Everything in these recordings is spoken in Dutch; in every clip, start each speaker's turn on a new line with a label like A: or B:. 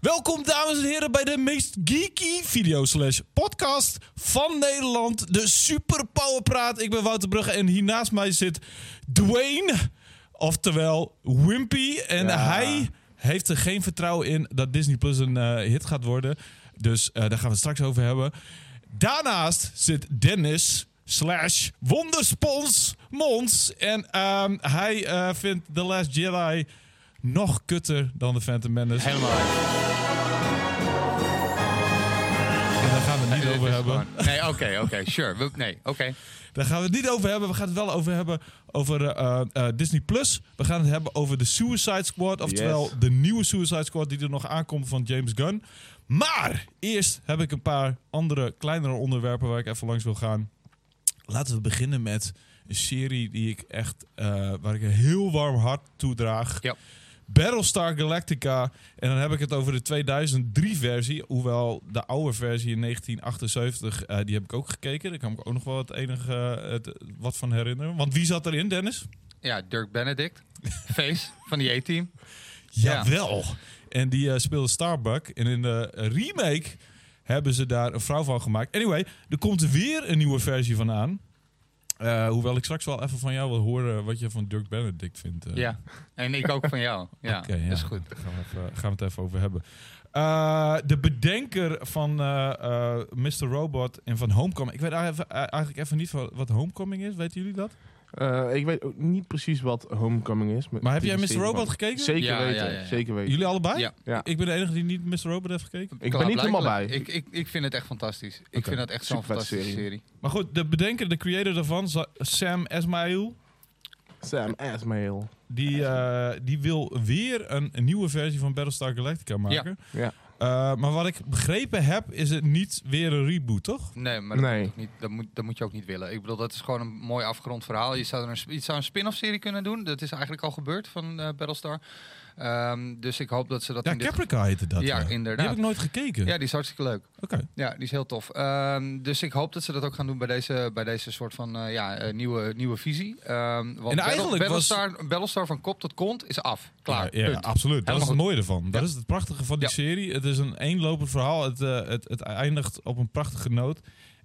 A: Welkom dames en heren bij de meest geeky video slash podcast van Nederland. De Super Power Praat. Ik ben Wouter Brugge en hier naast mij zit Dwayne, oftewel Wimpy. En
B: Ja.
A: hij heeft er geen vertrouwen in dat Disney Plus een eh, hit gaat worden. Dus eh, daar gaan we het straks over hebben. Daarnaast zit Dennis slash Wonderspons Mons. En ehm, hij eh, vindt The Last Jedi nog kutter dan The Phantom Menace.
B: Helemaal.
A: En daar gaan we het niet over hebben.
B: Nee, oké, oké, sure. We- nee, oké.
A: Daar gaan we het niet over hebben. We gaan het wel over hebben over eh, eh, Disney Plus. We gaan het hebben over de Suicide Squad. Oftewel
B: Yes.
A: de nieuwe Suicide Squad die er nog aankomt van James Gunn. Maar eerst heb ik een paar andere kleinere onderwerpen waar ik even langs wil gaan. Laten we beginnen met een serie die ik echt, eh, waar ik een heel warm hart toedraag.
B: Ja.
A: Battlestar Galactica. En dan heb ik het over de 2003-versie. Hoewel de oude versie in 1978, eh, die heb ik ook gekeken. Daar kan ik ook nog wel het enige eh, het- wat van herinneren. Want wie zat erin, Dennis?
B: Ja, Dirk Benedict. Face van die A-team. Ja.
A: Jawel. En die eh, speelde Starbuck. En in de remake hebben ze daar een vrouw van gemaakt. Anyway, er komt weer een nieuwe versie van aan. Eh, hoewel ik straks wel even van jou wil horen wat je van Dirk Benedict vindt. eh.
B: Ja. En ik ook van jou. Ja,
A: Oké, ja.
B: dat is goed.
A: Daar gaan we, even, gaan we het even over hebben. Eh, de bedenker van eh, eh, Mr. Robot en van Homecoming. Ik weet eigenlijk even- eigenlijk even niet van wat Homecoming is. Weten jullie dat?
C: Eh, ik weet ook niet precies wat Homecoming is.
A: Maar heb
C: die
A: jij Mr.
C: serie
A: Robot
C: van-
A: gekeken?
C: Zeker
B: Ja, ja,
C: weten,
B: ja, ja.
C: zeker weten.
A: Jullie allebei?
B: Ja.
C: Ja.
A: Ik ben de enige die niet Mr. Robot heeft gekeken.
C: Ik ben niet helemaal bij.
B: Klaarblijkelijk. Ik, ik, ik vind het echt fantastisch. Ik
A: Oké.
B: vind dat echt zo'n
C: Supervet
B: fantastische serie.
C: serie.
A: Maar goed, de bedenker, de creator daarvan, Za- Sam Esmail.
C: Sam Asmail.
A: Die, eh, die wil weer een, een nieuwe versie van Battlestar Galactica maken.
C: Ja.
A: Eh, maar wat ik begrepen heb, is het niet weer een reboot, toch?
B: Nee, maar dat,
C: Nee.
B: Moet ook niet, dat, moet, dat moet je ook niet willen. Ik bedoel, dat is gewoon een mooi afgerond verhaal. Je zou, er een, sp- je zou een spin-off serie kunnen doen. Dat is eigenlijk al gebeurd van eh, Battlestar. Ehm, dus ik hoop dat ze dat
A: Ja,
B: in dit...
A: Caprica heette dat.
B: Ja,
A: Die
B: inderdaad.
A: heb ik nooit gekeken.
B: Ja, die is hartstikke leuk.
A: Oké.
B: Ja, die is heel tof. Ehm, dus ik hoop dat ze dat ook gaan doen bij deze, bij deze soort van eh, ja, eh, nieuwe, nieuwe visie. Ehm want
A: En eigenlijk
B: Battle-
A: was-
B: Battlestar, Battlestar van kop tot kont is af. Klaar.
A: Ja, ja,
B: punt.
A: absoluut. Dat is
B: Helemaal
A: het mooie ervan. Dat
B: Ja.
A: is het prachtige van die
B: Ja.
A: serie. Het is een eenlopend verhaal. Het, eh, het, het eindigt op een prachtige noot.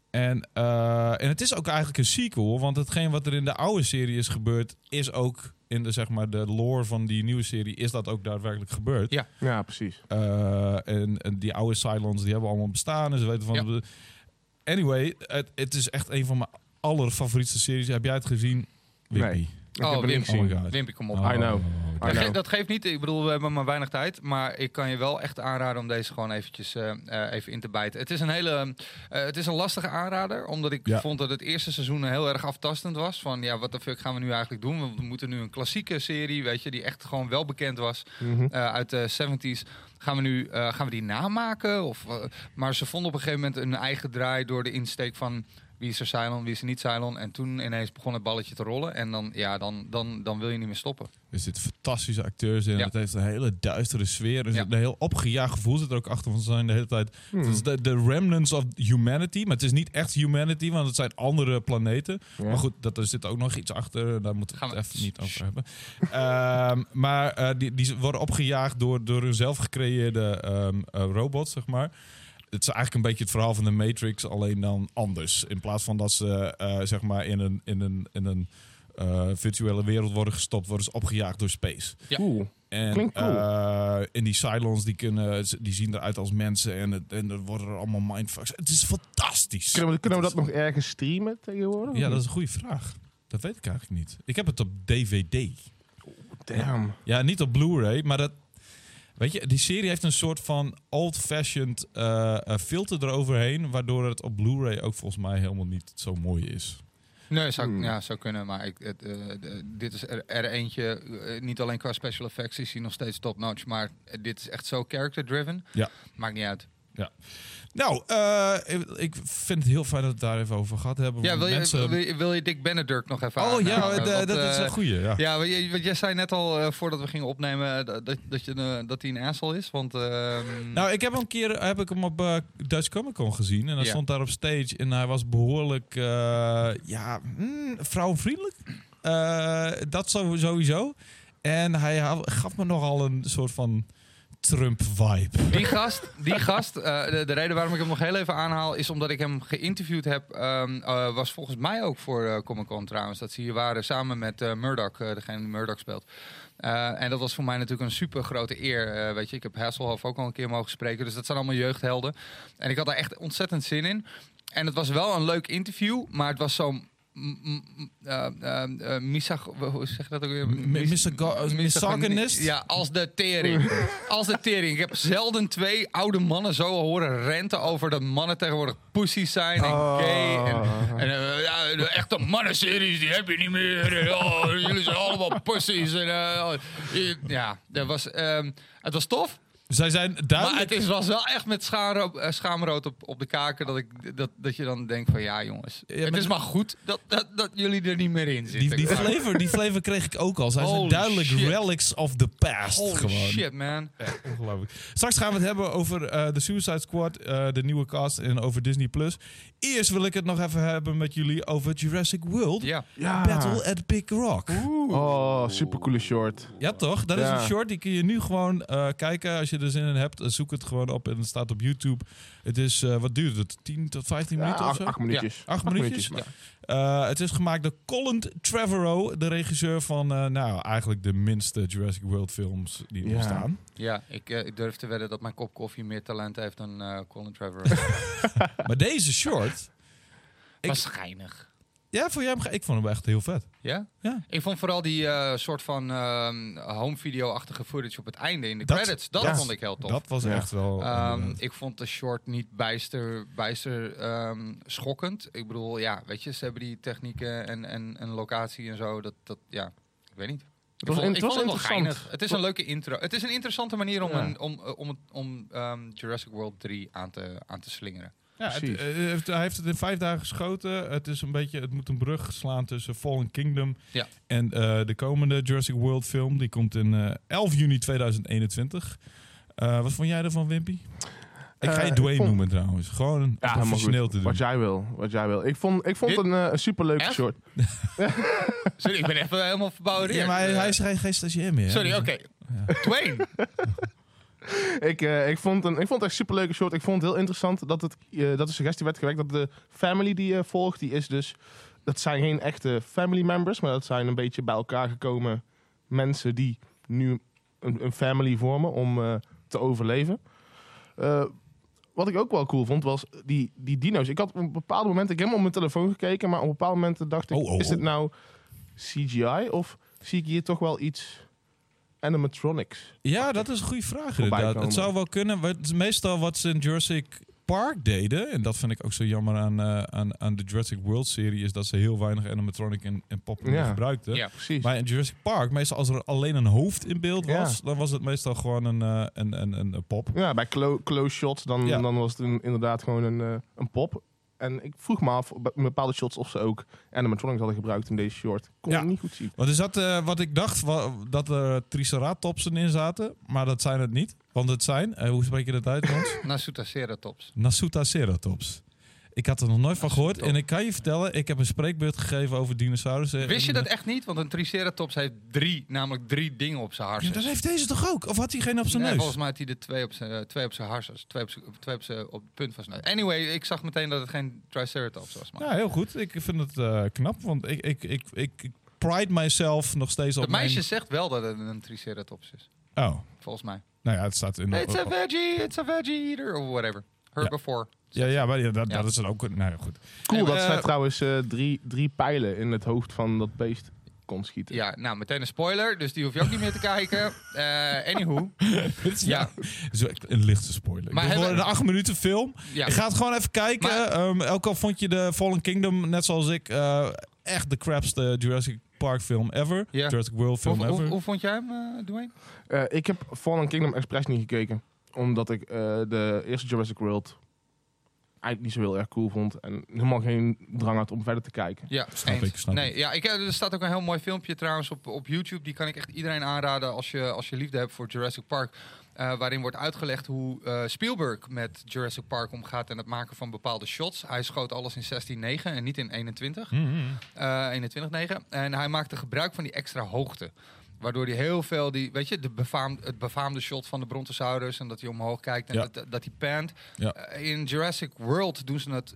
A: En, eh, en het is ook eigenlijk een sequel. Want hetgeen wat er in de oude serie is gebeurd, is ook in de, zeg maar, de lore van die nieuwe serie, is dat ook daadwerkelijk gebeurd.
B: Ja.
C: Ja, precies.
A: Eh, en, en die oude Cylons, die hebben allemaal bestaan. En ze weten van...
B: Ja.
A: Anyway, het, het is echt een van mijn allerfavorietste series. Heb jij het gezien? Weet
C: Nee.
A: niet.
C: Ik
B: Oh,
C: heb er
B: Wim.
C: niks gezien.
A: Oh my God.
B: Wimpy, kom op.
C: I know.
A: oh.
C: I
B: Dat,
C: know.
B: ge- dat geeft niet. Ik bedoel, we hebben maar weinig tijd. Maar ik kan je wel echt aanraden om deze gewoon eventjes eh, eh, even in te bijten. Het is een hele. eh, het is een lastige aanrader. Omdat ik
A: Ja.
B: vond dat het eerste seizoen heel erg aftastend was. Van ja, wat de fuck gaan we nu eigenlijk doen? Want We moeten nu een klassieke serie, weet je, die echt gewoon wel bekend was.
C: Mhm.
B: eh, uit de 70s. Gaan we nu eh, gaan we die namaken? Of, eh, maar ze vonden op een gegeven moment een eigen draai door de insteek van wie is er Cylon, wie is er niet Cylon. En toen ineens begon het balletje te rollen. En dan, ja, dan, dan, dan wil je niet meer stoppen.
A: Er zitten fantastische acteurs in.
B: Ja.
A: Het heeft een hele duistere sfeer. Er
B: Ja.
A: zit een heel opgejaagd gevoel zit er ook achter. Want ze zijn de hele tijd...
C: Hmm.
A: Het is de, de remnants of humanity. Maar het is niet echt humanity, want het zijn andere planeten.
C: Ja.
A: Maar goed, dat, er zit ook nog iets achter. Daar moeten we
B: Gaan
A: het
B: we-
A: even niet over hebben. Ehm, maar eh, die, die worden opgejaagd door, door hun zelf gecreëerde ehm, eh, robots, zeg maar. Het is eigenlijk een beetje het verhaal van de Matrix, alleen dan anders. In plaats van dat ze eh, zeg maar in een, in een, in een eh, virtuele wereld worden gestopt, worden ze opgejaagd door space.
B: Ja.
C: Cool.
A: En
C: Klinkt cool.
A: eh, en die Cylons, die, kunnen, die zien eruit als mensen en, het, en er worden er allemaal mindfucks. Het is fantastisch.
C: Kunnen we, kunnen we dat nog ergens streamen tegenwoordig?
A: Ja, dat is een goede vraag. Dat weet ik eigenlijk niet. Ik heb het op DVD.
C: Damn.
A: Ja, niet op Blu-ray, maar dat... Weet je, die serie heeft een soort van old-fashioned eh, eh, filter eroverheen... waardoor het op Blu-ray ook volgens mij helemaal niet zo mooi is.
B: Nee, zou,
C: Hmm.
B: ja, zou kunnen, maar ik, het, eh, d- dit is er, er eentje. eh, niet alleen qua special effects is hij nog steeds top-notch, maar eh, dit is echt zo character-driven.
A: Ja.
B: Maakt niet uit.
A: Nou, eh, ik- ik vind het heel fijn dat we het daar even over gehad hebben.
B: Ja,
A: want
B: wil je,
A: mensen-
B: wil, je, wil je Dick Benedict nog even
A: Oh ja,
B: aanhalen?
A: d-
B: Want,
A: dat is
B: eh,
A: een goeie, ja.
B: Ja, want jij- want jij zei net al eh, voordat we gingen opnemen eh, dat, dat, je, eh, dat hij een asshole is. Want, ehm,
A: Nou, ik heb hem een keer heb ik hem op eh Dutch Comic Con gezien. En hij
B: Ja.
A: stond daar op stage. En hij was behoorlijk, eh, ja, mm, vrouwenvriendelijk. Eh, dat zo- sowieso. En hij ha- gaf me nogal een soort van Trump-vibe.
B: Die gast, die gast eh, de, de reden waarom ik hem nog heel even aanhaal, is omdat ik hem geïnterviewd heb. ehm, eh, was volgens mij ook voor eh, Comic Con trouwens. Dat ze hier waren samen met eh, Murdoch, eh, degene die Murdoch speelt. Eh, en dat was voor mij natuurlijk een super grote eer. eh, weet je, ik heb Hasselhoff ook al een keer mogen spreken. Dus dat zijn allemaal jeugdhelden. En ik had daar echt ontzettend zin in. En het was wel een leuk interview, maar het was zo'n. m- m- eh, eh, eh, misag- hoe zeg je dat ook weer?
A: M-
B: Mis-
A: misago- eh,
B: misagon-
A: misogynist?
B: Ja, als de tering. als de tering. Ik heb zelden twee oude mannen zo horen renten over dat mannen tegenwoordig pussies zijn en
C: Oh.
B: gay. En, en eh, ja, de echte mannenseries, die heb je niet meer. En, oh, jullie zijn allemaal pussies. En, eh, oh, je- ja, dat was, ehm, het was tof.
A: Zij zijn
B: Maar
A: duidelijk...
B: het is, was wel echt met schaar op- eh, schaamrood op, op de kaken dat, ik, dat, dat je dan denkt van ja jongens,
A: Ja,
B: het
A: maar
B: is maar goed dat, dat, dat jullie er niet meer in zitten.
A: die, die,
B: Maar-
A: flavor, die flavor kreeg ik ook al. Zij zijn
B: Holy
A: duidelijk
B: shit.
A: relics of the past.
B: Holy
A: gewoon.
B: shit man.
A: Echt ongelooflijk. Straks gaan we het hebben over eh, de Suicide Squad, eh, de nieuwe cast en over Disney+. Plus. Eerst wil ik het nog even hebben met jullie over Jurassic World.
B: Ja.
C: Ja.
A: Battle at Big Rock.
C: Oh, supercoole short.
A: Ja, toch? Dat
C: Ja.
A: is een short. Die kun je nu gewoon eh, kijken. Als je er zin in hebt, eh, zoek het gewoon op. En het staat op YouTube. Het is, eh, wat duurt het? 10 tot 15
C: Ja,
A: minuten of
C: acht,
A: zo?
C: acht minuutjes.
A: Acht minuutjes.
C: maar.
A: Eh, het is gemaakt door Colin Trevorrow, de regisseur van eh, nou, eigenlijk de minste Jurassic World films die er
C: Ja.
A: staan.
B: Ja, ik, eh, ik durf te wedden dat mijn kop koffie meer talent heeft dan eh, Colin Trevor.
A: Maar deze short, Ik-
B: Waarschijnlijk.
A: ja, vond jij hem, ge- ik vond hem echt heel vet.
B: Ja?
A: Ja.
B: Ik vond vooral die eh, soort van ehm, home video-achtige footage op het einde in de
A: Dat-
B: credits. Dat
A: ja.
B: vond ik heel tof.
A: Dat was
C: Ja.
A: echt wel... eh,
B: Ehm,
A: inderdaad.
B: ik vond de short niet bijster, bijster ehm, schokkend. Ik bedoel, ja, weet je, ze hebben die technieken en, en, en locatie en zo. Dat, dat, ja, ik weet niet.
C: Het was,
B: ik vond, ik vond
C: het
B: het
C: was
B: wel
C: interessant.
B: geinig. Het is een leuke intro. Het is een interessante manier om,
C: Ja.
B: een, om, eh, om, het- om ehm, Jurassic World 3 aan te, aan te slingeren.
A: Ja, het,
C: Precies.
A: eh, heeft- hij heeft het in vijf dagen geschoten. Het, is een beetje, het moet een brug slaan tussen Fallen Kingdom
B: Ja.
A: en eh, de komende Jurassic World film. Die komt in eh, 11 juni 2021. Eh, wat vond jij ervan, Wimpy? Ik ga
C: Eh,
A: je
C: ik
A: Dwayne
C: vond-
A: noemen trouwens. Gewoon
C: Ja, helemaal
A: professioneel
C: goed.
A: te doen.
C: Wat jij wil. Wat jij wil. Ik vond, ik vond
B: Dit-
C: een eh, superleuke
B: Echt?
C: short.
B: Sorry, ik ben echt wel helemaal verbouwereerd.
A: Ja, maar hij,
B: Eh,
A: hij is geen, geen stagiair meer. hè? Dus-
B: Sorry, oké. Dwayne.
C: Ik, eh, ik, vond een, ik vond het echt superleuke short. Ik vond het heel interessant dat, het, eh, dat de suggestie werd gewekt dat de family die je volgt, die is dus... Dat zijn geen echte family members, maar dat zijn een beetje bij elkaar gekomen mensen die nu een, een family vormen om eh, te overleven. Eh, wat ik ook wel cool vond, was die, die dino's. Ik had op bepaalde momenten, ik heb helemaal op mijn telefoon gekeken, maar op bepaalde momenten dacht ik,
A: Oh, oh,
C: is dit
A: oh.
C: nou CGI of zie ik hier toch wel iets animatronics?
A: Ja, dat is een goede vraag
C: Voorbij
A: inderdaad.
C: komen.
A: Het zou wel kunnen. Wat, meestal wat ze in Jurassic Park deden, en dat vind ik ook zo jammer aan, eh, aan, aan de Jurassic World serie, is dat ze heel weinig animatronic en, en pop
C: Ja.
A: gebruikten.
B: Ja.
C: Precies.
A: Maar in Jurassic Park, meestal als er alleen een hoofd in beeld
C: Ja.
A: was, dan was het meestal gewoon een, eh, een, een, een, een pop.
C: Ja, bij clo- close shots dan,
A: Ja.
C: dan was het een- inderdaad gewoon een, eh, een pop. En ik vroeg me af, bij bepaalde shots, of ze ook animatronics hadden gebruikt in deze short. Kon
A: Ja.
C: ik niet goed zien.
A: Want is dat eh, wat ik dacht, wa- dat er triceratopsen in zaten, maar dat zijn het niet. Want het zijn, eh, hoe spreek je dat uit, Hans?
B: Nasuta Ceratops.
A: Nasutoceratops. Ik had er nog nooit van gehoord en ik kan je vertellen, ik heb een spreekbeurt gegeven over dinosaurussen.
B: Wist je
A: En, eh,
B: dat echt niet? Want een Triceratops heeft drie, namelijk drie dingen op zijn
A: Ja,
B: harsen.
A: dat heeft deze toch ook? Of had hij geen op zijn
B: Nee,
A: neus?
B: volgens mij had hij er twee op zijn, eh, twee op zijn harsers. Twee op, zijn- twee op, zijn, op het punt van zijn neus. Anyway, ik zag meteen dat het geen Triceratops was. Maar.
A: Ja, Nou, heel goed. Ik vind het eh, knap, want ik, ik, ik, ik, ik pride myself nog steeds
B: Het
A: op
B: meisje zegt wel dat het een Triceratops is.
A: mijn... Oh,
B: Volgens mij.
A: nou ja, het staat in de...
B: It's a veggie, it's a veggie eater. Of whatever. Herbivore.
A: Ja, ja, maar ja, dat,
B: Ja.
A: dat is dan ook... Nou ja, goed.
C: Cool
B: Nee,
C: dat
B: maar,
C: zij
B: eh,
C: trouwens eh, drie, drie pijlen in het hoofd van dat beest kon schieten.
B: Ja, nou, meteen een spoiler. Dus die hoef je ook niet meer te kijken. Eh anywho.
A: ja.
B: Ja.
A: Zo, een lichte spoiler.
B: Maar
A: Maar
B: hebben-
A: een acht minuten film.
B: Ja.
A: Ik ga het gewoon even kijken. Ehm, ook al vond je de Fallen Kingdom, net zoals ik, eh, echt de crapste Jurassic Park film ever.
B: Ja.
A: Jurassic World
B: Hoe,
A: film
B: hoe,
A: ever.
B: hoe vond jij hem, eh Dwayne?
C: Eh, ik heb Fallen Kingdom Express niet gekeken. Omdat ik eh, de eerste Jurassic World eigenlijk niet zo heel erg cool vond. En helemaal geen drang had om verder te kijken.
B: Ja,
A: Snap
B: eens.
A: ik, snap
B: nee, Ja, ik, eh, er staat ook een heel mooi filmpje trouwens op, op YouTube. Die kan ik echt iedereen aanraden als je, als je liefde hebt voor Jurassic Park. Eh, waarin wordt uitgelegd hoe eh, Spielberg met Jurassic Park omgaat en het maken van bepaalde shots. Hij schoot alles in 16-9 en niet in 21.
A: Mm, mm.
B: Eh, 21-9. En hij maakte gebruik van die extra hoogte. Waardoor hij heel veel, die, weet je, de befaam, het befaamde shot van de Brontosaurus en dat hij omhoog kijkt en
A: Ja.
B: dat, dat hij pant.
A: Ja.
B: Eh, in Jurassic World doen ze het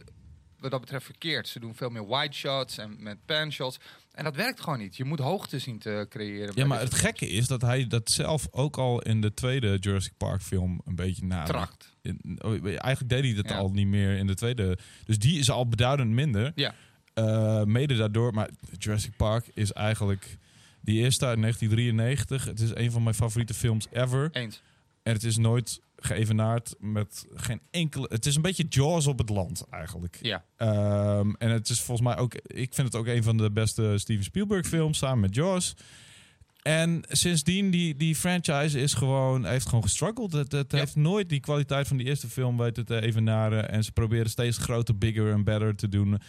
B: wat dat betreft verkeerd. Ze doen veel meer wide shots en met pan shots. En dat werkt gewoon niet. Je moet hoogte zien te creëren. bij
A: Ja, maar
B: dit
A: het gekke is dat hij dat zelf ook al in de tweede Jurassic Park film een beetje na.
B: tracht.
A: In- oh, Eigenlijk deed hij dat
B: Ja.
A: al niet meer in de tweede. Dus die is al beduidend minder.
B: Ja.
A: Eh, mede daardoor, maar Jurassic Park is eigenlijk die eerste uit 1993. Het is een van mijn favoriete films ever.
B: Eens.
A: En het is nooit geëvenaard met geen enkele. Het is een beetje Jaws op het land eigenlijk.
B: Ja.
A: Ehm, en het is volgens mij ook. Ik vind het ook een van de beste Steven Spielberg films samen met Jaws. En sindsdien, die, die franchise is gewoon, heeft gewoon gestruggeld. Het, het
B: Ja.
A: heeft nooit die kwaliteit van die eerste film weten te evenaren. En ze proberen steeds groter, bigger en better te doen.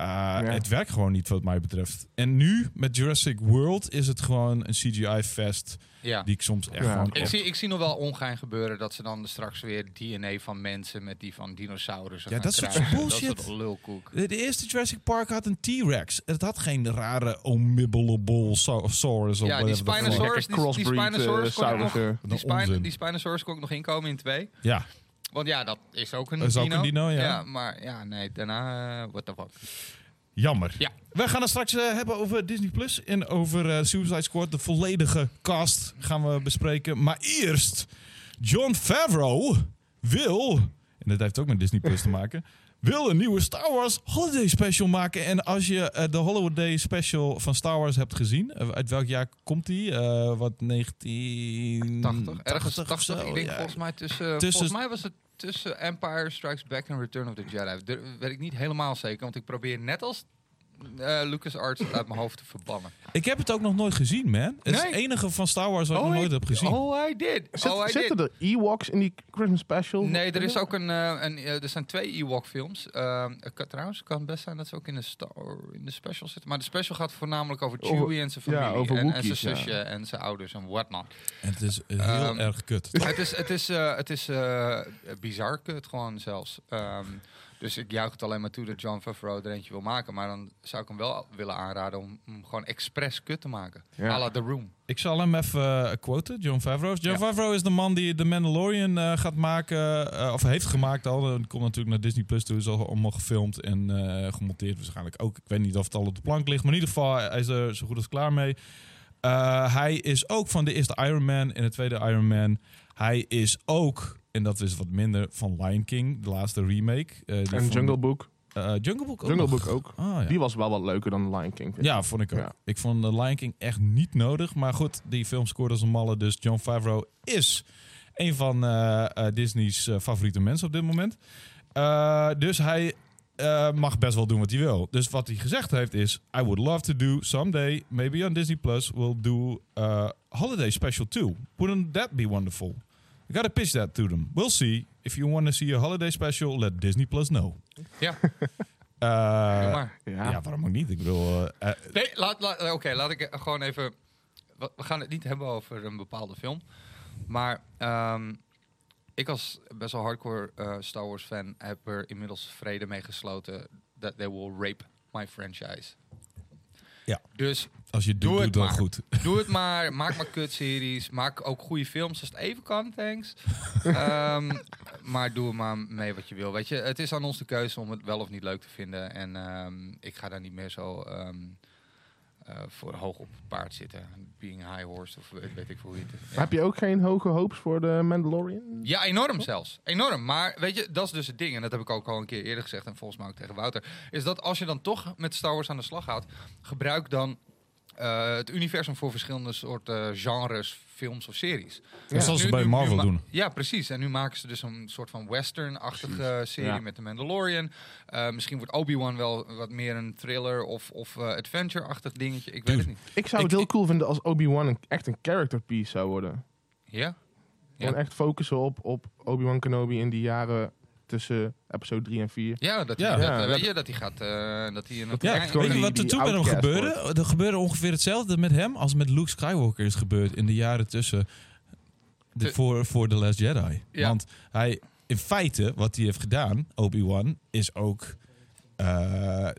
A: Uh, Het werkt gewoon niet, wat mij betreft. En nu, met Jurassic World, is het gewoon een CGI-fest.
B: Ja.
A: Die ik soms echt
C: Ja.
A: gewoon...
B: Ik
A: op-
B: zie, ik zie nog wel ongein gebeuren dat ze dan straks weer DNA van mensen met die van dinosaurussen.
A: Ja,
B: gaan
A: dat soort
B: kruisen.
A: bullshit.
B: Dat soort lulkoek.
A: De, de eerste Jurassic Park had een T-Rex. Het had geen rare omnibbable so- saurus of
B: Ja, die
A: whatever the fuck.
B: Spinosaurus, die, die
C: Crossbreed, eh,
B: Spinosaurus kon ik nog-
C: saurussen.
B: die,
A: Wat een onzin.
B: spine, die Spinosaurus kon ik nog inkomen in twee.
A: Ja,
B: Want ja, dat is ook een
A: Dat is ook
B: dino.
A: een dino, ja. Hmm,
B: maar ja, nee, daarna, eh, what the fuck.
A: jammer.
B: Ja.
A: We gaan het straks eh, hebben over Disney Plus en over eh, Suicide Squad. De volledige cast gaan we bespreken. Maar eerst, John Favreau wil, en dat heeft ook met Disney Plus te maken, wil een nieuwe Star Wars Holiday Special maken. En als je eh, de Holiday Special van Star Wars hebt gezien, eh, uit welk jaar komt die? Eh, wat, 1980?
B: 80, ergens
A: of
B: 80.
A: zo,
B: ik denk
A: ja.
B: volgens mij tussen,
A: Tussen-
B: Volgens mij was het tussen Empire Strikes Back en Return of the Jedi. Dat weet ik niet helemaal zeker, want ik probeer net als eh LucasArts het uit mijn hoofd te verbannen.
A: Ik heb het ook nog nooit gezien, man. Het is
B: Nee?
A: het enige van Star Wars wat ik nog nooit heb gezien.
B: Oh, I did.
C: Zit,
B: oh, I did.
C: zitten er Ewoks in die Christmas special?
B: Nee, er is ook een. eh, een eh, er zijn twee Ewok films. Ehm, het kan, trouwens, kan best zijn dat ze ook in de, star, in de special zitten. Maar de special gaat voornamelijk over
C: Over-
B: Chewie en zijn
C: ja,
B: familie.
C: over
B: en, en zijn
C: Wookiees, ja.
B: zusje en zijn ouders en whatnot.
A: En het is heel
B: Ehm,
A: erg kut.
B: het is, het is, eh, het is eh, bizar kut gewoon zelfs. Ehm, dus ik juich het alleen maar toe dat John Favreau er eentje wil maken. Maar dan zou ik hem wel willen aanraden om hem gewoon expres kut te maken.
C: Ja.
B: À la The Room.
A: Ik zal hem even eh, quoten, John Favreau. John
B: Ja.
A: Favreau is de man die The Mandalorian eh, gaat maken, eh, of heeft gemaakt al. Dat komt natuurlijk naar Disney Plus toe, is al allemaal gefilmd en eh, gemonteerd waarschijnlijk ook. Ik weet niet of het al op de plank ligt, maar in ieder geval, eh, hij is er zo goed als klaar mee. Eh, hij is ook van de eerste Iron Man en de tweede Iron Man. Hij is ook, en dat is wat minder, van Lion King, de laatste remake. eh, die
C: En
A: vond-
C: Jungle Book.
A: eh, Jungle Book ook
C: Jungle
A: nog.
C: Book ook.
A: Ah, ja.
C: Die was wel wat leuker dan Lion King. vind ik.
A: Ja, vond ik ook.
C: Ja.
A: Ik vond The Lion King echt niet nodig. Maar goed, die film scoorde als een malle. Dus John Favreau is een van eh, eh, Disney's eh, favoriete mensen op dit moment. Eh, dus hij eh, mag best wel doen wat hij wil. Dus wat hij gezegd heeft is... I would love to do someday, maybe on Disney+, Plus we'll do a holiday special too. Wouldn't that be wonderful? I gotta pitch that to them. We'll see. If you want to see a holiday special, let Disney Plus know.
B: Ja,
A: Eh,
B: doe maar.
C: Ja.
A: ja. waarom ook niet? Ik bedoel... eh, eh,
B: Nee, laat, laat, Oké, laat ik eh, gewoon even... We we gaan het niet hebben over een bepaalde film. Maar ehm, ik als best wel hardcore eh, Star Wars fan heb er inmiddels vrede mee gesloten... that they will rape my franchise.
A: Ja.
B: Dus
A: als je het doet,
B: Doe
A: doe
B: het
A: het dan
B: maar.
A: goed.
B: Doe het maar. Maak maar kutseries. Maak ook goede films als het even kan, thanks. Ehm, maar doe er maar mee wat je wil. Weet je, het is aan ons de keuze om het wel of niet leuk te vinden. En ehm, ik ga daar niet meer zo ehm, eh, voor hoog op het paard zitten. Being high horse of weet, weet ik veel hoe je het... Ja.
C: Heb je ook geen hoge hopes voor de Mandalorian?
B: Ja, enorm zelfs. Enorm. Maar weet je, dat is dus het ding. En dat heb ik ook al een keer eerder gezegd. En volgens mij ook tegen Wouter. Is dat als je dan toch met Star Wars aan de slag gaat. Gebruik dan eh, het universum voor verschillende soorten eh, genres, films of series.
A: Ja. Zoals ze bij Marvel
B: ma-
A: doen.
B: Ja, precies. En nu maken ze dus een soort van western-achtige serie
C: Ja.
B: met de Mandalorian. Eh, misschien wordt Obi-Wan wel wat meer een thriller of, of eh, adventure-achtig dingetje. Ik weet het niet.
C: Ik zou het
A: Ik-
C: heel cool vinden als Obi-Wan een- echt een character piece zou worden.
B: Ja? Ja.
C: Gewoon echt focussen op, op Obi-Wan Kenobi in die jaren tussen episode 3 en 4.
B: Ja, dat
A: Ja.
B: hij dat,
C: Ja,
B: eh,
C: dat-
B: weet je, dat hij gaat... eh, dat hij een
C: hij
B: Ja,
C: echt
B: ik-
A: Weet je
C: die-
A: wat er
C: die
A: toen met hem
C: outcast
A: gebeurde? Er gebeurde ongeveer hetzelfde met hem als met Luke Skywalker is gebeurd in de jaren tussen de,
B: Te-
A: voor, voor The Last Jedi.
B: Ja.
A: Want hij, in feite, wat hij heeft gedaan, Obi-Wan, is ook eh,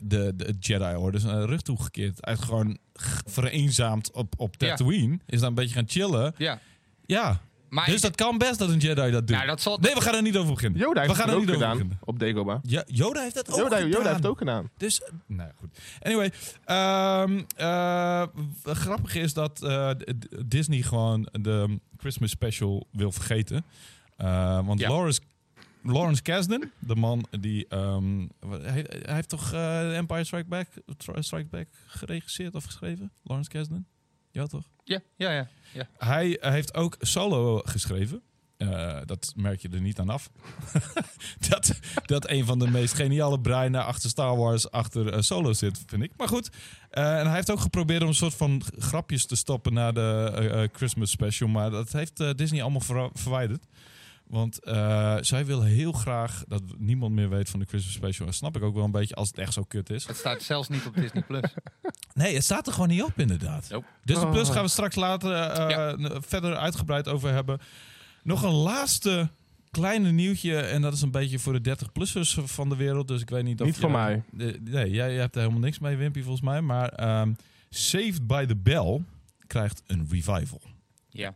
A: de, de Jedi Order zijn rug toegekeerd. Uit gewoon g- vereenzaamd op, op
B: Ja.
A: Tatooine. Is daar een beetje gaan chillen.
B: Ja.
A: Ja,
B: Maar
A: dus dat kan best dat een Jedi dat doet.
B: Nou, dat zal...
A: Nee, we gaan er niet over beginnen.
C: Yoda
A: we gaan
C: heeft
A: er
C: het ook
A: niet over
C: gedaan
A: beginnen.
C: op Dagobah.
A: Ja, Yoda heeft dat ook
C: Yoda,
A: gedaan.
C: Yoda heeft het ook gedaan.
A: Dus, eh, nou ja, goed. Anyway, ehm, eh, w- grappig is dat eh, d- d- Disney gewoon de Christmas special wil vergeten. Eh, want
B: Ja.
A: Lawrence, Lawrence Kasdan, de man die... ehm, wat- hij, hij heeft toch eh, Empire Strike Back, Stri- Strike Back geregisseerd of geschreven? Lawrence Kasdan? Ja, toch?
B: Ja, ja, ja.
A: Hij heeft ook solo geschreven. Eh, dat merk je er niet aan af. dat, dat een van de meest geniale breinen achter Star Wars achter eh, solo zit, vind ik. Maar goed, eh, en hij heeft ook geprobeerd om een soort van grapjes te stoppen na de eh, eh, Christmas special. Maar dat heeft eh, Disney allemaal verra- verwijderd. Want eh, zij wil heel graag dat niemand meer weet van de Christmas special. En snap ik ook wel een beetje als het echt zo kut is.
B: Het staat zelfs niet op Disney+. Plus.
A: Nee, het staat er gewoon niet op, inderdaad.
B: Nope.
A: Dus de
C: Oh.
A: plus gaan we straks later eh, eh, verder uitgebreid over hebben. Nog een laatste kleine nieuwtje. En dat is een beetje voor de 30-plussers van de wereld. Dus ik weet niet of...
C: Niet voor
A: jij-
C: mij.
A: De- nee, jij, jij hebt er helemaal niks mee, Wimpy, volgens mij. Maar ehm, Saved by the Bell krijgt een revival.
B: ja.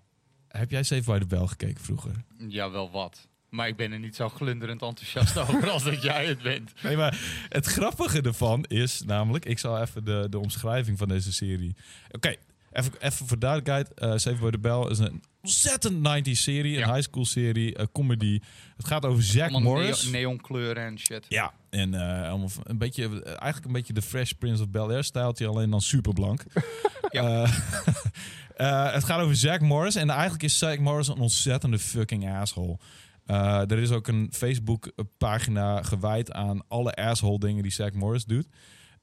A: Heb jij Saved by the Bell gekeken vroeger?
B: ja, wel wat. Maar ik ben er niet zo glunderend enthousiast over als dat jij het bent.
A: Nee, maar het grappige ervan is namelijk... Ik zal even de, de omschrijving van deze serie... Oké, even, even voor duidelijkheid. eh Saved by the Bell is een ontzettend 90s serie.
B: Ja.
A: Een high school serie, een comedy. Het gaat over Zack
B: Allemaal
A: Morris.
B: neo- neonkleuren en shit.
A: ja, en eh, allemaal v- een beetje, eh, eigenlijk een beetje de Fresh Prince of Bel-Air stijltje, alleen dan superblank.
B: Ja.
A: Eh, eh, het gaat over Zack Morris en eigenlijk is Zack Morris een ontzettende fucking asshole. Eh, er is ook een Facebook-pagina gewijd aan alle asshole dingen die Zack Morris doet.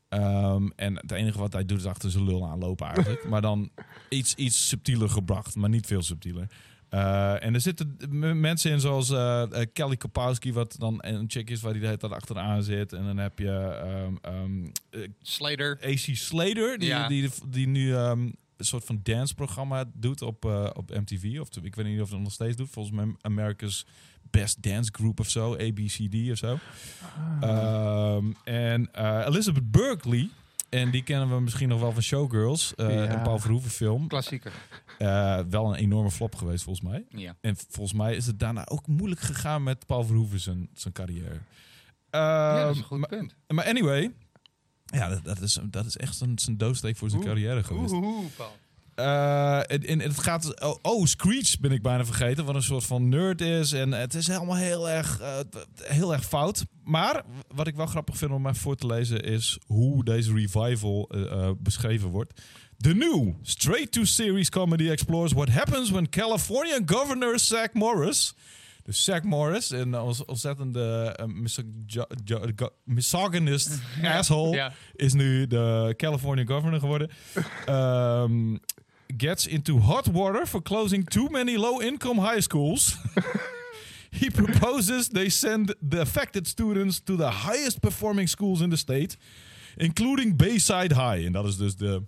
A: Ehm, en het enige wat hij doet is achter zijn lul aanlopen eigenlijk. maar dan iets, iets subtieler gebracht, maar niet veel subtieler. Eh, en er zitten m- mensen in zoals eh, eh, Kelly Kapowski, wat dan een chick is waar die de hele tijd achteraan zit. En dan heb je ehm, ehm, eh,
B: Slater.
A: AC Slater, die,
B: Ja.
A: die, die nu ehm, een soort van danceprogramma doet op, eh, op MTV. Of te- ik weet niet of hij dat nog steeds doet. Volgens mij America's Best Dance Group of zo, ABCD of zo. Ehm, en eh, Elizabeth Berkley. En die kennen we misschien nog wel van Showgirls. eh,
C: Ja.
A: Een Paul Verhoeven film.
B: Klassieker.
A: Eh, wel een enorme flop geweest volgens mij.
B: Ja.
A: En volgens mij is het daarna ook moeilijk gegaan met Paul Verhoeven zijn, zijn carrière.
B: ja, dat is
A: Ehm,
B: een goed
A: maar-
B: punt.
A: maar anyway. Ja, dat, dat is, dat is echt zijn, zijn doodsteek voor zijn
B: Oeh,
A: carrière geweest.
B: Oeh, Paul.
A: Eh, en, en het gaat... Oh, oh, Screech ben ik bijna vergeten. Wat een soort van nerd is. En het is helemaal heel erg, eh, heel erg fout. Maar wat ik wel grappig vind om mij voor te lezen... is hoe deze revival eh, eh, beschreven wordt. The new straight-to-series comedy explores what happens when California governor Zach Morris... Dus Zach Morris, een ons- ontzettende eh, misogy- jo- go- misogynist asshole
B: Ja.
A: is nu de California governor geworden. Ehm, gets into hot water for closing too many low-income high schools. He proposes they send the affected students to the highest performing schools in the state, including Bayside High. En dat is dus de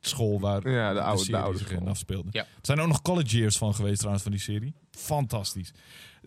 A: school waar
C: Ja, de oude- de
A: serie
C: oude
A: zich in
C: school.
A: afspeelde.
B: Ja.
A: Er zijn ook nog college years van geweest trouwens van die serie. Fantastisch.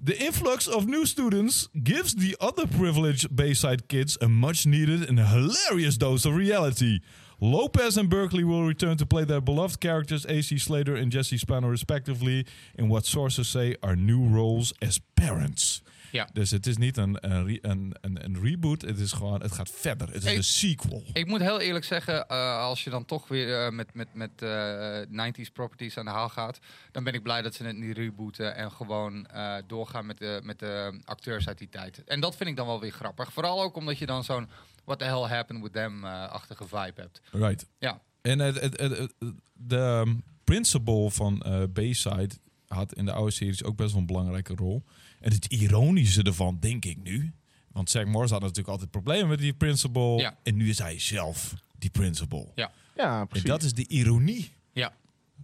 A: The influx of new students gives the other privileged Bayside kids a much needed and hilarious dose of reality. Lopez and Berkeley will return to play their beloved characters AC Slater and Jesse Spano respectively in what sources say are new roles as parents.
B: Ja.
A: Dus het is niet een, een, re- een, een, een reboot, het is gewoon, het gaat verder. Het is
B: Hey.
A: een sequel.
B: Ik moet heel eerlijk zeggen, eh, als je dan toch weer eh, met, met, met eh, 90s properties aan de haal gaat, dan ben ik blij dat ze het niet rebooten en gewoon eh, doorgaan met de, met de acteurs uit die tijd. En dat vind ik dan wel weer grappig. Vooral ook omdat je dan zo'n what the hell happened with them-achtige vibe hebt.
A: Right.
B: Ja,
A: En het, het, het- het- de ehm, principal van eh Bayside had in de oude series ook best wel een belangrijke rol. En het ironische ervan, denk ik nu. Want Zack Morris had natuurlijk altijd problemen met die principal.
B: Ja.
A: En nu is hij zelf die principal.
B: ja,
C: Ja,
A: En
C: precies.
A: dat is de ironie.
B: ja.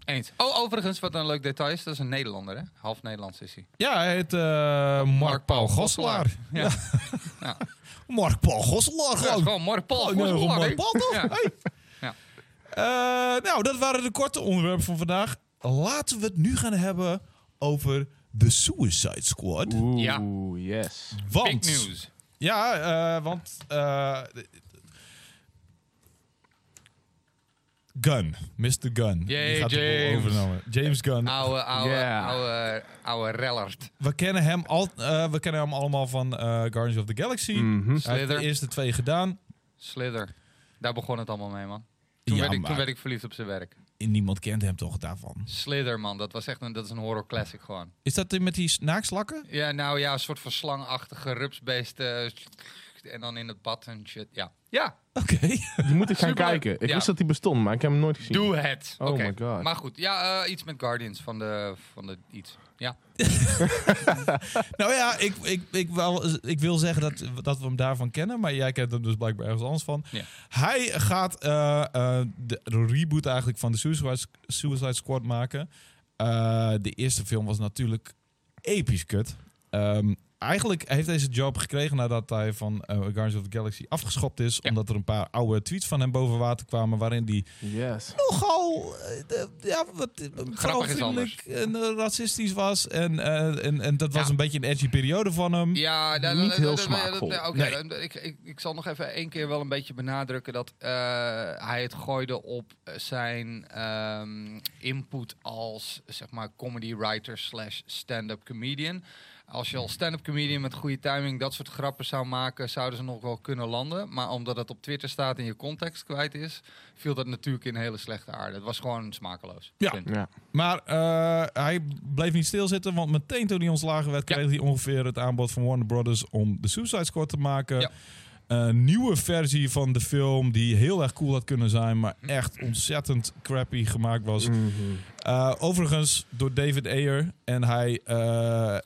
B: Eens. Oh, overigens, wat een leuk detail is, dat is een Nederlander, hè? Half Nederlands is hij.
A: Ja, hij heet eh, Mark Paul Gosselaar.
B: Ja.
A: Mark Paul Gosselaar
B: Ja,
A: gewoon.
B: gewoon Mark Paul.
A: Oh, nee,
B: Gosselaar,
A: gewoon
B: hè?
A: Mark Paul toch?
B: Ja.
A: Hey.
B: Ja.
A: Eh, nou, dat waren de korte onderwerpen van vandaag. Laten we het nu gaan hebben over de Suicide Squad.
C: Oeh,
B: Ja.
C: yes.
A: Want
B: Big news.
A: Ja, eh, want. eh, Gun, Mr. Gun.
B: Jee,
A: de boel
B: James. Ah.
A: overnemen. James Gunn.
B: Oude, oude,
C: Ja.
B: oude, oude rellert.
A: We kennen hem, al, eh, we kennen hem allemaal van eh, Guardians of the Galaxy.
C: Mhm.
A: Hij heeft de
B: Slither.
A: eerste twee gedaan.
B: Slither. Daar begon het allemaal mee, man. Toen,
A: Ja,
B: werd, ik,
A: maar-
B: toen werd ik verliefd op zijn werk.
A: Niemand kent hem toch daarvan.
B: Slither, man. Dat, was echt een, dat is een horror classic gewoon.
A: Is dat die met die s- naakslakken?
B: Ja, nou ja, een soort van slangachtige rupsbeest. eh, en dan in het bad en shit. Ja, ja
A: Oké.
C: Die moet ik gaan
B: Superleuk.
C: kijken. Ik
B: Ja.
C: wist dat die bestond, maar ik heb hem nooit gezien.
B: doe het.
C: Oh
B: Oké.
C: my god.
B: Maar goed, ja, eh, iets met Guardians van de, van de iets. Ja,
A: nou ja, ik, ik, ik, wel, ik wil zeggen dat, dat we hem daarvan kennen. Maar jij kent hem dus blijkbaar ergens anders van.
B: Ja.
A: Hij gaat eh, eh, de, de reboot eigenlijk van de Suicide, Suicide Squad maken. Eh, de eerste film was natuurlijk episch kut. Ehm, eigenlijk heeft deze job gekregen nadat hij van eh, Guardians of the Galaxy afgeschopt is.
B: Ja.
A: Omdat er een paar oude tweets van hem boven water kwamen. Waarin hij
C: Yes.
A: nogal eh, de- ja, wat, eh, vrouwvriendelijk en eh, racistisch was. En, eh, en, en dat was
B: Ja.
A: een beetje een edgy periode van hem.
B: ja nou, da-
C: Niet
B: da-
C: heel
B: da- da- da-
C: smaakvol.
B: da- nou, Oké,
A: Nee.
B: dan- ik, ik, ik zal nog even één keer wel een beetje benadrukken dat eh, hij het gooide op eh, zijn ehm, input als zeg maar comedy writer slash stand-up comedian. Als je als stand-up comedian met goede timing dat soort grappen zou maken, zouden ze nog wel kunnen landen. Maar omdat het op Twitter staat en je context kwijt is, viel dat natuurlijk in hele slechte aarde. Het was gewoon smakeloos.
A: Ja.
B: Punt.
C: Ja.
A: Maar eh, hij bleef niet stilzitten, want meteen toen hij ontslagen werd,
B: Ja.
A: kreeg hij ongeveer het aanbod van Warner Brothers om de Suicide Squad te maken.
B: Ja.
A: Een nieuwe versie van de film die heel erg cool had kunnen zijn, maar
B: Mm.
A: echt ontzettend crappy gemaakt was.
C: Mm-hmm.
A: Eh, overigens door David Ayer. En hij eh,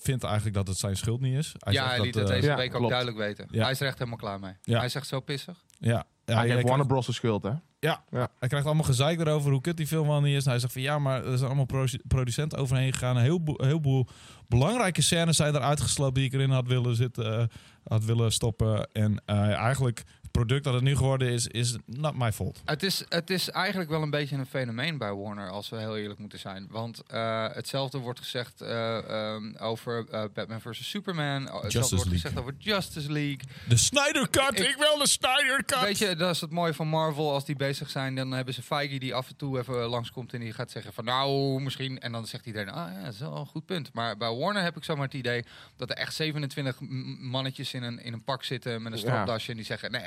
A: vindt eigenlijk dat het zijn schuld niet is. Hij
B: ja,
A: zegt
B: hij liet
A: dat,
B: het
A: eh,
B: deze
C: Ja,
B: week ook
C: klopt.
B: duidelijk weten.
A: Ja.
B: Hij is er echt helemaal klaar mee.
A: Ja.
B: Hij zegt zo pissig.
A: ja, ja,
C: Hij
A: hij-
C: heeft
A: hij-
C: Warner Bros. de schuld, hè?
A: Ja,
C: Ja.
A: hij krijgt allemaal gezeik erover hoe kut die film wel niet is. En hij zegt van ja, maar er zijn allemaal produ- producenten overheen gegaan. Een heleboel, een heleboel belangrijke scènes zijn eruit geslopen die ik erin had willen, zitten, eh, had willen stoppen. En eh, eigenlijk, het product dat het nu geworden is, is not my fault.
B: Het is, het is eigenlijk wel een beetje een fenomeen bij Warner, als we heel eerlijk moeten zijn. Want eh, hetzelfde wordt gezegd eh, ehm, over eh, Batman vs. Superman. Oh, Hetzelfde
A: Justice
B: wordt
A: League.
B: gezegd over Justice League.
A: De Snyder Cut! Ik,
B: Ik-
A: wil de Snyder Cut!
B: Weet je, dat is het mooie van Marvel. Als die bezig zijn, dan hebben ze Feige die af en toe even langskomt en die gaat zeggen van nou, misschien. En dan zegt iedereen, ah ja, dat is wel een goed punt. Maar bij Warner heb ik zomaar het idee dat er echt 27 m- mannetjes in een, in een pak zitten met een
C: Ja.
B: stropdasje. En die zeggen, nee,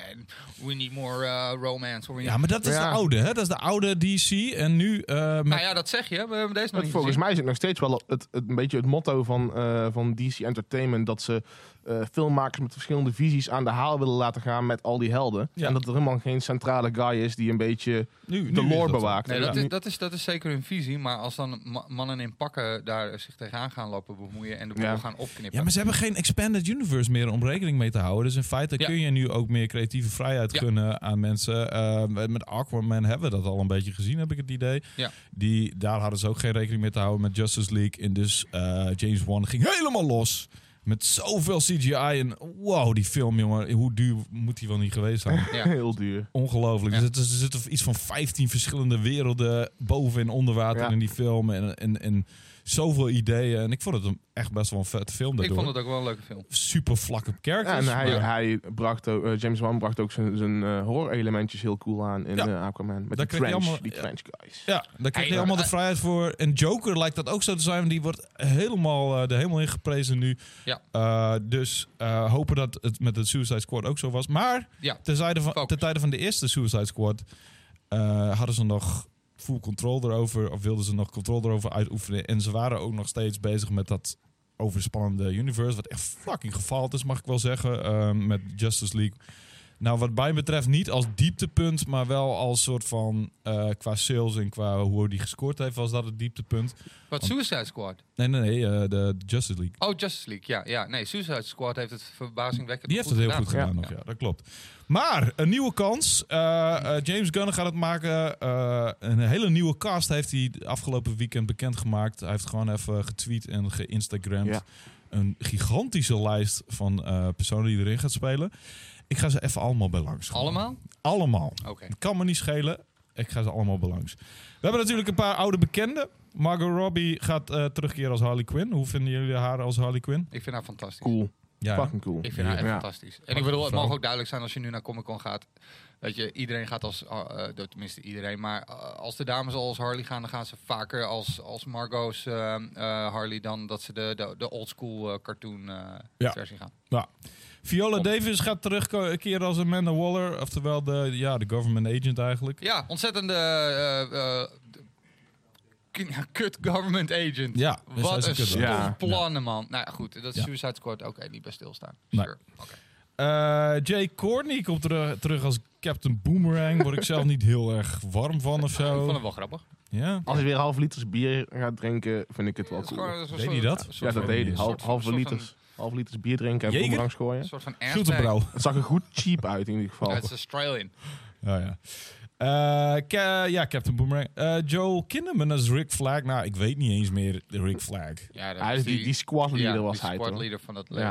B: we need more eh, romance. Or we
A: Ja,
B: need-
A: maar dat is
C: Ja.
A: de oude, hè? Dat is de oude DC. En nu eh, met
B: nou ja, dat zeg je. We hebben deze nog
C: Het,
B: niet
C: volgens
B: gezien.
C: mij is het nog steeds wel het, het, een beetje het motto van, eh, van DC Entertainment... dat ze eh, filmmakers met verschillende visies aan de haal willen laten gaan met al die helden.
A: Ja.
C: En dat er helemaal geen centrale guy is die een beetje
A: nu, nu
C: de
A: is
C: lore
A: dat-
C: bewaakt.
B: Nee,
C: Ja.
B: dat, is, dat, is, dat is zeker hun visie. Maar als dan ma- mannen in pakken daar zich tegenaan gaan lopen bemoeien en de boel
C: Ja.
B: gaan opknippen.
A: Ja, maar ze hebben geen expanded universe meer om rekening mee te houden. Dus in feite
B: Ja.
A: kun je nu ook meer creatieve vrijheid
B: Ja.
A: gunnen aan mensen. Eh, met Aquaman hebben we dat al een beetje gezien, heb ik het idee.
B: Ja.
A: Die, daar hadden ze ook geen rekening mee te houden met Justice League. En dus eh, James Wan ging helemaal los. Met zoveel CGI en wow, die film, jongen. Hoe duur moet die wel niet geweest zijn?
B: Ja.
C: heel duur.
A: Ongelooflijk.
B: Ja.
A: Dus het is- er zitten iets van 15 verschillende werelden boven en onder water
C: Ja.
A: in die film. En, en, en zoveel ideeën. En ik vond het een, echt best wel een vet film
B: ik
A: daardoor
B: vond het ook wel een leuke film.
A: super vlakke
C: Ja,
A: characters.
C: en hij,
A: maar
C: hij bracht ook, eh, James Wan bracht ook zijn, zijn eh, horror-elementjes heel cool aan in
A: Ja.
C: eh, Aquaman. Met
A: Daar
C: die
A: kreeg je
C: trench,
A: allemaal-
C: die
A: ja.
C: trench guys.
A: ja, daar krijg je
B: Hij-
A: allemaal de
B: hij-
A: vrijheid voor. En Joker lijkt dat ook zo te zijn. Die wordt helemaal eh, er helemaal in geprezen nu.
B: Ja.
A: Eh, dus eh, hopen dat het met de Suicide Squad ook zo was. Maar
B: Ja.
A: ten tijde van,
B: Focus.
A: ten tijde van de eerste Suicide Squad eh, hadden ze nog full control erover. Of wilden ze nog controle erover uitoefenen. En ze waren ook nog steeds bezig met dat overspannende universe. Wat echt fucking gefaald is, mag ik wel zeggen. eh, met Justice League. Nou, wat mij betreft niet als dieptepunt, maar wel als soort van eh, qua sales en qua hoe die gescoord heeft, was dat het dieptepunt.
B: Wat Suicide Squad?
A: Nee, nee, nee, eh, de Justice League.
B: Oh, Justice League. Ja, ja. Nee, Suicide Squad heeft het verbazingwekkend
A: Die heeft het heel goed gedaan,
C: gedaan.
A: nog, ja. dat klopt. Maar een nieuwe kans. Eh, eh, James Gunn gaat het maken. Eh, een hele nieuwe cast heeft hij de afgelopen weekend bekendgemaakt. Hij heeft gewoon even getweet en geïnstagramd.
C: Ja.
A: Een gigantische lijst van eh, personen die erin gaat spelen. Ik ga ze even allemaal bij langs. gaan.
B: Allemaal?
A: Allemaal.
B: Oké.
A: Het kan me niet schelen. Ik ga ze allemaal belangs. We hebben natuurlijk een paar oude bekenden. Margot Robbie gaat eh, terugkeren als Harley Quinn. Hoe vinden jullie haar als Harley Quinn?
B: Ik vind haar fantastisch.
C: Cool.
A: Ja, hè?
C: Fucking cool.
B: Ik vind haar echt
C: Ja.
B: fantastisch. En ik bedoel, het
A: Vrouw.
B: mag ook duidelijk zijn als je nu naar Comic Con gaat. Dat je, iedereen gaat als, eh, eh, tenminste iedereen, maar eh, als de dames al als Harley gaan, dan gaan ze vaker als, als Margot's eh, eh, Harley dan dat ze de, de, de oldschool eh, cartoon eh,
A: Ja.
B: versie gaan.
A: Viola Davis gaat terugkeren als Amanda Waller. Oftewel de, ja, de government agent eigenlijk.
B: Ja, ontzettende eh, eh, eh, k- ja, kut government agent.
A: Ja, dus hij
B: Wat
A: is
B: een
A: kut.
B: stom
C: Ja.
B: plannen, man. Nou ja, goed, dat is
A: Ja.
B: Suicide Squad. Oké, niet bij stilstaan.
A: Nee.
B: Sure. Oké.
A: Eh, Jay Courtney komt teru- terug als Captain Boomerang. Word ik zelf niet heel erg warm van of
B: Ik vond
A: zo.
B: hem wel grappig.
A: Ja.
C: Als je weer half liters bier gaat drinken, vind ik het wel
B: Het is
C: cool.
B: gewoon een soort-
A: Deed hij dat?
B: soort
C: ja, dat
B: van-
C: deed hij.
B: een
C: Hal,
B: soort-
C: halve
B: soort van-
C: liters. Half liters bier drinken en
A: Jeger?
C: boemerangs
B: Een
C: gooien.
B: soort van
A: Groeten,
B: hashtag.
A: bro.
C: Het zag er goed cheap uit in ieder geval.
B: Ja, Het is Australian.
A: Oh, Ja, ja. Eh, Ca- ja, Captain Boomerang. Eh, Joel Kinnaman als Rick Flag. Nou, ik weet niet eens meer Rick Flag. Oké,
B: Ja, dat
C: Hij is
B: is
C: die, die squad leader
B: ja,
C: was
B: die
C: hij
B: squad
C: toch?
B: leader van dat leger.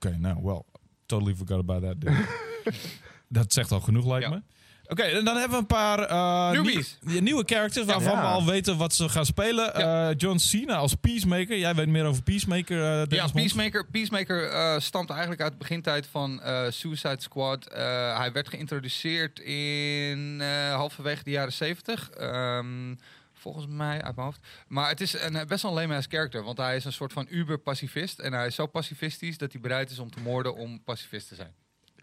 C: Ja.
A: nou, well, totally forgot about that. dude. dat zegt al genoeg, lijkt
B: Ja.
A: me. Oké, en dan hebben we een paar eh,
B: Newbies.
A: nie- nieuwe characters waarvan
C: Ja.
A: we al weten wat ze gaan spelen. Eh, John Cena als Peacemaker. Jij weet meer over Peacemaker, eh Dennis
B: Ja,
A: Mons.
B: Peacemaker, Peacemaker eh, stamt eigenlijk uit de begintijd van eh, Suicide Squad. Eh, hij werd geïntroduceerd in eh, halverwege de jaren zeventig. Ehm, volgens mij, uit mijn hoofd. Maar het is een, eh, best wel een lame-ass character. Want hij is een soort van uber-pacifist. En hij is zo pacifistisch dat hij bereid is om te moorden om pacifist te zijn.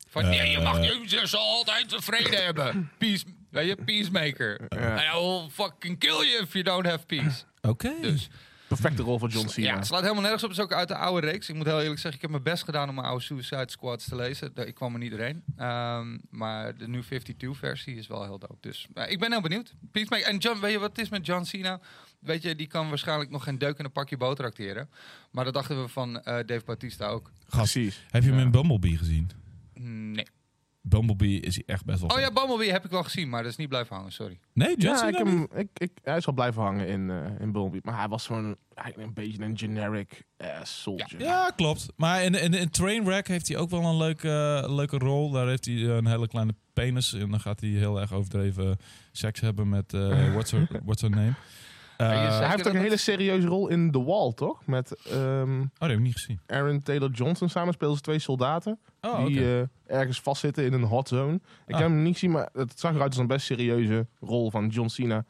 B: Van,
A: Eh.
B: nee, je mag niet, je zal altijd vrede hebben. Peace, weet je, peacemaker. I will fucking kill you if you don't have peace.
A: Oké.
B: Dus.
C: Perfecte rol voor John Cena.
B: Ja, het slaat helemaal nergens op. Het is ook uit de oude reeks. Ik moet heel eerlijk zeggen, ik heb mijn best gedaan om mijn oude Suicide Squads te lezen. Da- Ik kwam er niet doorheen. Ehm, maar de New 52-versie is wel heel dope. Dus eh, ik ben heel benieuwd. Peacemaker. En John, weet je wat het is met John Cena? Weet je, die kan waarschijnlijk nog geen deuk in een pakje boter acteren. Maar dat dachten we van eh, Dave Bautista ook.
A: Gast,
C: Precies.
A: heb je hem
C: Ja.
A: in Bumblebee gezien?
B: Nee.
A: Bumblebee is hij echt best wel
B: Oh ja,
A: vet.
B: Bumblebee heb ik wel gezien, maar dat is niet blijven hangen, sorry.
A: Nee, John
C: Ja,
A: Cena
C: ik heb
A: niet?
C: hem, ik, ik, hij is al blijven hangen in, eh in Bumblebee. Maar hij was gewoon eigenlijk een beetje een generic ass soldier.
A: Ja, klopt. Maar in, in, in Trainwreck heeft hij ook wel een leuke, eh, leuke rol. Daar heeft hij eh, een hele kleine penis. En dan gaat hij heel erg overdreven seks hebben met... eh, what's, her, what's her name?
B: Ja, je
A: Eh,
B: zei-
C: Hij heeft ook een
B: dat-
C: hele serieuze rol in The Wall, toch? Met ehm,
A: oh, die heb ik niet gezien.
C: Aaron Taylor Johnson samen spelen ze twee soldaten.
A: Oh,
C: die eh, ergens vastzitten in een hot zone. Ik
A: Ah.
C: heb hem niet gezien, maar het zag eruit als een best serieuze rol van John Cena.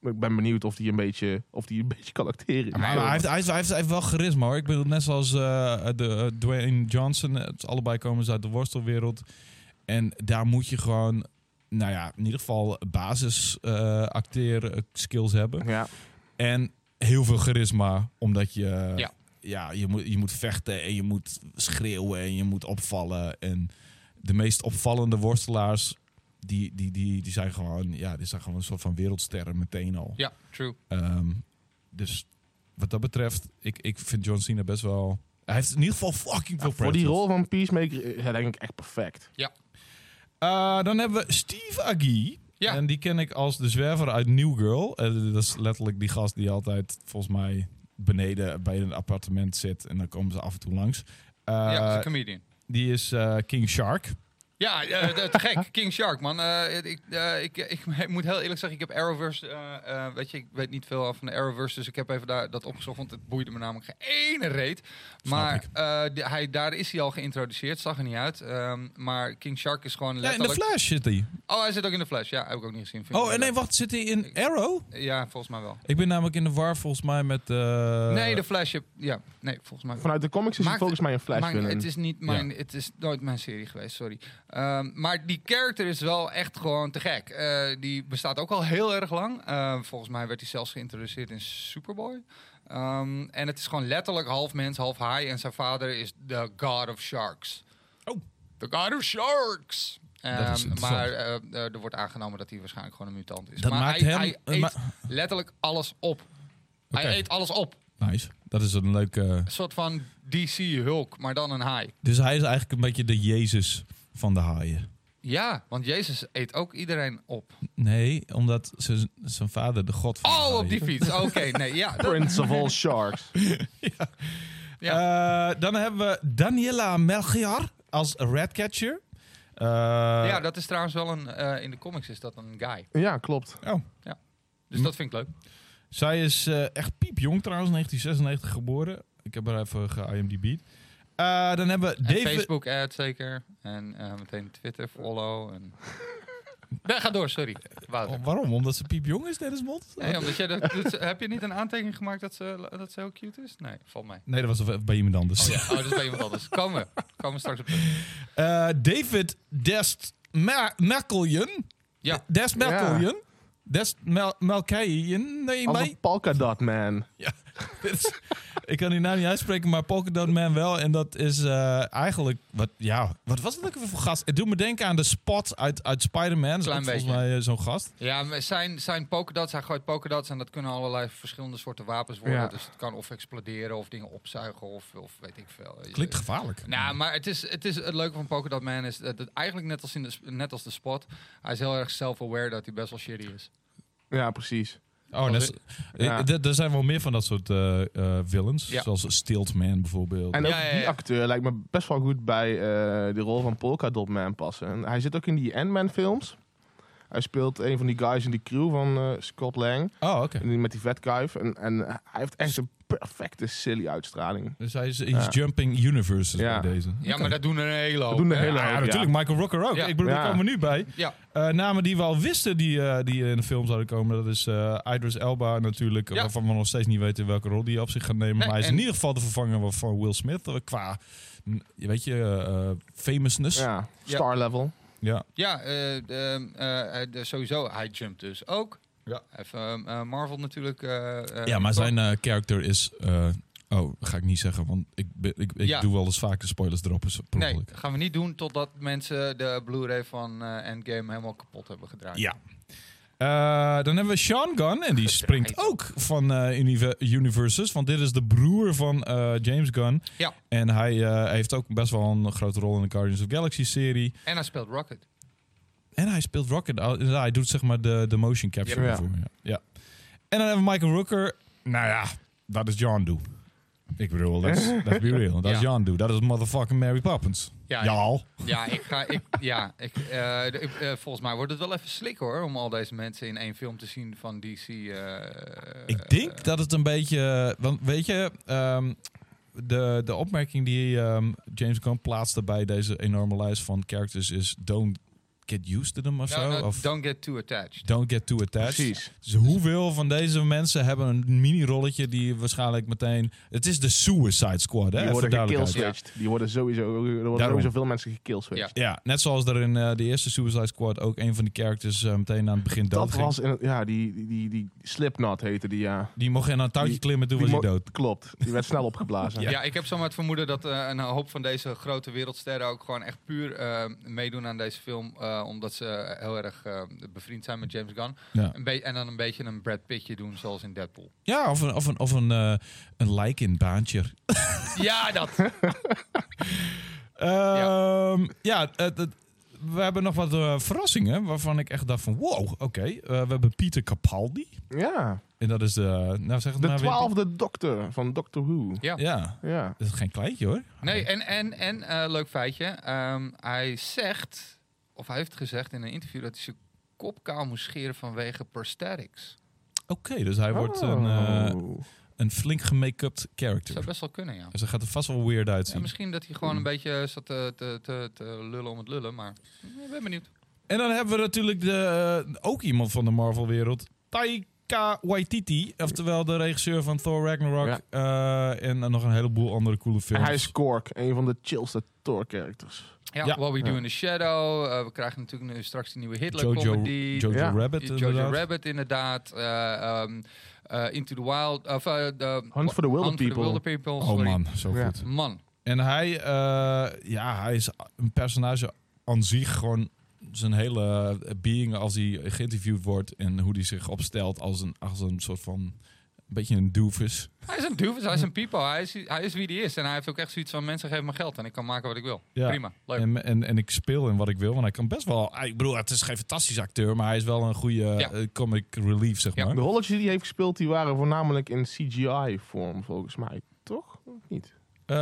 C: Maar Ik ben benieuwd of die een beetje, of die een beetje kan acteren.
A: Maar hij heeft, hij, heeft, hij, heeft, hij heeft wel charisma hoor. Ik bedoel, net zoals eh, de, eh, Dwayne Johnson. eh, Het, allebei komen ze uit de worstelwereld. En daar moet je gewoon, nou ja, in ieder geval basis eh acteer skills hebben.
C: ja.
A: En heel veel charisma, omdat je,
B: Ja.
A: ja. je, moet, je moet vechten en je moet schreeuwen en je moet opvallen. En de meest opvallende worstelaars, die, die, die, die, zijn, gewoon, ja, die zijn gewoon een soort van wereldsterren meteen al.
B: Ja, true.
A: Ehm, dus wat dat betreft, ik, ik vind John Cena best wel... Hij heeft in ieder geval fucking veel
C: Voor die
A: presence.
C: rol van Peacemaker is hij denk ik echt perfect.
A: Eh, dan hebben we Steve Agee.
B: Ja.
A: En die ken ik als de zwerver uit New Girl. Eh, dat is letterlijk die gast die altijd volgens mij beneden bij een appartement zit. En dan komen ze af en toe langs. Eh,
B: ja, dat is een comedian.
A: die is eh, King Shark.
B: Ja, eh, te gek. King Shark, man. Eh, ik, eh, ik, ik, moet heel eerlijk zeggen, ik heb Arrowverse... eh, eh, weet je, ik weet niet veel af van de Arrowverse, dus ik heb even daar, dat opgezocht, want het boeide me namelijk geen ene reet. Maar
A: ik.
B: eh, de- hij, daar is hij al geïntroduceerd, zag er niet uit. Ehm, maar King Shark is gewoon
A: Ja, in de
B: letterlijk...
A: Flash zit hij.
B: oh, hij zit ook in de Flash, ja, heb ik ook niet gezien. Vind ik
A: Oh, en
B: wel
A: nee,
B: leuk.
A: wacht. Zit hij in Arrow?
B: Ja, volgens mij wel.
A: Ik ben namelijk in de war volgens mij met... eh,
B: nee, de Flash, je- ja, nee, volgens mij
C: Vanuit de comics is hij
B: Maakt-
C: volgens mij een flash
B: Maar het
C: villain.
B: is niet mijn, het is nooit mijn serie geweest, sorry. Ehm, maar die character is wel echt gewoon te gek. Eh, die bestaat ook al heel erg lang. Ehm, volgens mij werd hij zelfs geïntroduceerd in Superboy. Ehm, en het is gewoon letterlijk half mens, half haai. En zijn vader is de God of Sharks.
A: Oh.
B: The God of Sharks! Ehm,
A: is interessant.
B: maar eh, eh, er wordt aangenomen dat hij waarschijnlijk gewoon een mutant is.
A: Dat
B: maar
A: maakt
B: hij,
A: hem-
B: hij
A: eh,
B: eet
A: ma-
B: letterlijk alles op.
A: Oké.
B: Hij eet alles op.
A: Nice. Dat is een leuke...
B: Een soort van DC-Hulk, maar dan een haai.
A: Dus hij is eigenlijk een beetje de Jezus van de haaien.
B: Ja, want Jezus eet ook iedereen op.
A: Nee, omdat zijn- zijn vader de god van de
B: Oh, op
A: haaien-
B: die fiets. Oké, nee, ja. dat-
C: Prince of all sharks.
A: Eh, dan hebben we Daniela Melchior als Ratcatcher. Eh,
B: ja, dat is trouwens wel een... eh, in de comics is dat een guy.
C: ja, klopt.
A: oh.
B: Dus dat vind ik leuk.
A: Zij is eh, echt piepjong trouwens, 1996 geboren. Ik heb haar even ge-IMDb'd. Eh, dan hebben we
B: En
A: David...
B: Facebook ad zeker. En eh, meteen Twitter follow. En... Nee, ga door, sorry. Wouter.
A: Oh, waarom? Omdat ze piepjong is, Dennis Mond?
B: Nee, omdat jij dat, dat- heb je niet een aantekening gemaakt dat ze, dat ze heel cute is? Nee, valt mij.
A: Nee, dat was bij iemand anders.
B: Oh ja, oh, dat is bij iemand anders. Komen we. Komen we straks op terug.
A: Eh, David Dest Ma- Merkeljen.
B: Ja.
A: Dest Merkeljen. Dest Mel Melkeijen. Nee,
C: Als
A: mij.
C: een polka dot man.
A: Ja, dit is- ik kan die naam niet uitspreken, maar Polkadot Man wel. En dat is eh, eigenlijk... Wat, ja, wat was het ook weer voor gast? Het doet me denken aan de spot uit, uit Spider-Man. Dat is
B: Klein
A: ook volgens
B: beetje.
A: mij eh, zo'n gast.
B: Ja, maar zijn, zijn polkadots, hij gooit polkadots en dat kunnen allerlei verschillende soorten wapens worden.
C: Ja.
B: Dus het kan of exploderen of dingen opzuigen of, of weet ik veel.
A: Klinkt gevaarlijk.
B: Nou, maar het, is, het, is, het leuke van Polkadot Man is dat het eigenlijk net als, in de, sp- net als de spot, hij is heel erg self-aware dat hij best wel shitty is.
C: Ja, precies.
A: oh, dat is-
C: Ja.
A: eh, d- Er zijn wel meer van dat soort eh eh, villains.
B: Ja.
A: Zoals Stilt Man bijvoorbeeld.
C: En ook
B: Ja, ja, ja.
C: die acteur lijkt me best wel goed bij eh de rol van Polka Dot Man passen. En hij zit ook in die Ant-Man films. Hij speelt een van die guys in die crew van eh, Scott Lang.
A: oh, oké.
C: En die Met die vetkuif. En, en hij heeft echt een perfecte silly uitstraling.
A: Dus hij is he's
C: Ja.
A: jumping universes
C: Ja.
A: bij deze.
B: Ja, maar dat doen er een hele hoop.
C: Dat doen er
B: hè?
C: hele
A: Ja,
C: hoop, ja.
A: natuurlijk. Michael Rocker ook.
B: Ja.
A: Ik bedoel, daar
C: Ja.
A: komen we nu bij.
B: Ja,
A: Eh, namen die we al wisten die, eh, die in de film zouden komen. Dat is eh, Idris Elba natuurlijk.
B: Ja.
A: Waarvan we nog steeds niet weten welke rol die op zich gaat nemen.
B: Nee,
A: maar hij is
B: en-
A: in ieder geval de vervanger van Will Smith. eh, Qua, mm, weet je, eh, eh, famousness. Ja.
C: Ja, star level.
B: ja eh, de, eh, hij- de- sowieso, hij jumpt dus ook.
A: Ja.
B: Even, eh, eh, Marvel natuurlijk. eh, eh,
A: Ja, maar
B: toch-
A: zijn eh, character is... eh, oh, dat ga ik niet zeggen. Want ik, ben- ik, ik
B: Ja.
A: doe wel eens vaker spoilers droppen. per
B: Nee,
A: ongeluk.
B: gaan we niet doen totdat mensen de Blu-ray van eh, Endgame helemaal kapot hebben gedraaid.
A: Ja. Eh, dan hebben we Sean Gunn. En die springt ook van eh Unive- Universes. Want dit is de broer van eh, James Gunn.
B: Ja.
A: En hij eh, heeft ook best wel een grote rol in de Guardians of the Galaxy serie.
B: En hij speelt Rocket.
A: En hij speelt Rocket. Oh, ja, hij doet zeg maar de, de motion capture
C: Ja.
A: ervoor. Ja. Ja. En dan hebben we Michael Rooker. Nou ja, dat is John Doe. Ik bedoel, dat is let's be real. Dat is
B: Ja.
A: John Doe. Dat is motherfucking Mary Poppins.
B: Ja, ja.
A: Jaal.
B: Ja, ik ga, ik, ja ik, eh, de- ik, eh, volgens mij wordt het wel even slik hoor, om al deze mensen in één film te zien van DC. eh,
A: Ik
C: eh.
A: denk dat het een beetje. eh, Want weet je, ehm, de, de opmerking die ehm, James Gunn plaatste bij deze enorme lijst van characters is: don't get used to them of
B: Nou,
A: zo.
B: nou,
A: of
B: Don't get too attached.
A: don't get too attached.
C: Precies.
A: Dus hoeveel van deze mensen hebben een mini-rolletje die waarschijnlijk meteen. Het is de Suicide Squad, hè?
C: Die
A: Even
C: worden
A: duidelijkheid.
C: gekillswitched. Die worden sowieso, er worden
A: Daarom.
C: sowieso veel mensen gekillswitched.
A: Ja, net zoals er in eh, de eerste Suicide Squad ook een van die characters eh, meteen aan het begin dood
C: Dat
A: ging.
C: was, in het- ja, die, die, die, die Slipknot heette die, ja.
A: Die mocht in een touwtje
C: Die-
A: klimmen, toen
C: die
A: was hij
C: mo-
A: dood.
C: Klopt. Die werd snel opgeblazen.
B: Ja. ik heb zomaar het vermoeden dat eh, een hoop van deze grote wereldsterren ook gewoon echt puur eh, meedoen aan deze film. eh, omdat ze heel erg eh, bevriend zijn met James Gunn.
A: Ja.
B: Een be- en dan een beetje een Brad Pittje doen, zoals in Deadpool.
A: Ja, of een, of een, of een, eh, een lijk in baantje.
B: ja, dat!
A: Ehm, ja, het- het- we hebben nog wat eh, verrassingen waarvan ik echt dacht van wow, oké. Eh, we hebben Pieter Capaldi.
C: Ja.
A: En dat is de, nou zeg het
C: De
A: maar weer.
C: twaalfde dokter van Doctor Who.
B: Ja.
A: Ja,
C: Ja.
A: dat is geen kleintje hoor.
B: Nee, en, en, en eh, leuk feitje. ehm, hij zegt, of hij heeft gezegd in een interview dat hij zijn kop kaal moest scheren vanwege prosthetics.
A: Oké, dus hij wordt een, eh,
C: Oh.
A: een flink gemake-upt
B: Dat zou
A: character.
B: best wel kunnen, ja.
A: Dus dat gaat er vast wel weird
B: Ja,
A: uitzien.
B: misschien dat hij gewoon een beetje eh, zat te, te, te, te lullen om het lullen, maar ik ben benieuwd.
A: en dan hebben we natuurlijk de, eh, ook iemand van de Marvel-wereld. Taika Waititi, oftewel de regisseur van Thor Ragnarok. eh, en eh, nog een heleboel andere coole
C: En
A: films.
C: hij is Kork, een van de chillste Thor-characters.
B: Ja,
A: Ja.
B: What We Do
C: Ja.
B: in the Shadow. eh, we krijgen natuurlijk nu straks die nieuwe
A: Jojo,
B: Hitler-comedy.
A: Jojo
C: Ja.
A: Rabbit
B: Jojo
A: inderdaad.
B: Rabbit, inderdaad. eh, ehm, eh, Into the Wild. Of, eh, de-
C: Hunt for the
B: Hunt
C: Wilder
B: for the
C: People.
B: Wilder People,
A: Oh
B: sorry.
A: man, zo
C: Ja.
A: goed.
B: Man,
A: En hij, eh, ja, hij is een personage aan zich gewoon zijn hele being als hij geïnterviewd wordt en hoe hij zich opstelt als een, als een soort van een beetje een doofus.
B: Hij is een doofus, hij is een people. Hij is, hij is wie die is. En hij heeft ook echt zoiets van mensen geven me geld en ik kan maken wat ik wil.
A: Ja.
B: Prima, leuk. Nou
A: En, en, en ik speel in wat ik wil, want hij kan best wel. Ik bedoel, het is geen fantastische acteur, maar hij is wel een goede
B: Ja.
A: eh, comic relief, zeg
B: Ja.
A: maar.
C: De rolletjes die hij heeft gespeeld, die waren voornamelijk in CGI-vorm, volgens mij. Toch? Oh Of niet?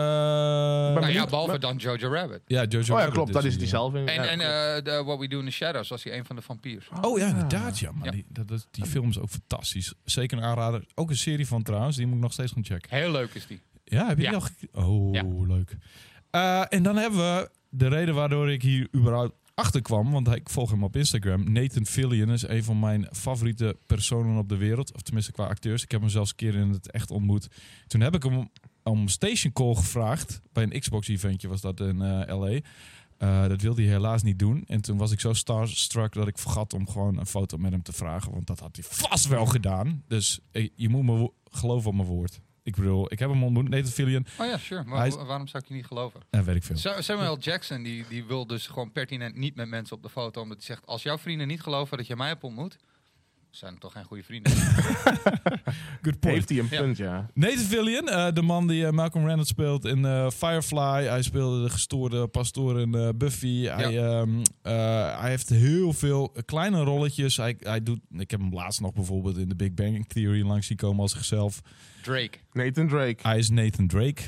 A: Eh,
C: Ben
B: nou ja,
C: benieuwd.
B: behalve dan Jojo Rabbit.
A: ja, Jojo
C: oh ja,
A: Rabbit
C: klopt. Dat is
A: die,
C: die zelf. in-
B: En,
C: ja,
B: en
C: klopt.
B: eh, de What We Do in the Shadows was hij een van de vampiers.
A: ja. Oh ja,
C: Ah.
A: inderdaad, ja. Maar
B: Ja.
A: Die, dat, dat- die film is ook fantastisch. Zeker een aanrader. Ook een serie van trouwens, die moet ik nog steeds gaan checken.
B: Heel leuk is die.
A: Ja, heb je
B: Ja.
A: die al gek- Oh,
B: Ja.
A: leuk. leuk. Eh, en dan hebben we de reden waardoor ik hier überhaupt achter kwam. Want ik volg hem op Instagram. Nathan Fillion is een van mijn favoriete personen op de wereld. Of tenminste qua acteurs. Ik heb hem zelfs een keer in het echt ontmoet. Toen heb ik hem om station call gevraagd. Bij een Xbox-eventje was dat in eh, LA. Eh, dat wilde hij helaas niet doen. En toen was ik zo starstruck dat ik vergat om gewoon een foto met hem te vragen. Want dat had hij vast wel gedaan. Dus eh, je moet me wo- geloven op mijn woord. Ik bedoel, ik heb hem ontmoet, Nathan Fillion.
B: Oh ja, sure. Maar
A: Hij is-
B: wa- waarom zou ik je niet geloven?
A: En weet ik veel.
B: Sa- Samuel Jackson die, die wil dus gewoon pertinent niet met mensen op de foto. Omdat hij zegt, als jouw vrienden niet geloven dat je mij hebt ontmoet... zijn het toch geen goede vrienden.
A: Good
C: Heeft hij een
B: Ja.
C: punt, ja.
A: Nathan Fillion, eh, de man die eh, Malcolm Randall speelt in eh, Firefly. Hij speelde de gestoorde pastoor in eh, Buffy. Hij, ehm, eh, hij heeft heel veel kleine rolletjes. Hij, hij doet, ik heb hem laatst nog bijvoorbeeld in de Big Bang Theory langs zien komen als zichzelf.
B: Drake.
C: Nathan Drake.
A: Hij is Nathan Drake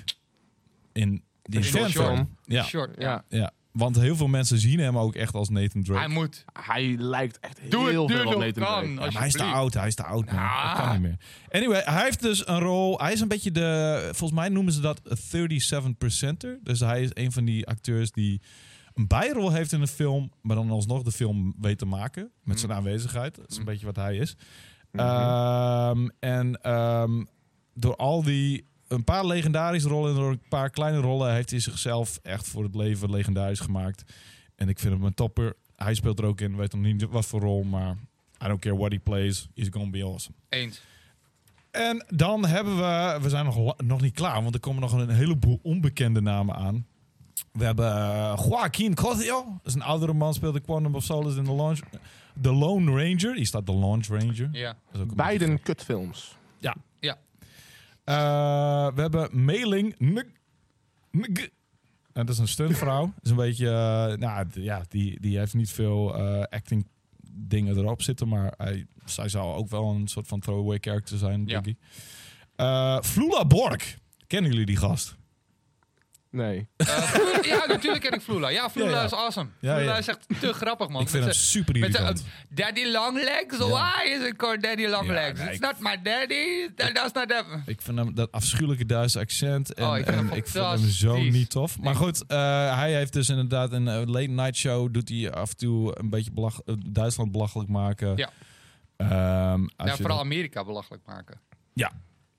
A: in die
C: In
A: Inferno.
B: Short.
A: Ja,
B: Short, ja.
C: Ja.
A: ja, want heel veel mensen zien hem ook echt als Nathan Drake.
B: Hij moet.
C: Hij lijkt echt
B: Doe
C: heel
B: het nu
C: veel op
B: nog
C: Nathan Drake.
B: dan.
A: Ja, maar hij is te
B: alsjeblieft.
A: oud, hij is te oud. Man.
B: Ah.
A: Dat kan niet meer. Anyway, hij heeft dus een rol. Hij is een beetje de. Volgens mij noemen ze dat een 37%er. Dus hij is een van die acteurs die een bijrol heeft in een film, maar dan alsnog de film weet te maken met zijn aanwezigheid. Dat is een beetje wat hij is. Ehm, en ehm, door al die. Een paar legendarische rollen en door een paar kleine rollen heeft hij zichzelf echt voor het leven legendarisch gemaakt. En ik vind hem een topper. Hij speelt er ook in, weet nog niet wat voor rol, maar I don't care what he plays, he's gonna be awesome.
B: Eens.
A: En dan hebben we, we zijn nog, la- nog niet klaar, want er komen nog een heleboel onbekende namen aan. We hebben eh, Joaquin Cosio, dat is een oudere man, speelde Quantum of Solace in The Launch. The Lone Ranger, hier staat The Launch Ranger.
B: Ja.
A: Dat is ook een beetje-
C: Beiden kutfilms.
A: Ja.
B: Ja.
A: Eh, we hebben Mailing Nuk. Nuk. En Nou, dat is een stuntvrouw. Dat is een beetje, eh, nou d- ja, die, die heeft niet veel eh, acting dingen erop zitten, maar hij, zij zou ook wel een soort van throwaway character zijn,
B: Ja.
A: denk ik. Eh, Flula Bork. Kennen jullie die gast?
C: Nee.
B: Eh, Flula- ja, natuurlijk ken ik Flula. Ja, Flula
A: Ja, ja.
B: is awesome.
A: Ja,
B: Flula
A: ja.
B: is echt te grappig, man.
A: ik vind hem
B: Met
A: super
B: zijn- met zijn,
A: irritant.
B: eh, Daddy Longlegs?
A: Ja.
B: Why is it called Daddy Longlegs?
A: nee,
B: It's
A: ik-
B: not my daddy. That- That's not that.
A: Ik vind hem dat afschuwelijke Duitse accent. En,
B: Oh, ik vind
A: en ik
B: hem
A: vind hem zo
B: fantastisch.
A: niet tof. Maar goed, eh, hij heeft dus inderdaad een eh, late night show. Doet hij af en toe een beetje belach- eh, Duitsland belachelijk maken.
B: Ja.
A: Ehm, als je
B: Ja, Nou, vooral
A: dat-
B: Amerika belachelijk maken.
A: ja.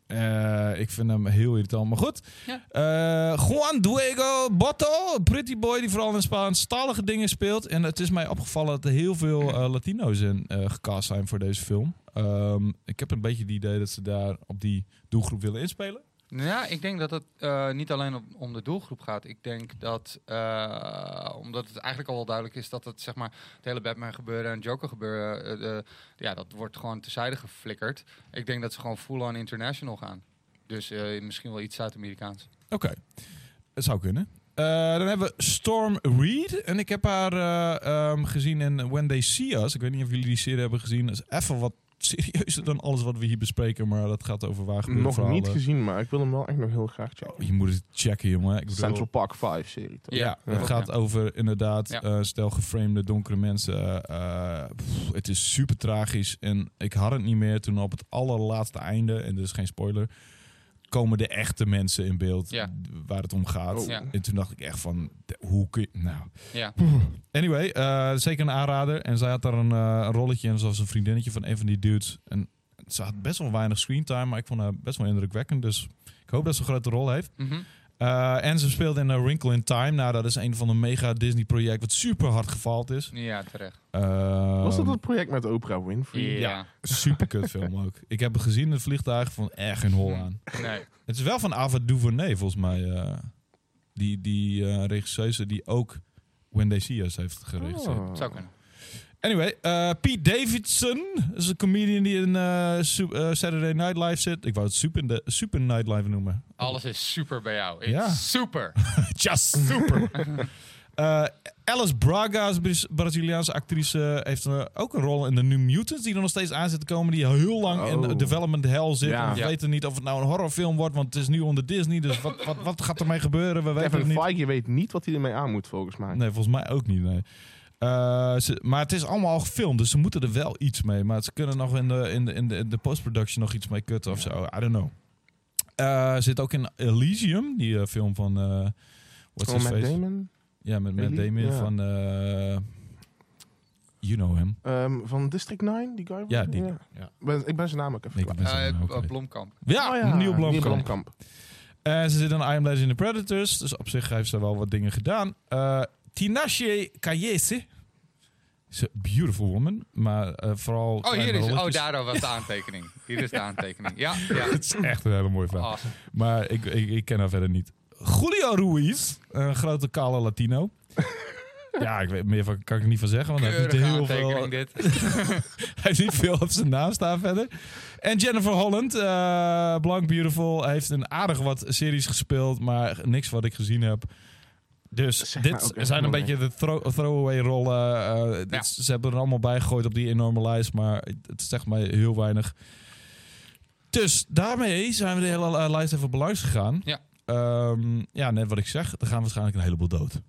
A: Eh, ik vind hem heel irritant. Maar goed.
B: Ja.
A: Eh, Juan Diego Botto. Pretty boy die vooral in Spaanstalige dingen speelt. En het is mij opgevallen dat er heel veel eh, Latino's in eh, gecast zijn voor deze film. Ehm, ik heb een beetje het idee dat ze daar op die doelgroep willen inspelen.
B: Ja, ik denk dat het eh, niet alleen om- om de doelgroep gaat. Ik denk dat, eh, omdat het eigenlijk al wel duidelijk is dat het, zeg maar, het hele Batman gebeuren en Joker gebeuren, eh, de- ja, dat wordt gewoon tezijde geflikkerd. Ik denk dat ze gewoon full-on international gaan. Dus eh, misschien wel iets Zuid-Amerikaans.
A: Oké, het zou kunnen. Eh, dan hebben we Storm Reed. En ik heb haar eh, ehm, gezien in When They See Us. Ik weet niet of jullie die serie hebben gezien. Dat is even wat serieuzer dan alles wat we hier bespreken. Maar dat gaat over waar gebeurde
C: Nog
A: verhalen.
C: niet gezien, maar ik wil hem wel echt nog heel graag checken.
A: Oh, je moet het checken, jongen. Ik bedoel,
C: Central Park 5 serie. toch?
A: Ja,
B: Ja,
A: het
B: klopt,
A: gaat
B: ja.
A: over inderdaad
B: Ja.
A: eh, stel geframede donkere mensen. Eh, pff, het is super tragisch. En ik had het niet meer toen op het allerlaatste einde. En dit is geen spoiler. Komen de echte mensen in beeld
B: Ja.
A: waar het om gaat.
C: Oh.
B: Ja.
A: En toen dacht ik echt van, de- hoe kun je... Nou.
B: Ja.
A: Anyway, eh, zeker een aanrader. En zij had daar een, eh, een rolletje in, zoals een vriendinnetje van een van die dudes. En ze had best wel weinig screentime, maar ik vond haar best wel indrukwekkend. Dus ik hoop dat ze een grote rol heeft.
B: Mhm.
A: Eh, en ze speelde in A Wrinkle in Time. Nou, dat is een van de mega Disney project wat super hard gefaald is.
B: Ja, terecht.
C: Was dat
A: Ehm,
C: het project met Oprah Winfrey?
B: Ja.
A: Super kut film ook. Ik heb hem gezien in het vliegtuig van echt geen hol aan.
B: Nee.
A: Het is wel van Ava DuVernay volgens mij. eh, die die eh regisseuse die ook When They See Us heeft geregisseerd.
C: Oh.
B: Zou kunnen.
A: Anyway, eh, Pete Davidson is een comedian die in eh, Su- eh, Saturday Night Live zit. Ik wou het Super, de, super Night Live noemen.
B: Alles is super bij jou. It's
A: Ja.
B: super.
A: Just super. Eh, Alice Braga is Braz- Braziliaanse actrice. Heeft eh, ook een rol in de New Mutants, die er nog steeds aan zit te komen. Die heel lang in
C: Oh.
A: de development hell zit.
C: Ja.
A: En we
B: Ja.
A: weten niet of het nou een horrorfilm wordt, want het is nu onder Disney. Dus wat, wat, wat gaat ermee gebeuren? We weten het
C: Kevin
A: niet.
C: Feige weet niet wat hij ermee aan moet, volgens mij.
A: Nee, volgens mij ook niet. Nee. Eh, ze- maar het is allemaal al gefilmd, dus ze moeten er wel iets mee. Maar ze kunnen nog in de, in de, in de, in de post-production nog iets mee kutten of zo. I don't know. Eh, eh, zit ook in Elysium, die eh, film van... eh what's
C: Gewoon
A: his
C: met
A: face?
C: Damon.
A: Ja, met Matt
C: Ely-
A: Damon
C: ja.
A: van... eh, you know him.
C: Ehm, van District 9, die guy.
A: Ja, die- ja.
C: Ik, ben, ik ben zijn naam ook even
A: Nee, ik
C: kwijt.
A: ben zijn naam ook
B: Eh,
A: kwijt.
B: Blomkamp.
A: ja,
C: Oh
A: Neil Blomkamp.
C: Neil Blomkamp.
A: Eh, ze zit aan I Am Legend the Predators. Dus op zich heeft ze wel wat dingen gedaan. Eh Tinashe Kayese. Is een beautiful woman. Maar eh, vooral...
B: Oh, hier
A: kleine
B: is. Oh,
A: rolletjes.
B: daardoor was de aantekening. Hier is de aantekening. Ja, Oh, ja.
A: Het is echt een hele mooie vrouw.
B: Awesome.
A: Maar ik, ik, ik ken haar verder niet. Julio Ruiz. Een grote kale Latino. ja, ik weet, meer van, kan ik er niet van zeggen. Want hij heeft niet
B: Keurige
A: heel veel...
B: aantekening dit.
A: Hij heeft niet veel op zijn naam staan verder. En Jennifer Holland, eh Blank Beautiful, heeft een aardig wat series gespeeld, maar niks wat ik gezien heb. Dus
C: Zeg maar
A: dit
C: ook echt
A: zijn een
C: moeilijk.
A: beetje de throw- throwaway rollen. Eh, dit-
B: Ja.
A: Ze hebben er allemaal bij gegooid op die enorme lijst, maar het, het zegt mij heel weinig. Dus daarmee zijn we de hele eh, lijst even op langs gegaan.
B: Ja.
A: Ehm, ja, net wat ik zeg, er gaan waarschijnlijk een heleboel dood.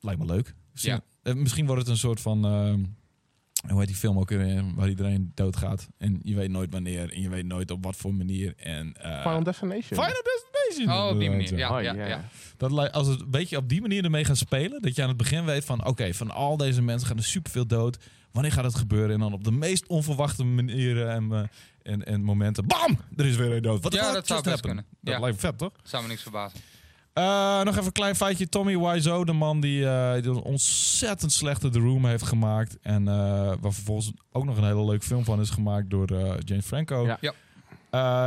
A: Lijkt me leuk. Misschien,
B: Ja.
A: eh, misschien wordt het een soort van... ehm, en hoe heet die film ook weer, waar iedereen doodgaat. En je weet nooit wanneer en je weet nooit op wat voor manier. En, eh,
C: Final Destination.
A: Final Destination.
B: Oh, op die
A: inderdaad,
B: manier. Ja,
C: Oh,
B: ja,
C: ja.
B: ja.
A: Dat, li- als het een beetje op die manier ermee gaan spelen, dat je aan het begin weet van oké, van al deze mensen gaan er superveel dood. Wanneer gaat het gebeuren? En dan op de meest onverwachte manieren en, eh, en, en momenten, bam, er is weer een dood. Wat
B: Ja,
A: gaat
B: dat zou
A: just happen?
B: best kunnen.
A: Dat
B: Ja.
A: lijkt me vet, toch?
B: Zou me niks verbazen.
A: Eh, nog even een klein feitje. Tommy Wiseau, de man die, eh, die een ontzettend slechte The Room heeft gemaakt. En eh, waar vervolgens ook nog een hele leuke film van is gemaakt door eh, James Franco.
C: Ja.
B: Ja.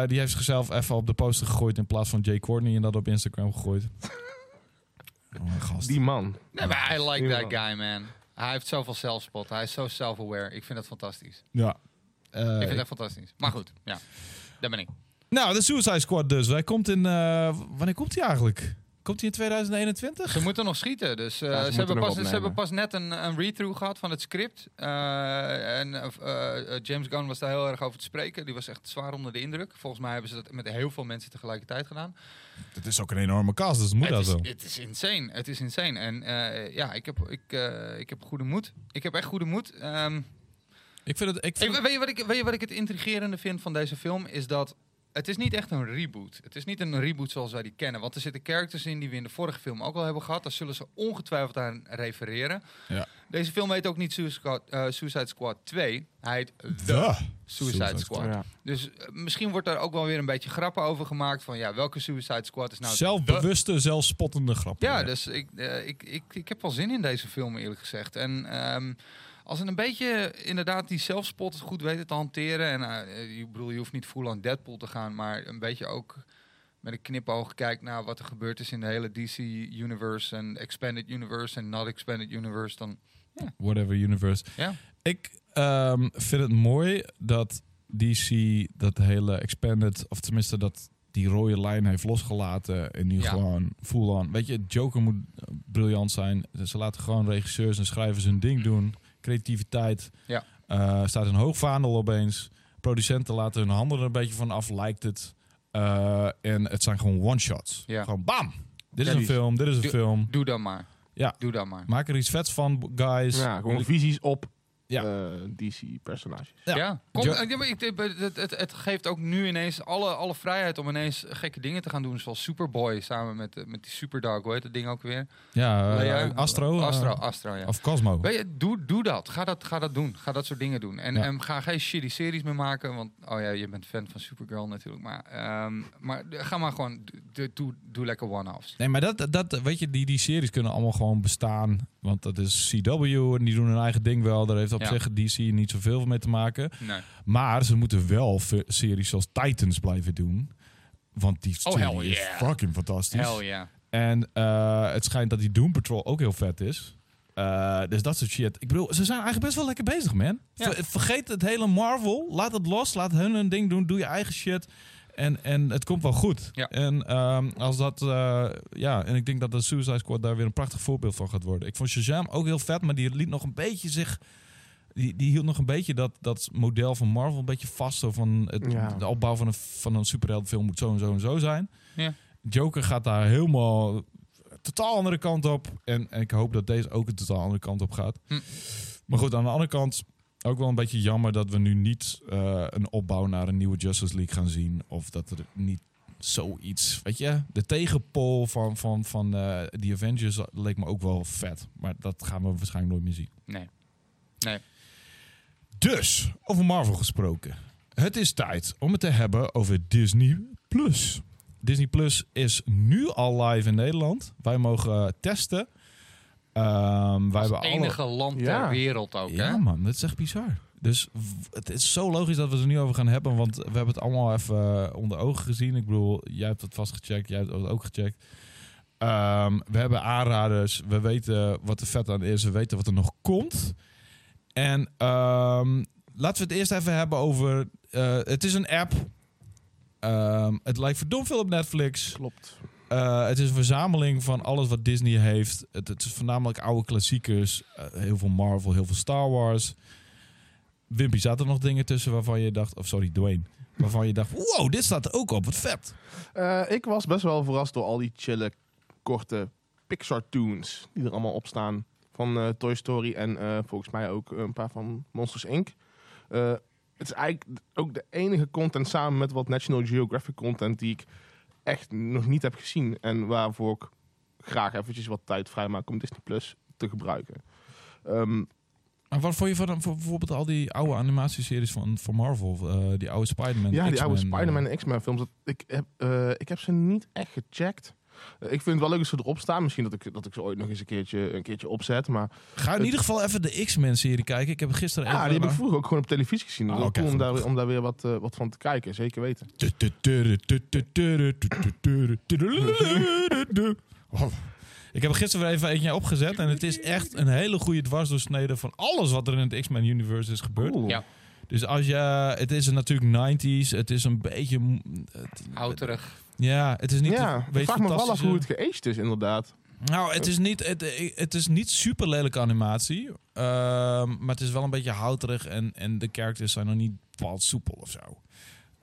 A: Eh, die heeft zichzelf even op de poster gegooid in plaats van Jay Courtney en dat op Instagram gegooid. Oh, mijn gast.
C: Die man.
B: Nee, maar I like that
C: Jawel.
B: guy, man. Hij heeft zoveel zelfspot. Hij is zo self-aware. Ik vind dat fantastisch.
A: Ja. Eh,
B: ik vind dat fantastisch. Maar goed, ja. Daar ben ik.
A: nou, de Suicide Squad dus. Hij komt in... eh, wanneer komt hij eigenlijk? Komt hij in 2021?
B: Ze moeten nog schieten, dus eh,
C: Ja, ze
B: ze,
C: moeten
B: hebben
C: nog
B: pas, ze
C: opnemen.
B: hebben pas net een, een read-through gehad van het script. Eh, en eh, eh, James Gunn was daar heel erg over te spreken. Die was echt zwaar onder de indruk. Volgens mij hebben ze dat met heel veel mensen tegelijkertijd gedaan.
A: Het is ook een enorme cast, dus het moet
B: het,
A: dat
B: is,
A: zo.
B: het is insane, het is insane. En eh, ja, ik heb, ik, eh, ik heb goede moed. Ik heb echt goede moed. Ehm,
A: Ik vind het... Ik vind
B: Ik- weet, je wat ik, weet je wat ik het intrigerende vind van deze film? Is dat het is niet echt een reboot. Het is niet een reboot zoals wij die kennen. Want er zitten characters in die we in de vorige film ook al hebben gehad. Daar zullen ze ongetwijfeld aan refereren.
A: Ja.
B: Deze film heet ook niet Suicide Squad, eh, Suicide Squad 2. Hij heet The,
A: Duh.
B: Suicide,
A: Suicide
B: Squad.
C: Ja.
B: Dus eh, misschien wordt daar ook wel weer een beetje grappen over gemaakt. Van ja, welke Suicide Squad is nou de-
A: Zelfbewuste, zelfspottende grap.
B: ja, dus ik, eh, ik, ik, ik heb wel zin in deze film, eerlijk gezegd. En ehm, als ze een beetje inderdaad die zelfspot goed weten te hanteren. En eh, ik bedoel, je hoeft niet full aan Deadpool te gaan, maar een beetje ook met een knipoog kijkt naar wat er gebeurd is in de hele DC-universe en Expanded Universe en Not Expanded Universe. Dan,
A: Whatever universe.
B: ja,
A: Ik ehm, vind het mooi dat DC dat hele expanded, of tenminste dat die rode lijn heeft losgelaten en nu
B: Ja.
A: gewoon full on. Weet je, Joker moet eh, briljant zijn. Ze laten gewoon regisseurs en schrijvers hun ding doen. Creativiteit.
B: Ja.
A: Eh, staat een hoog vaandel opeens. Producenten laten hun handen er een beetje van af, lijkt het. Eh, en het zijn gewoon one-shots.
B: Ja.
A: Gewoon bam! Dit is
C: Ja,
A: een
C: die is-
A: film, dit is een
B: Die-
A: film.
B: doe dat maar.
A: Ja.
B: Doe dat maar.
A: Maak er iets vets van, guys.
C: Ja, gewoon visies op
A: Ja.
C: eh, DC-personages.
A: Ja.
B: Ja, Kom,
A: Jo-
B: eh, ja, maar ik, eh, het, het, het geeft ook nu ineens alle, alle vrijheid om ineens gekke dingen te gaan doen. Zoals Superboy samen met, eh, met die Superdog, hoe heet dat ding ook weer?
A: Ja, eh,
B: Ja, ja.
A: Astro. eh,
B: Astro, Astro, ja.
A: Of Cosmo.
B: Weet je, doe, doe dat. Ga, dat. ga dat doen. Ga dat soort dingen doen. En,
A: Ja.
B: en ga geen shitty series meer maken. Want, oh ja, je bent fan van Supergirl natuurlijk. Maar, ehm, maar d- ga maar gewoon, d- d- doe, doe lekker one-offs.
A: Nee, maar dat, dat, weet je, die, die series kunnen allemaal gewoon bestaan. Want dat is CW en die doen hun eigen ding wel. Daar heeft op
B: Ja.
A: zich DC niet zoveel mee te maken.
B: Nee.
A: Maar ze moeten wel ve- series zoals Titans blijven doen. Want die
B: Oh,
A: serie
B: hell
A: is
B: yeah.
A: fucking fantastisch.
B: Hell ja.
A: En eh, het schijnt dat die Doom Patrol ook heel vet is. Eh, dus dat soort shit. Ik bedoel, ze zijn eigenlijk best wel lekker bezig, man.
B: Ja.
A: Ver- vergeet het hele Marvel. Laat het los. Laat hun hun ding doen. Doe je eigen shit. En, en het komt wel goed.
B: Ja.
A: En ehm, als dat. eh, ja, en ik denk dat de Suicide Squad daar weer een prachtig voorbeeld van gaat worden. Ik vond Shazam ook heel vet, maar die liet nog een beetje zich. Die, die hield nog een beetje dat, dat model van Marvel een beetje vast. Zo van het,
C: Ja.
A: de opbouw van een, van een superheldenfilm moet zo en zo en zo zijn.
B: Ja.
A: Joker gaat daar helemaal totaal andere kant op. En, en ik hoop dat deze ook een totaal andere kant op gaat.
B: Hm.
A: Maar goed, aan de andere kant ook wel een beetje jammer dat we nu niet eh, een opbouw naar een nieuwe Justice League gaan zien. Of dat er niet zoiets. Weet je, de tegenpol van, van, van eh The Avengers leek me ook wel vet. Maar dat gaan we waarschijnlijk nooit meer zien.
B: Nee. Nee.
A: Dus, over Marvel gesproken. Het is tijd om het te hebben over Disney Plus. Disney Plus is nu al live in Nederland. Wij mogen eh, testen. Ehm wij
B: Als
A: hebben alle-
B: enige land ter
C: Ja.
B: wereld ook, hè?
A: ja, man, dat is echt bizar. Dus w- het is zo logisch dat we het er nu over gaan hebben, want we hebben het allemaal even eh, onder ogen gezien. Ik bedoel, jij hebt het vast gecheckt, jij hebt het ook gecheckt. Ehm, we hebben aanraders, we weten wat er vet aan is, we weten wat er nog komt. En ehm, laten we het eerst even hebben over. eh, het is een app. Ehm, het lijkt verdomd veel op Netflix.
C: Klopt.
A: Eh, het is een verzameling van alles wat Disney heeft. Het, het is voornamelijk oude klassiekers. eh, heel veel Marvel, heel veel Star Wars. Wimpy, zaten er nog dingen tussen waarvan je dacht... Of sorry, Dwayne. Waarvan je dacht, wow, dit staat er ook op. Wat vet.
C: Eh, ik was best wel verrast door al die chille, korte Pixar-tunes die er allemaal op staan. Van eh, Toy Story en eh, volgens mij ook een paar van Monsters Inc. Eh, het is eigenlijk ook de enige content samen met wat National Geographic content die ik echt nog niet heb gezien. En waarvoor ik graag eventjes wat tijd vrijmaak om Disney Plus te gebruiken. Ehm,
A: Maar wat vond je van van bijvoorbeeld al die oude animatieseries van, van Marvel? Eh, die oude Spider-Man,
C: Ja, die oude
A: X-Men, eh.
C: Spider-Man en X-Men films. Dat, ik, heb, eh, ik heb ze niet echt gecheckt. Eh, ik vind het wel leuk als ze erop staan. Misschien dat ik, dat ik ze ooit nog eens een keertje, een keertje opzet. Maar
A: Ga in ieder geval even de X-Men-serie kijken. Ik heb het gisteren
C: ja,
A: even...
C: die heb ik vroeger ook gewoon op televisie gezien. Dat is
A: Ah,
C: wel
A: oké,
C: cool om
A: goed.
C: daar, om daar weer wat, eh, wat van te kijken. Zeker weten.
A: Ik heb er gisteren weer even eentje opgezet en het is echt een hele goede dwarsdoorsnede van alles wat er in het X-Men universe is gebeurd.
C: Cool.
B: Ja.
A: Dus als je, het is natuurlijk 90s, het is een beetje, m- het-
B: Houterig.
A: ja, het is niet,
C: ja,
A: een
C: ik
A: beetje
C: vraag me wel af
A: fantastische-
C: hoe het geaged is inderdaad. Oh,
A: Nou, het is niet, het, het is niet super lelijke animatie, ehm, maar het is wel een beetje houterig en, en de characters zijn nog niet bepaald soepel of zo.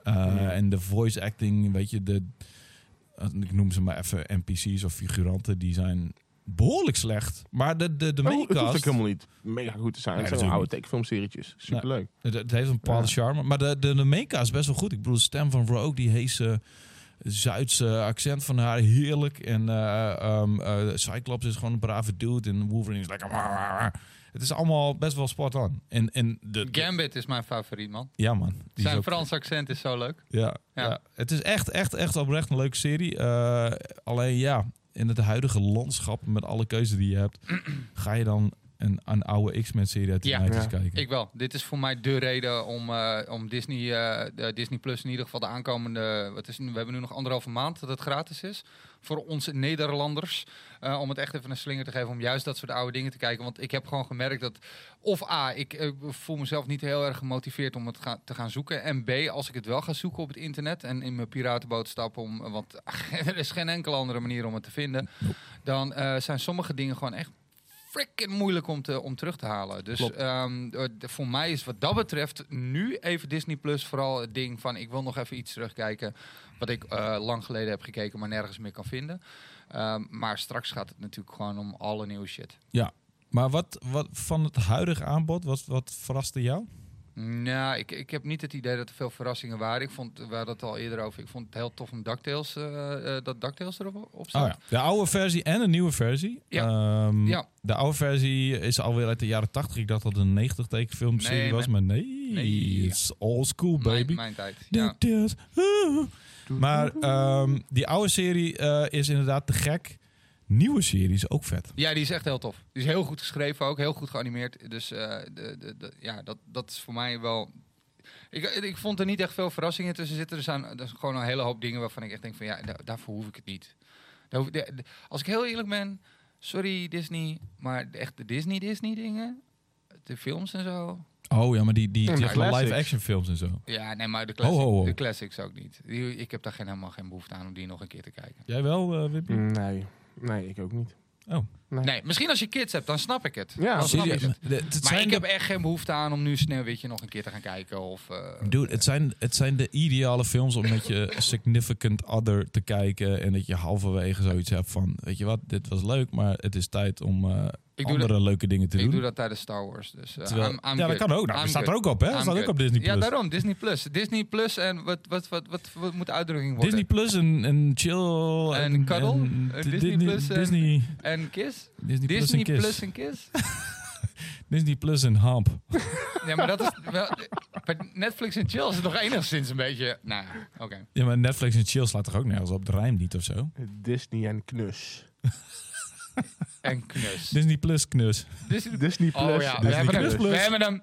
A: Eh,
C: Nee.
A: En de voice acting, weet je, de, eh, ik noem ze maar even NPC's of figuranten, die zijn behoorlijk slecht. Maar de, de, de
C: Maar het hoeft
A: maincast,
C: ook helemaal niet mega goed te zijn.
A: Nee,
C: het zijn wel oude
A: natuurlijk
C: tekenfilmserietjes. Superleuk.
A: het, het heeft een bepaalde
C: Ja.
A: charme, maar de, de, de maincast is best wel goed. Ik bedoel, de stem van Rogue, die heese Zuidse accent van haar, heerlijk. En eh, ehm, eh, Cyclops is gewoon een brave dude en Wolverine is lekker... "Wah, wah, wah." Het is allemaal best wel spot on. En, en de, de-
B: Gambit is mijn favoriet, man.
A: ja man, die is
B: Zijn
A: ook-
B: Frans accent is zo leuk.
A: Ja, ja.
B: Ja.
A: het is echt, echt, echt oprecht een leuke serie. Eh, alleen ja, in het huidige landschap met alle keuzes die je hebt, ga je dan een, een oude X-Men-serie uit de
B: Ja.
A: 90's
C: Ja.
A: kijken.
B: Ik wel. Dit is voor mij de reden om, eh, om Disney, eh, de Disney Plus in ieder geval de aankomende... Wat is, het nu? we hebben nu nog anderhalve maand dat het gratis is. Voor ons Nederlanders. eh, om het echt even een slinger te geven. Om juist dat soort oude dingen te kijken. Want ik heb gewoon gemerkt dat... Of A, ik eh, voel mezelf niet heel erg gemotiveerd om het ga- te gaan zoeken. En B, als ik het wel ga zoeken op het internet... en in mijn piratenboot stap om... Want er is geen enkele andere manier om het te vinden. Dan eh, zijn sommige dingen gewoon echt freaking moeilijk om, te, om terug te halen. Dus
C: Klopt.
B: ehm, eh, de- voor mij is wat dat betreft nu even Disney Plus vooral het ding van ik wil nog even iets terugkijken wat ik eh, lang geleden heb gekeken maar nergens meer kan vinden. Ehm, maar straks gaat het natuurlijk gewoon om alle nieuwe shit.
A: Maar wat, wat van het huidige aanbod, wat, wat verraste jou?
B: Nou, ik, ik heb niet het idee dat er veel verrassingen waren. Ik vond, we hadden het al eerder over, ik vond het heel tof om DuckTales, eh, eh, dat DuckTales erop op staat.
A: De oude versie en een nieuwe versie.
B: Ja.
A: Ehm,
B: Ja.
A: De oude versie is alweer uit de jaren 80. Ik dacht dat het een 90 tekenfilmserie
B: Nee,
A: was, maar nee.
B: Nee.
A: It's old school,
B: Mijn-
A: baby.
B: Mijn, tijd, ja.
A: Dit is- oeh. Maar ehm, die oude serie eh, is inderdaad te gek. Nieuwe serie is ook vet.
B: Ja, die is echt heel tof. Die is heel goed geschreven ook, heel goed geanimeerd. Dus eh, de, de, de- ja, dat, dat is voor mij wel... Ik, ik vond er niet echt veel verrassingen tussen zitten. Er zijn, er zijn gewoon een hele hoop dingen waarvan ik echt denk van... ja, da- daarvoor hoef ik het niet. Daar hoef- de- de- als ik heel eerlijk ben, sorry Disney... maar de- echt de Disney-Disney-dingen, de films en zo...
A: Oh ja, maar die, die,
C: En
A: die
C: de classics.
A: live action films en zo.
B: Ja, nee, maar de classics,
A: Ho, ho, ho.
B: De classics ook niet. Die, ik heb daar geen, helemaal geen behoefte aan om die nog een keer te kijken.
A: Jij wel, eh Wimpy?
C: Nee. Nee, ik ook niet.
A: Oh,
B: Nee, misschien als je kids hebt, dan snap ik het.
C: Ja.
B: Dan snap ik
A: Serieus, maar
B: het.
A: de- het
B: Maar
A: zijn
B: ik
A: de-
B: heb echt geen behoefte aan om nu Sneeuwwitje nog een keer te gaan kijken. Of, eh,
A: Dude, het zijn, het zijn de ideale films om met je significant other te kijken. En dat je halverwege zoiets hebt van, weet je wat, dit was leuk, maar het is tijd om eh,
B: ik, doe
A: andere
B: dat,
A: leuke dingen te
B: ik
A: doen.
B: doe dat tijdens Star Wars. Dus, eh,
A: Terwijl-
B: I'm- I'm
A: ja, dat
B: good.
A: kan ook. Nou,
B: I'm
A: dat staat
B: good.
A: er ook op, hè? Dat
B: I'm
A: staat ook
B: good.
A: op Disney+.
B: Ja,
A: Plus.
B: daarom. Disney Plus. Disney Plus en wat, wat, wat, wat, wat moet de uitdrukking worden?
A: Disney Plus en, en chill.
B: En cuddle? Eh, Disney Plus en-
A: Disney,
B: En Kiss?
A: Disney, Plus en
B: Disney
A: Kiss.
B: Plus en Kiss?
A: Disney Plus en Hamp.
B: Ja, maar dat is wel... Bij Netflix en chill is het nog enigszins een beetje... Nou, ja, oké.
A: Ja, maar Netflix en chill slaat toch ook nergens op? De rijm niet of zo?
C: Disney en Knus.
B: En knus.
A: Disney Plus knus.
B: Disney
C: Disney Plus.
B: Oh ja, we
A: Disney
B: hebben,
A: Plus
B: hem,
A: Plus.
B: we hebben hem.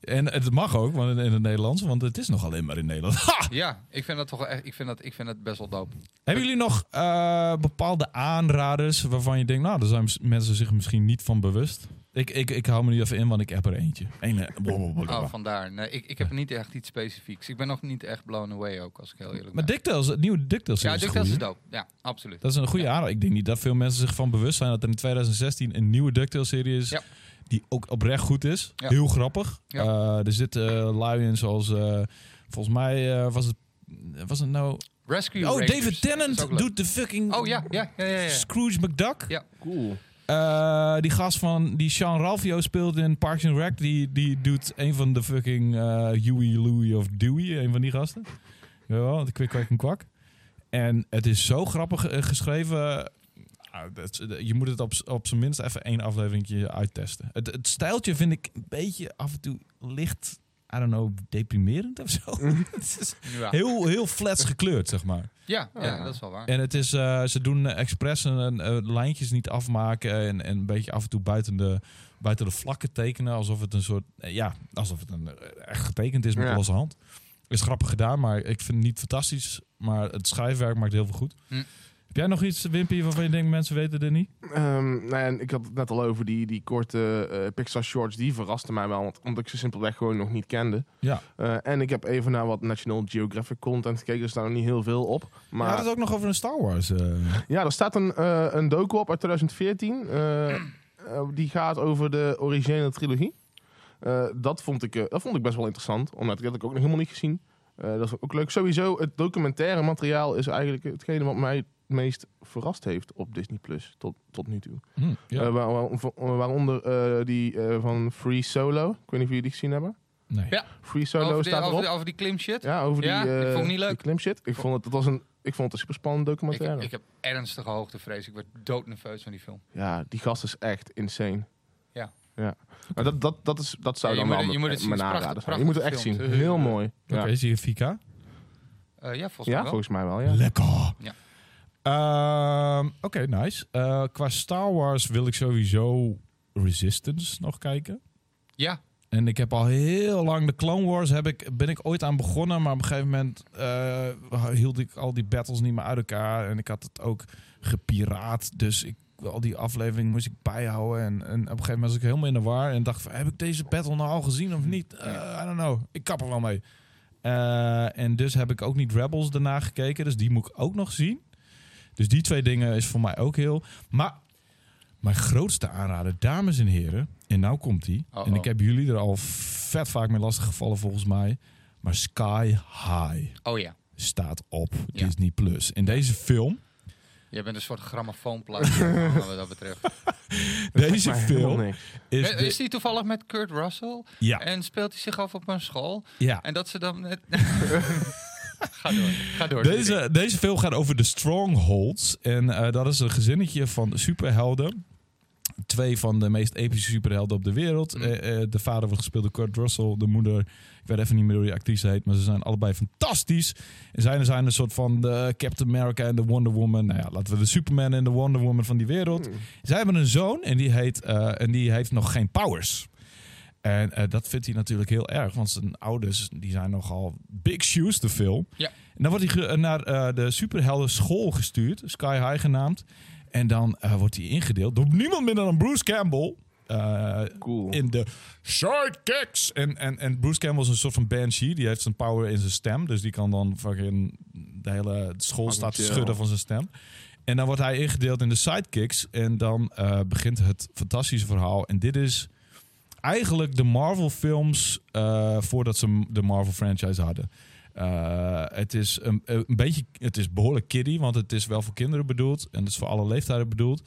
A: En het mag ook want in in het Nederlands, want het is nog alleen maar in Nederland. Ha!
B: Ah, Ja, ik vind dat toch wel echt... Ik vind dat, ik vind dat best wel dope.
A: Hebben jullie nog eh, bepaalde aanraders waarvan je denkt, nou, daar zijn mis- mensen zich misschien niet van bewust? Ik, ik, ik hou me nu even in, want ik heb er eentje. Eén, eh, blablabla.
B: Oh, vandaar. Nee, ik, ik heb niet echt iets specifieks. Ik ben nog niet echt blown away ook, als ik heel eerlijk
A: maar
B: ben.
A: DuckTales, het nieuwe DuckTales
B: Ja,
A: is
B: dit
A: goed,
B: is
A: hè?
B: dope. Ja, absoluut.
A: Dat is een goede
B: Ja.
A: aanrader. Ik denk niet dat veel mensen zich van bewust zijn dat er in 2016 een nieuwe DuckTales-serie is.
B: Ja.
A: Die ook oprecht goed is.
B: Ja.
A: Heel grappig.
B: Ja.
A: Eh, er zitten eh, lui in zoals... eh, volgens mij eh, was het... Was het nou...
B: Rescue
A: Oh,
B: Rangers.
A: David
B: Dat is ook
A: Tennant
B: leuk.
A: doet de fucking
B: Oh ja, ja, ja, ja. ja.
A: Scrooge McDuck.
B: Ja.
C: Cool.
A: Eh, die gast van die Sean Ralphio speelt in Parks and Rec. Die, die doet een van de fucking eh, Huey, Louie of Dewey. Een van die gasten. Jawel, de kwik, kwak en kwak. En het is zo grappig eh, geschreven. Ah, dat- je moet het op, z- op zijn minst even één afleveringje uittesten. Het, het stijltje vind ik een beetje af en toe licht, I don't know, deprimerend of zo. het is
B: Ja.
A: heel, heel flats gekleurd, zeg maar.
B: Ja, ja,
C: Ja.
B: dat is wel waar.
A: En het is, eh, ze doen eh, expres een, een, eh, lijntjes niet afmaken en, en een beetje af en toe buiten de, buiten de vlakken tekenen. Alsof het een soort, eh, ja, alsof het een, eh, echt getekend is met
C: Ja.
A: losse hand. Is grappig gedaan, maar ik vind het niet fantastisch. Maar het schrijfwerk maakt heel veel goed.
B: Hm.
A: Heb jij nog iets, Wimpy, waarvan je denkt mensen weten dit niet?
C: Ehm, nou ja, en ik had het net al over die, die korte eh, Pixar shorts. Die verrasten mij wel, want, omdat ik ze simpelweg gewoon nog niet kende.
A: Ja.
C: Eh, en ik heb even naar wat National Geographic content gekeken. Er staan nog niet heel veel op.
A: Maar
C: Maar
A: het ook nog over een Star Wars. eh.
C: ja, er staat een, eh, een docu op uit 2014. eh, eh, die gaat over de originele trilogie. Eh, dat, vond ik, eh, dat vond ik best wel interessant, omdat ik dat had ik ook nog helemaal niet gezien. Eh, dat is ook leuk. Sowieso, het documentaire materiaal is eigenlijk hetgene wat mij het meest verrast heeft op Disney Plus tot, tot nu toe.
A: Hm, ja.
C: Eh, waar- waar- waaronder eh, die eh, van Free Solo. Ik weet niet of jullie die gezien hebben.
A: nee.
B: Ja.
C: Free Solo
B: over, die,
C: staat
B: over,
C: erop.
B: die- over die klimshit.
C: ja, over
B: Ja,
C: die,
B: ik
C: eh,
B: vond het niet leuk.
C: die klimshit. Ik vond het, dat was een, ik vond het een super spannende
B: Ik,
C: documentaire.
B: ik heb ernstige hoogtevrees. Ik werd doodnerveus van die film.
C: Ja, die gast is echt insane.
B: Ja.
C: ja. Maar dat, dat, dat, is, dat zou
B: Ja, je
C: dan
B: moet het-
C: wel
B: je moet het zien.
C: mijn
B: Het is prachtig-
C: aanrader zijn. Je moet het echt
B: prachtig
C: zien.
B: gefilmd.
C: Heel mooi.
A: Oké,
C: Ja,
A: is hier 4K?
B: Eh, ja, volgens
C: ja
B: mij wel.
C: volgens mij wel. Ja.
A: Lekker.
B: Ja.
A: Ehm, Oké, nice. Eh, qua Star Wars wil ik sowieso Resistance nog kijken.
B: Ja,
A: En ik heb al heel lang de Clone Wars heb ik, ben ik ooit aan begonnen, maar op een gegeven moment eh, hield ik al die battles niet meer uit elkaar. En ik had het ook gepiraat, dus ik, al die aflevering moest ik bijhouden. En, en op een gegeven moment was ik helemaal in de war en dacht van, heb ik deze battle nou al gezien of niet? Eh I don't know, ik kap er wel mee. Eh, en dus heb ik ook niet Rebels daarna gekeken, dus die moet ik ook nog zien. Dus die twee dingen is voor mij ook heel... Maar mijn grootste aanrader, dames en heren, en nou komt die.
B: Uh-oh.
A: En ik heb jullie er al vet vaak mee lastig gevallen volgens mij. Maar Sky High
B: oh ja.
A: staat op
B: Ja.
A: Disney Plus. En deze film,
B: Je bent een soort grammofoonplaatje wat dat betreft. Eh,
A: deze
C: Maar helemaal
A: film
C: niks.
A: is,
B: Is,
A: de-
B: die toevallig met Kurt Russell?
A: ja,
B: En speelt hij zich af op een school?
A: ja.
B: En dat ze dan... Net... ga door, ga door. Diederik.
A: Deze, deze film gaat over de Strongholds. En eh, dat is een gezinnetje van superhelden. Twee van de meest epische superhelden op de wereld.
B: Mm.
A: Eh, eh, de vader wordt gespeeld door Kurt Russell. De moeder, ik weet even niet meer hoe die actrice heet. Maar ze zijn allebei fantastisch. En zij zijn een soort van de Captain America en de Wonder Woman. Nou ja, laten we de Superman en de Wonder Woman van die wereld. Zij hebben een zoon en die, heet, eh, en die heeft nog geen powers. En eh, dat vindt hij natuurlijk heel erg, want zijn ouders die zijn nogal big shoes te veel.
B: Ja.
A: En dan wordt hij ge- naar eh, de superhelden school gestuurd, Sky High genaamd. En dan eh, wordt hij ingedeeld door niemand minder dan Bruce Campbell. eh,
C: Cool.
A: in de sidekicks. En, en, en Bruce Campbell is een soort van banshee. Die heeft zijn power in zijn stem. Dus die kan dan fucking de hele school staat te
C: chill.
A: schudden van zijn stem. En dan wordt hij ingedeeld in de sidekicks. En dan eh, begint het fantastische verhaal. En dit is eigenlijk de Marvel-films eh, voordat ze m- de Marvel-franchise hadden. Eh, het, is een, een beetje, het is behoorlijk kiddie, want het is wel voor kinderen bedoeld. En het is voor alle leeftijden bedoeld.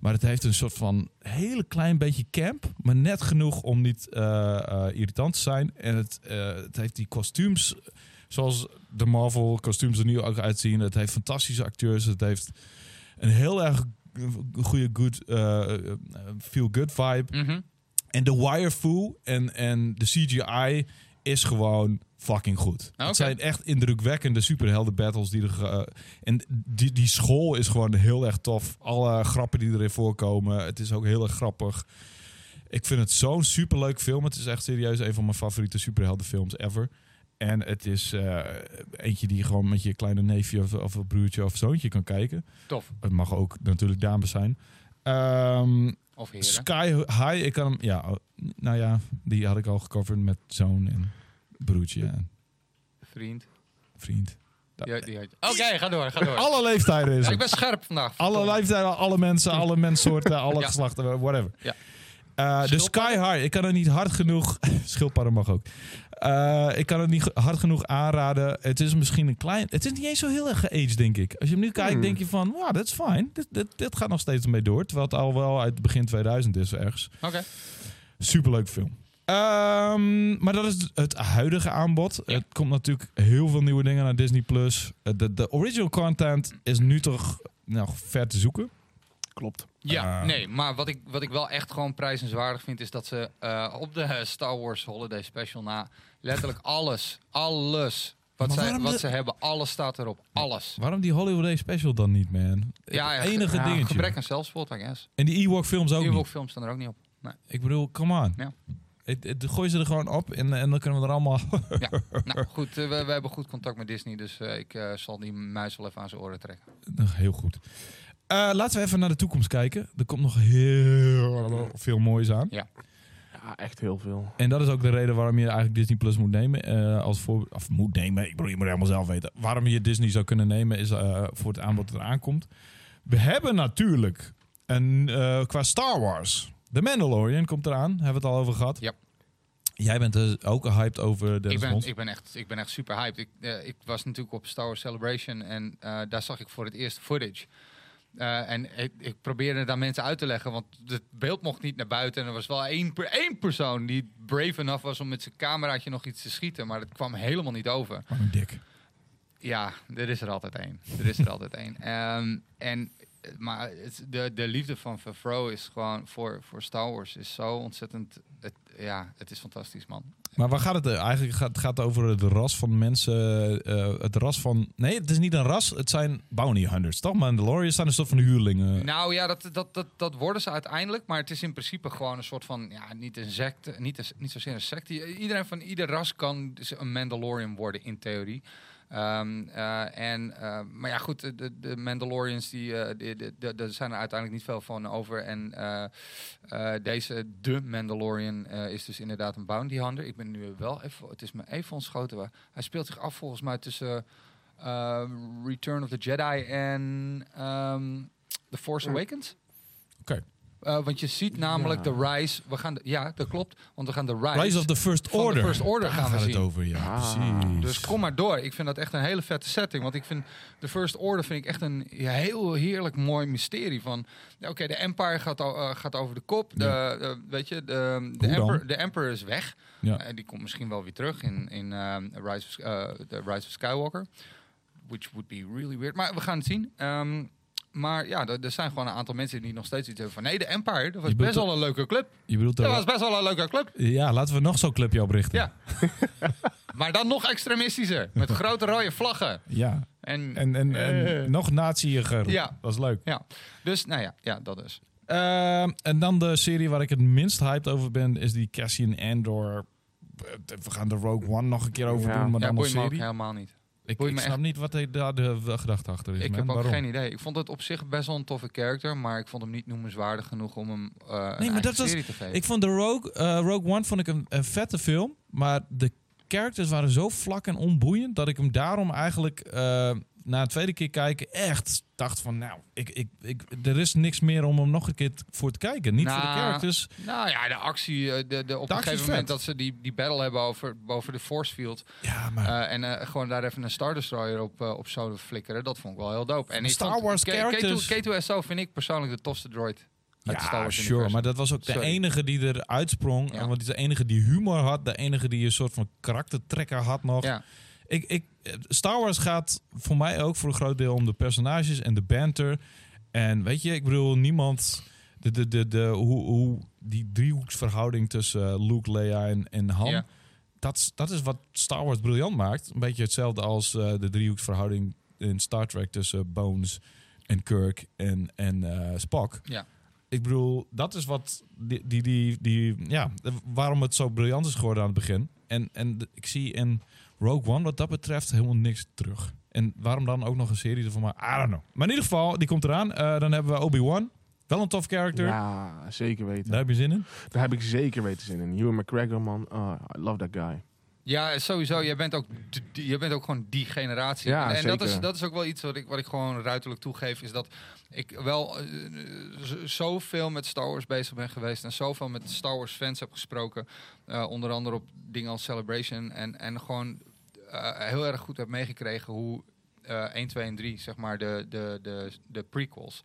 A: Maar het heeft een soort van hele klein beetje camp. Maar net genoeg om niet eh, eh, irritant te zijn. En het, eh, het heeft die kostuums, zoals de Marvel kostuums er nu ook uitzien. Het heeft fantastische acteurs. Het heeft een heel erg goede good, eh, feel-good vibe.
B: Mhm.
A: En de wire foo en, en de CGI is gewoon fucking goed.
B: Ah,
A: Het
B: oké.
A: zijn echt indrukwekkende superhelden battles. Die er, ge- en die, die school is gewoon heel erg tof. Alle grappen die erin voorkomen. Het is ook heel erg grappig. Ik vind het zo'n superleuk film. Het is echt serieus een van mijn favoriete superheldenfilms ever. En het is eh, eentje die je gewoon met je kleine neefje of, of een broertje of zoontje kan kijken.
B: Tof.
A: Het mag ook natuurlijk dames zijn. Ehm
B: Of heren.
A: Sky High, ik kan hem... Ja, oh, nou ja, die had ik al gecoverd met zoon en broertje en
B: Vriend.
A: vriend. Ja.
B: Ja, die had je. Oké, ga door, ga door.
A: Alle leeftijden is
B: Ja, ik
A: het.
B: ben scherp vandaag.
A: Alle leeftijden, alle mensen, alle menssoorten, alle
B: Ja.
A: geslachten, whatever.
B: Ja.
A: Eh, de Sky
B: Schildpadden?
A: High, ik kan het niet hard genoeg... Schildpadden mag ook. Eh, ik kan het niet ge- hard genoeg aanraden. Het is misschien een klein... Het is niet eens zo heel erg geaged, denk ik. Als je hem nu kijkt,
C: Hmm.
A: denk je van... Wow, dat is fijn. Dit, dit, dit gaat nog steeds mee door. Terwijl het al wel uit begin 2000 is ergens.
B: Oké.
A: Superleuk film. Ehm, maar dat is het huidige aanbod.
B: Ja.
A: Het komt natuurlijk heel veel nieuwe dingen naar Disney+. Plus. Eh, De, de original content is nu toch nou, ver te zoeken.
C: Klopt.
B: Ja,
A: Eh.
B: nee, maar wat ik, wat ik wel echt gewoon prijzenswaardig vind, is dat ze eh, op de eh, Star Wars Holiday Special na letterlijk alles, alles wat,
A: Maar
B: zij,
A: waarom
B: wat
A: de-
B: ze hebben, alles staat erop, alles.
A: Waarom die Hollywood Day special dan niet, man? het enige
B: ja,
A: dingetje.
B: Gebrek aan zelfspot, I guess.
A: En die Ewok films ook
B: Ewok
A: niet.
B: films staan er ook niet op.
A: Ik bedoel, come on.
B: Ja.
A: Het, het- gooi ze er gewoon op en, en dan kunnen we er allemaal...
B: nou goed, eh, we, we hebben goed contact met Disney, dus eh, ik eh, zal die muis wel even aan zijn oren trekken.
A: Nog heel goed. Eh, laten we even naar de toekomst kijken. Er komt nog heel veel moois aan.
C: Ja, echt heel veel.
A: En dat is ook de reden waarom je eigenlijk Disney Plus moet nemen. eh, als voor, of moet nemen, ik bedoel, je moet helemaal zelf weten. Waarom je Disney zou kunnen nemen is eh, voor het aanbod dat eraan komt. We hebben natuurlijk, een, eh, qua Star Wars, The Mandalorian komt eraan. Hebben we het al over gehad.
B: Ja.
A: Jij bent dus ook hyped over de
B: Ik ben,
A: respons.
B: ik, ben echt, ik ben echt super hyped. Ik, eh, ik was natuurlijk op Star Wars Celebration en eh, daar zag ik voor het eerst footage. Eh, en ik, ik probeerde daar mensen uit te leggen, want het beeld mocht niet naar buiten. En er was wel één, per- één persoon die brave enough was om met zijn cameraatje nog iets te schieten, maar dat kwam helemaal niet over.
A: Oh, dik.
B: Ja, er is er altijd één. Er is er altijd één. Ehm, en, eh, maar het- de, de liefde van Favreau is gewoon voor, voor Star Wars is zo ontzettend. Het, ja, het is fantastisch, man.
A: Maar waar gaat het eh, eigenlijk? Gaat, het gaat over het ras van mensen. eh, het ras van. Nee, het is niet een ras. Het zijn bounty hunters, toch? Mandalorians zijn een soort van huurlingen.
B: Nou ja, dat, dat, dat, dat worden ze uiteindelijk. Maar het is in principe gewoon een soort van. Ja, niet een secte. Niet, een, niet zozeer een secte. Iedereen van ieder ras kan dus een Mandalorian worden in theorie. Ehm, eh, en, eh, maar ja, goed. De, de Mandalorians, die, eh, die- die- die- daar zijn er uiteindelijk niet veel van over. En eh, eh, deze, de Mandalorian, eh, is dus inderdaad een bounty hunter. Ik ben nu wel even. Het is me even ontschoten. waar- Hij speelt zich af volgens mij tussen. eh, Return of the Jedi en ehm, The Force Awakens.
A: Oké.
B: Eh, want je ziet namelijk
C: Ja.
B: de Rise. We gaan de- ja, dat klopt. Want we gaan de Rise.
A: Rise of the First
B: van de
A: Order.
B: First Order
A: Daar
B: gaan we
A: gaat het
B: zien.
A: over, ja.
C: Ah.
A: precies.
B: Dus kom maar door. Ik vind dat echt een hele vette setting. Want ik vind de First Order vind ik echt een heel heerlijk mooi mysterie. Van ja, oké, de Empire gaat, o- eh, gaat over de kop. De, eh, weet je, de, de,
A: Hoe dan?
B: Emperor, de Emperor is weg.
A: Ja.
B: Eh, die komt misschien wel weer terug in, in ehm, Rise, of, eh, The Rise of Skywalker. Which would be really weird. Maar we gaan het zien. Ehm, maar ja, er er zijn gewoon een aantal mensen die nog steeds iets hebben van... Nee, de Empire, dat was
A: Je bedoelt
B: best wel een leuke club.
A: Je bedoelt
B: Dat
A: daar-
B: was best wel een leuke club.
A: Ja, laten we nog zo'n clubje oprichten.
B: Ja. maar dan nog extremistischer. Met grote rode vlaggen.
A: Ja.
B: En,
A: En, en, en
C: Eh.
A: nog naziiger.
B: Ja.
A: Dat is leuk.
B: ja, dus nou ja, ja dat is.
A: Ehm, en dan de serie waar ik het minst hyped over ben, is die Cassian Andor. Eh, We gaan de Rogue One nog een keer over
C: Ja.
A: doen, maar
B: ja,
A: dan als
B: boeit me ook
A: serie.
B: helemaal niet.
A: Ik,
B: boeit
A: ik
B: me
A: snap niet wat hij daar de, de gedachte achter is.
B: ik
A: man.
B: heb ook
A: Waarom?
B: geen idee. Ik vond het op zich best wel een toffe character, maar ik vond hem niet noemenswaardig genoeg om hem eh een
A: maar
B: eigen
A: dat was-
B: serie te geven.
A: Ik vond de Rogue, eh, Rogue One vond ik een, een vette film, maar de characters waren zo vlak en onboeiend dat ik hem daarom eigenlijk eh, na een tweede keer kijken echt dacht van... Nou, ik, ik, ik, er is niks meer om hem nog een keer t- voor te kijken. Niet voor de
B: Nou,
A: characters.
B: Nou ja, de actie. eh, De, de, op
A: De actie
B: een
A: is
B: gegeven moment
A: vet.
B: dat ze die, die battle hebben over, boven de force field.
A: Ja, maar...
B: eh, en eh, gewoon daar even een Star Destroyer op, eh, op zoden flikkeren. Dat vond ik wel heel dope. En ik
A: Star
B: vond-
A: Wars
B: K-
A: characters.
B: K2, K2SO vind ik persoonlijk de tofste droid. uit het Star
A: Ja,
B: Wars
A: sure.
B: universum.
A: Maar dat was ook de
B: Sorry.
A: enige die er uitsprong.
B: Ja.
A: En Want die is de enige die humor had. De enige die een soort van karaktertrekker had nog.
B: Ja.
A: Ik, ik, Star Wars gaat voor mij ook voor een groot deel om de personages en de banter. En weet je, ik bedoel, niemand... De, de, de, de, hoe, hoe die driehoeksverhouding tussen eh, Luke, Leia en, en Han...
B: Ja.
A: Dat, is- dat is wat Star Wars briljant maakt. Een beetje hetzelfde als eh, de driehoeksverhouding in Star Trek tussen Bones en Kirk en, en eh, Spock.
B: Ja.
A: Ik bedoel, dat is wat die, die, die, die, ja, waarom het zo briljant is geworden aan het begin. En, en de- ik zie in Rogue One wat dat betreft helemaal niks terug. En waarom dan ook nog een serie ervan maken? I don't know. Maar in ieder geval, die komt eraan. Eh, dan hebben we Obi-Wan. Wel een tof character.
C: Ja, zeker weten.
A: Daar heb je zin in.
C: Daar heb ik zeker weten zin in. Ewan McGregor, man. Oh, I love that guy.
B: Ja, sowieso. Jij bent ook, d- d- jij bent ook gewoon die generatie.
C: Ja,
B: en en dat,
C: zeker.
B: is, dat is ook wel iets wat ik, wat ik gewoon ruiterlijk toegeef. Is dat ik wel eh, z- zoveel met Star Wars bezig ben geweest. En zoveel met Star Wars fans heb gesproken. eh, onder andere op dingen als Celebration. En, en gewoon eh, heel erg goed heb meegekregen hoe eh 1, 2 en 3, zeg maar, de, de, de, de prequels.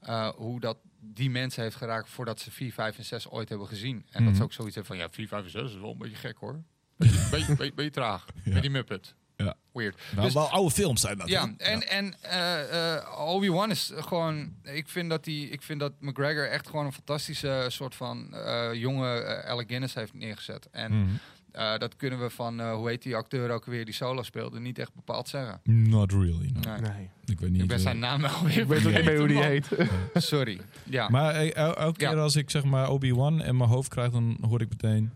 B: eh, hoe dat die mensen heeft geraakt voordat ze 4, 5 en 6 ooit hebben gezien. En dat
A: Mhm.
B: ze ook zoiets hebben van, ja, 4, 5 en 6 is wel een beetje gek hoor. Beetje, beetje, beetje, beetje traag.
A: Ja.
B: Met die Muppet.
A: Ja.
B: Weird.
A: Nou,
B: Dus-
A: wel oude films zijn dat.
B: Ja,
A: hè?
B: en, en eh, eh, Obi-Wan is gewoon... Ik vind, dat die, ik vind dat McGregor echt gewoon een fantastische soort van eh, jonge eh, Alec Guinness heeft neergezet. En
A: Mhm.
B: eh, dat kunnen we van, eh, hoe heet die acteur ook weer die solo speelde, niet echt bepaald zeggen.
A: Mm, Not really. no.
B: Nee.
C: Nee.
A: Ik weet niet.
B: Ik ben
A: eh,
B: zijn naam wel weer
C: Ik weet ook niet meer hoe die heet.
B: vergeten, man. Sorry. Ja.
A: Maar eh, el- elke
B: Ja.
A: keer als ik zeg maar Obi-Wan in mijn hoofd krijg, dan hoor ik meteen.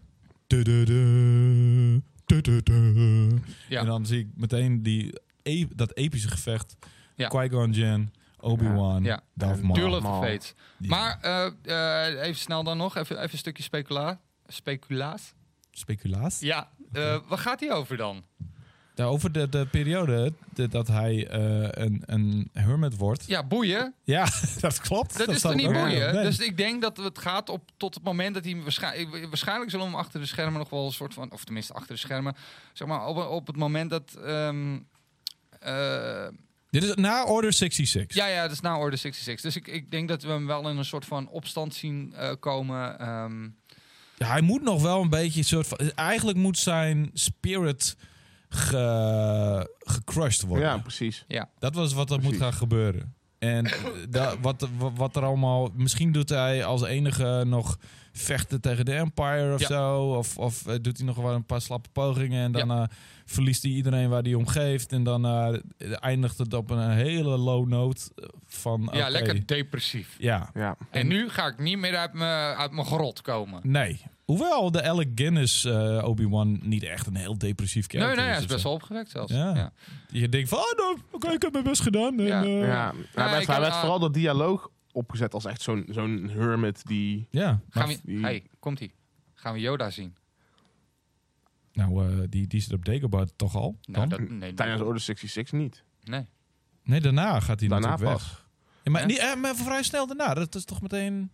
A: "Tududu, tududu."
B: Ja.
A: En dan zie ik meteen die, e- dat epische gevecht.
B: Ja.
A: Qui-Gon Jinn, Obi-Wan,
B: Ja.
A: Darth
C: Ja.
A: Maul.
B: Duel of the
C: Maar-
B: Fates.
A: Die-
B: Maar eh, eh, even snel dan nog, even, even een stukje specula speculaas.
A: Speculaas.
B: Ja, eh, waar gaat die over dan?
A: Ja, Over de, de periode de- dat hij eh, een, een hermit wordt.
B: Ja, boeien.
A: Ja, dat klopt.
B: Dat, is
A: staat
B: toch niet
A: ook-
B: boeien?
A: Nee.
B: Dus ik denk dat het gaat op tot het moment dat hij... Waarschijnlijk, waarschijnlijk zullen we hem achter de schermen nog wel een soort van... Of tenminste, achter de schermen. Zeg maar, op, op het moment dat... ehm, eh,
A: Dit is na Order 66.
B: ja, ja, dat is na Order 66. Dus ik, ik denk dat we hem wel in een soort van opstand zien eh, komen. ehm,
A: Ja, hij moet nog wel een beetje een soort van. Eigenlijk moet zijn spirit ge, gecrushed worden.
C: Ja, precies.
A: Dat was wat er moet
C: Precies.
A: gaan gebeuren. En eh, da- wat, wa- wat er allemaal. Misschien doet hij als enige nog vechten tegen de Empire of
B: Ja.
A: zo. Of, of eh, doet hij nog wel een paar slappe pogingen. En dan eh, verliest hij iedereen waar hij om geeft. En dan eh, eindigt het op een hele low note eh, van.
B: Ja,
A: oké,
B: lekker depressief.
A: Ja,
C: Ja.
B: En nu ga ik niet meer uit mijn uit mijn grot komen.
A: nee. Hoewel de Alec Guinness eh, Obi-Wan niet echt een heel depressief
B: Nee,
A: character
B: nee, hij is
A: of
B: best
A: zo.
B: wel opgewekt zelfs.
A: dus Ja.
B: Ja.
A: Je denkt van, oh, nou, oké, ik heb mijn best gedaan. En,
B: Ja.
A: eh,
C: ja. hij werd,
B: ik
C: hij
B: had-
C: werd vooral dat dialoog opgezet als echt zo'n zo'n hermit die...
A: ja.
B: Gaan
A: Maar-
B: we,
C: die-
B: hey, komt ie. Gaan we Yoda zien?
A: Nou, eh, die, die zit op Dagobah toch al? dan?
B: Nou, dat, nee,
C: Tijdens Order 66 niet.
B: nee.
A: Nee, daarna gaat hij
C: Daarna
A: natuurlijk weg.
C: pas.
A: Ja, maar,
B: Ja.
A: Niet, eh, maar vrij snel daarna. Dat is toch meteen...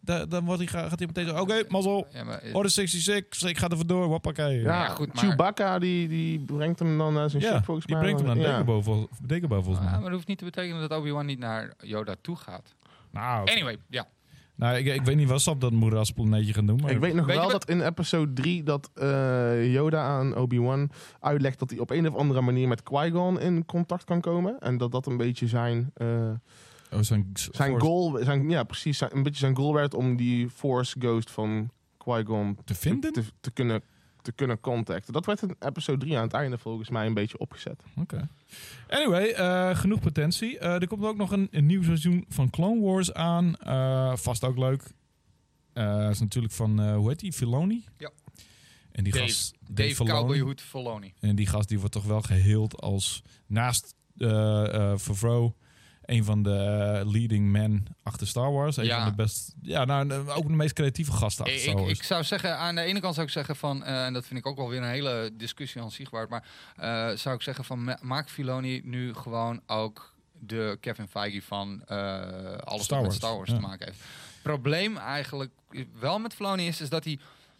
A: Da- dan wordt hij, ga- gaat hij meteen zo... Oké, mazzel.
B: Ja, maar, eh,
A: Order 66. Ik ga er vandoor. Hoppakee.
C: Ja,
B: Ja, goed, maar-
C: Chewbacca die, die brengt hem dan naar zijn
A: Ja,
C: ship volgens
A: die
C: mij.
A: brengt hem naar
C: Ja.
A: Dagobah, vol, Dagobah volgens
B: Ah,
A: mij.
B: maar dat hoeft niet te betekenen dat Obi-Wan niet naar Yoda toe gaat.
A: Nou,
B: Anyway, ja.
A: nou ik, ik weet niet wat ze op dat moerasplaneetje gaan doen. Maar
C: Ik weet nog
B: Weet je
C: wel
B: wat-
C: dat in episode 3 dat eh, Yoda aan Obi-Wan uitlegt dat hij op een of andere manier met Qui-Gon in contact kan komen. En dat dat een beetje zijn, eh,
A: oh, zijn
C: zijn goal, zijn, ja precies, zijn- een beetje zijn goal werd om die Force Ghost van Qui-Gon
A: te vinden?
C: te, te kunnen, te kunnen contacten. Dat werd in episode 3 aan het einde volgens mij een beetje opgezet.
A: Anyway, eh, genoeg potentie. Eh, er komt ook nog een, een nieuw seizoen van Clone Wars aan. Eh, vast ook leuk. Eh is natuurlijk van, eh, hoe heet die? Filoni?
B: Ja.
A: En die
B: Dave.
A: gast...
B: Dave
A: Filoni.
B: Cowboyhood Filoni.
A: En die gast die wordt toch wel geheeld als naast eh eh Favreau een van de eh, leading men achter Star Wars. Een
B: Ja.
A: van de best. Ja, nou, en, eh, ook de meest creatieve gasten achter
B: Ik,
A: Star
B: ik,
A: Wars.
B: ik zou zeggen, aan de ene kant zou ik zeggen van, eh, en dat vind ik ook wel weer een hele discussie aan zich waard, maar eh, zou ik zeggen van, ma- maak Filoni nu gewoon ook de Kevin Feige van eh, alles
A: Star
B: wat met
A: Wars,
B: Star Wars
A: ja.
B: te maken heeft. probleem eigenlijk wel met Filoni is, is dat hij...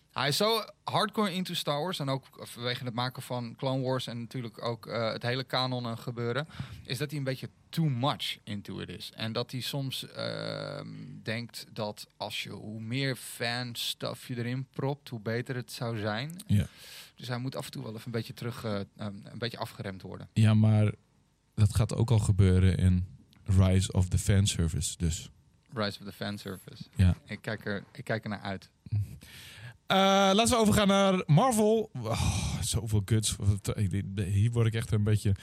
B: Hij is zo hardcore into Star Wars en ook vanwege het maken van Clone Wars en natuurlijk ook eh, het hele kanon en gebeuren, is dat hij een beetje too much into it is. En dat hij soms ehm, denkt dat als je hoe meer fan stuff je erin propt, hoe beter het zou zijn.
A: Ja.
B: Dus hij moet af en toe wel even een beetje terug, eh, ehm, een beetje afgeremd worden.
A: Ja, maar dat gaat ook al gebeuren in Rise of the Fanservice. Dus.
B: Rise of the Fanservice.
A: Ja.
B: Ik kijk er, ik kijk er naar uit.
A: Eh, laten we overgaan naar Marvel. Oh, zoveel guts. Wat- Hier word ik echt een beetje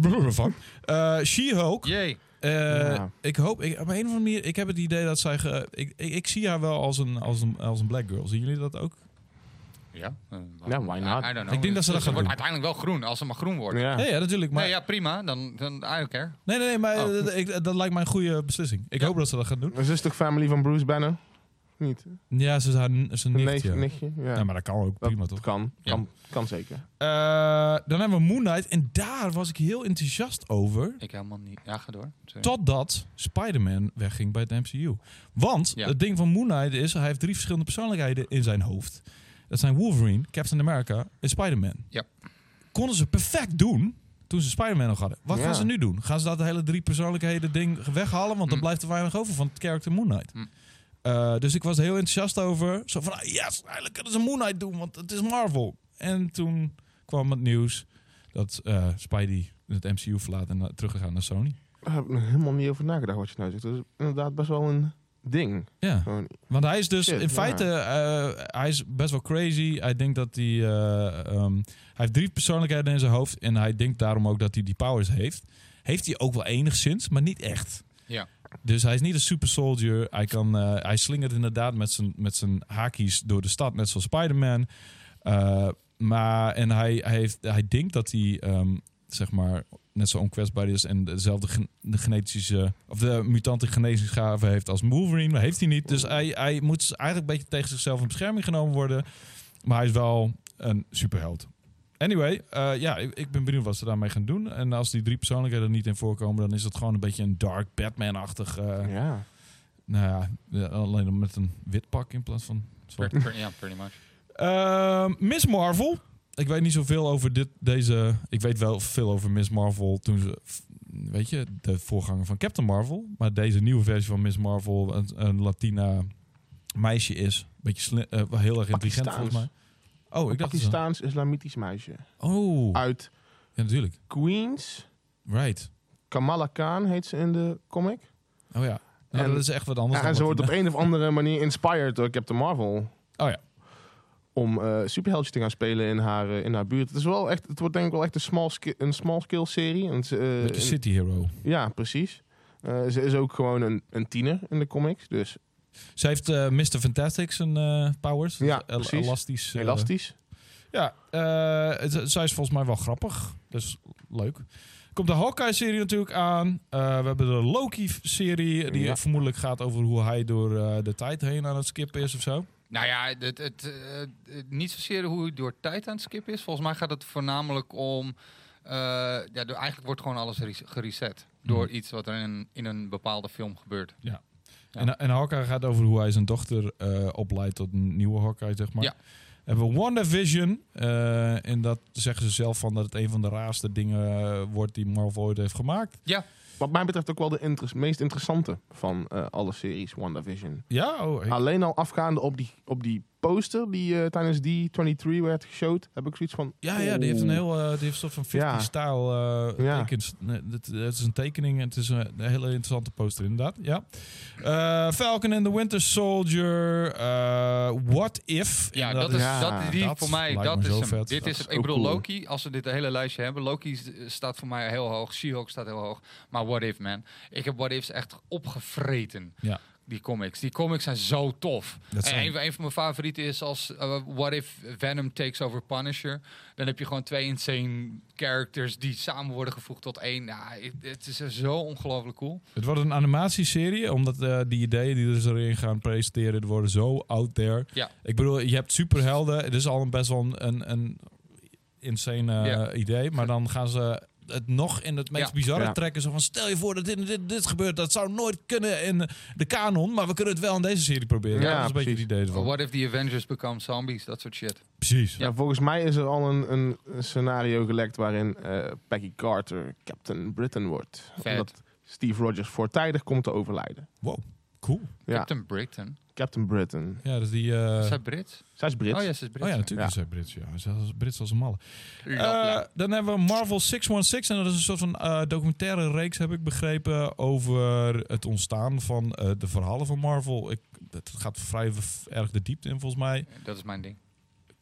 A: brrr van. Eh, She-Hulk.
B: Jee.
A: Eh,
C: Ja.
A: Ik hoop, ik, op een of andere manier, ik heb het idee dat zij. ge- ik, ik, ik zie haar wel als een, als, een, als een black girl. Zien jullie dat ook?
B: Ja.
C: Ja, why not?
B: Eh, I, I don't know.
A: Ik denk dat ze dat gaan
B: wordt
A: doen.
B: uiteindelijk wel groen, als ze maar groen worden.
C: Ja.
A: Nee, ja, natuurlijk. Maar,
B: Nee, ja, prima. Dan, dan I don't care.
A: Nee, nee, nee, maar
B: Oh.
A: eh, ik, dat lijkt mij een goede beslissing. Ik hoop dat ze dat gaan doen.
C: Maar Ze is toch family van Bruce Banner? Niet?
A: Ja, ze is haar n- zijn
C: Een
A: nicht.
C: neefje?
A: Ja.
C: nichtje? Ja.
A: Ja, maar dat kan ook
C: Dat
A: prima, toch?
C: Kan.
A: Ja.
C: Kan, kan zeker.
A: Eh, dan hebben we Moon Knight. En daar was ik heel enthousiast over.
B: Ik helemaal niet. Ja, ga door. Sorry.
A: Totdat Spider-Man wegging bij het MCU. Want
B: Ja.
A: het ding van Moon Knight is, hij heeft drie verschillende persoonlijkheden in zijn hoofd. Dat zijn Wolverine, Captain America en Spider-Man.
B: Ja.
A: Konden ze perfect doen toen ze Spider-Man nog hadden. Wat
C: Ja.
A: gaan ze nu doen? Gaan ze dat hele drie persoonlijkheden ding weghalen? Want dan
B: Hm.
A: blijft er weinig over van het character Moon Knight.
B: Hm.
A: Eh, dus ik was er heel enthousiast over. Zo van, ah, yes, eigenlijk kunnen ze Moon Knight doen, want het is Marvel. En toen kwam het nieuws dat eh Spidey het MCU verlaat en terug teruggegaan naar Sony.
C: Daar heb ik nog helemaal niet over nagedacht wat je nou zegt. Dat is inderdaad best wel een ding.
A: Ja.
C: Gewoon,
A: Want hij is dus
C: Shit,
A: in
C: ja.
A: feite, eh, hij is best wel crazy. Hij denkt dat hij, eh, ehm, hij heeft drie persoonlijkheden in zijn hoofd en hij denkt daarom ook dat hij die powers heeft. Heeft hij ook wel enigszins, maar niet echt.
B: Ja.
A: Dus hij is niet een super soldier. Hij, kan, eh, hij slingert inderdaad met zijn, met zijn haakjes door de stad, net zoals Spider-Man. Eh, maar en hij, hij, heeft, hij denkt dat hij ehm, zeg maar net zo onkwetsbaar is en dezelfde gen- de genetische of de mutante genezingsgave heeft als Wolverine, maar heeft hij niet. Dus hij, hij moet eigenlijk een beetje tegen zichzelf in bescherming genomen worden, maar hij is wel een superheld. Anyway, eh, ja, ik, ik ben benieuwd wat ze daarmee gaan doen. En als die drie persoonlijkheden er niet in voorkomen, dan is dat gewoon een beetje een dark Batman-achtig. eh,
C: ja. Oh,
A: Nou ja, ja, alleen dan met een wit pak in plaats van zwart.
B: Pretty- pretty- Ja, pretty much.
A: Ehm, Miss Marvel. Ik weet niet zoveel over dit, deze. Ik weet wel veel over Miss Marvel toen ze. f- Weet je, de voorganger van Captain Marvel. Maar deze nieuwe versie van Miss Marvel, een, een Latina meisje is. Beetje sli- eh, wel heel erg intelligent
C: Pakistaans.
A: volgens mij. Oh, ik dacht. dat ze-
C: Pakistaans-Islamitisch meisje.
A: Oh,
C: Uit
A: ja, natuurlijk.
C: Queens.
A: Right.
C: Kamala Khan heet ze in de comic.
A: Oh ja. Nou,
C: En-
A: dat is echt wat anders.
C: Ja, en
A: dan
C: ze wordt
A: Latina.
C: op een of andere manier inspired door Captain Marvel.
A: Oh ja.
C: Om eh superheldjes te gaan spelen in haar, eh, in haar buurt. Het, is wel echt, het wordt denk ik wel echt een small, ski- een small scale serie. En ze, eh,
A: Beetje
C: en-
A: City Hero.
C: ja, precies. Eh, ze is ook gewoon een, een tiener in de comics. Dus
A: Ze heeft eh, Mr. Fantastic zijn eh, powers.
C: Ja,
A: El-
C: precies.
A: Elastisch. eh,
C: elastisch.
A: Ja, eh, z- zij is volgens mij wel grappig. Dus leuk. Komt de Hawkeye-serie natuurlijk aan. Eh, we hebben de Loki-serie, die
C: Ja.
A: vermoedelijk gaat over hoe hij door eh, de tijd heen aan het skippen is of zo.
B: Nou ja, het, het, eh, eh, niet zozeer hoe het door tijd aan het skip is. Volgens mij gaat het voornamelijk om... eh, ja, door, eigenlijk wordt gewoon alles res- gereset. Door
A: Mm.
B: iets wat er in, in een bepaalde film gebeurt. Ja.
A: En, en Hawkeye gaat over hoe hij zijn dochter eh, opleidt tot een nieuwe Hawkeye, zeg maar.
B: Ja.
A: Hebben we WandaVision. eh en dat zeggen ze zelf van dat het een van de raarste dingen eh, wordt die Marvel ooit heeft gemaakt.
C: Wat mij betreft ook wel de interes- meest interessante van eh, alle series WandaVision.
A: Ja, oh, ik-
C: Alleen al afgaande op die, op die poster die eh, tijdens die 23 werd geshowd, heb ik zoiets van...
A: Ja, ja, die heeft een
C: oeh.
A: heel, eh, die heeft een soort van 50
C: Ja.
A: stijl eh
C: Ja.
A: tekens. Nee, Het, het is een tekening en het is eh, een hele interessante poster inderdaad. Ja. Eh, Falcon and the Winter Soldier. eh, What If.
B: Ja,
A: En
B: dat, is,
C: Ja,
B: dat, die,
A: dat
B: voor mij,
A: lijkt
B: dat
A: me
B: is
A: zo
B: hem.
A: vet.
B: Dit
A: Dat
B: is,
C: is
B: ik
C: ook
B: bedoel,
C: cool.
B: Loki, als we dit hele lijstje hebben... Loki s- staat voor mij heel hoog, She-Hulk staat heel hoog. Maar What If, man. Ik heb What Ifs echt opgevreten.
A: Ja.
B: die comics. Die comics zijn zo tof.
A: Dat zijn-
B: En een, een van mijn favorieten is als eh, What If Venom Takes Over Punisher. Dan heb je gewoon twee insane characters die samen worden gevoegd tot één. Ja, het- het is zo ongelooflijk cool.
A: Het wordt een animatieserie, omdat eh, die ideeën die dus erin gaan presenteren, die worden zo out there.
B: Ja.
A: Ik bedoel, je hebt superhelden. Het is al een best wel een, een, een insane eh,
B: Ja.
A: idee. Maar dan gaan ze het nog in het meest
B: Ja.
A: bizarre
C: Ja.
A: trekken. Zo van, stel je voor dat dit, en dit, dit gebeurt. Dat zou nooit kunnen in de kanon. Maar we kunnen het wel in deze serie proberen.
C: Ja,
A: dat is een beetje het
C: precies.
A: idee ervan.
B: What if the Avengers become zombies? Dat soort shit.
A: Precies.
C: Ja. volgens mij is er al een, een scenario gelekt waarin eh, Peggy Carter Captain Britain wordt.
B: Vet.
C: Omdat Steve Rogers voortijdig komt te overlijden.
A: Wow, cool.
C: Ja, Captain,
B: Captain Britain.
C: Britain.
A: Ja, dus die... eh,
B: Is hij Brits?
C: Zij is Brits.
B: Oh ja, ze is Brits.
A: Oh ja, natuurlijk is
C: Ja.
A: hij Brits. Ja, Hij is als- Brits als een malle.
B: Lovely.
A: Eh, dan hebben we Marvel 616. En dat is een soort van eh, documentaire reeks, heb ik begrepen, over het ontstaan van eh, de verhalen van Marvel. Ik, het gaat vrij v- erg de diepte in, volgens mij.
B: Dat is mijn ding.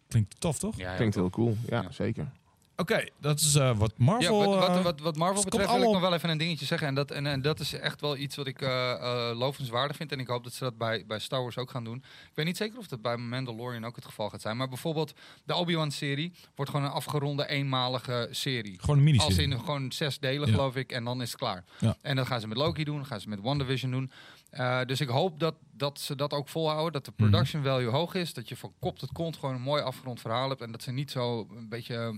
A: Klinkt tof, toch?
B: Ja, ja.
C: Klinkt heel cool. Ja,
B: Ja.
C: zeker.
A: Oké, dat is eh, wat Marvel...
B: ja, wat,
A: eh,
B: wat, wat, wat Marvel
A: het komt
B: betreft wil ik
A: allemaal-
B: nog wel even een dingetje zeggen. En dat, en, en dat is echt wel iets wat ik eh eh, lovenswaardig vind. En ik hoop dat ze dat bij, bij Star Wars ook gaan doen. Ik weet niet zeker of dat bij Mandalorian ook het geval gaat zijn. Maar bijvoorbeeld de Obi-Wan-serie wordt gewoon een afgeronde eenmalige serie.
A: Gewoon een
B: Als
A: miniserie.
B: in gewoon zes delen,
A: Ja.
B: geloof ik. En dan is het klaar.
A: Ja.
B: En dat gaan ze met Loki doen. gaan ze met WandaVision doen. Eh, dus ik hoop dat, dat ze dat ook volhouden. Dat de
A: Mhm.
B: production value hoog is. Dat je van kop tot kont gewoon een mooi afgerond verhaal hebt. En dat ze niet zo een beetje eh,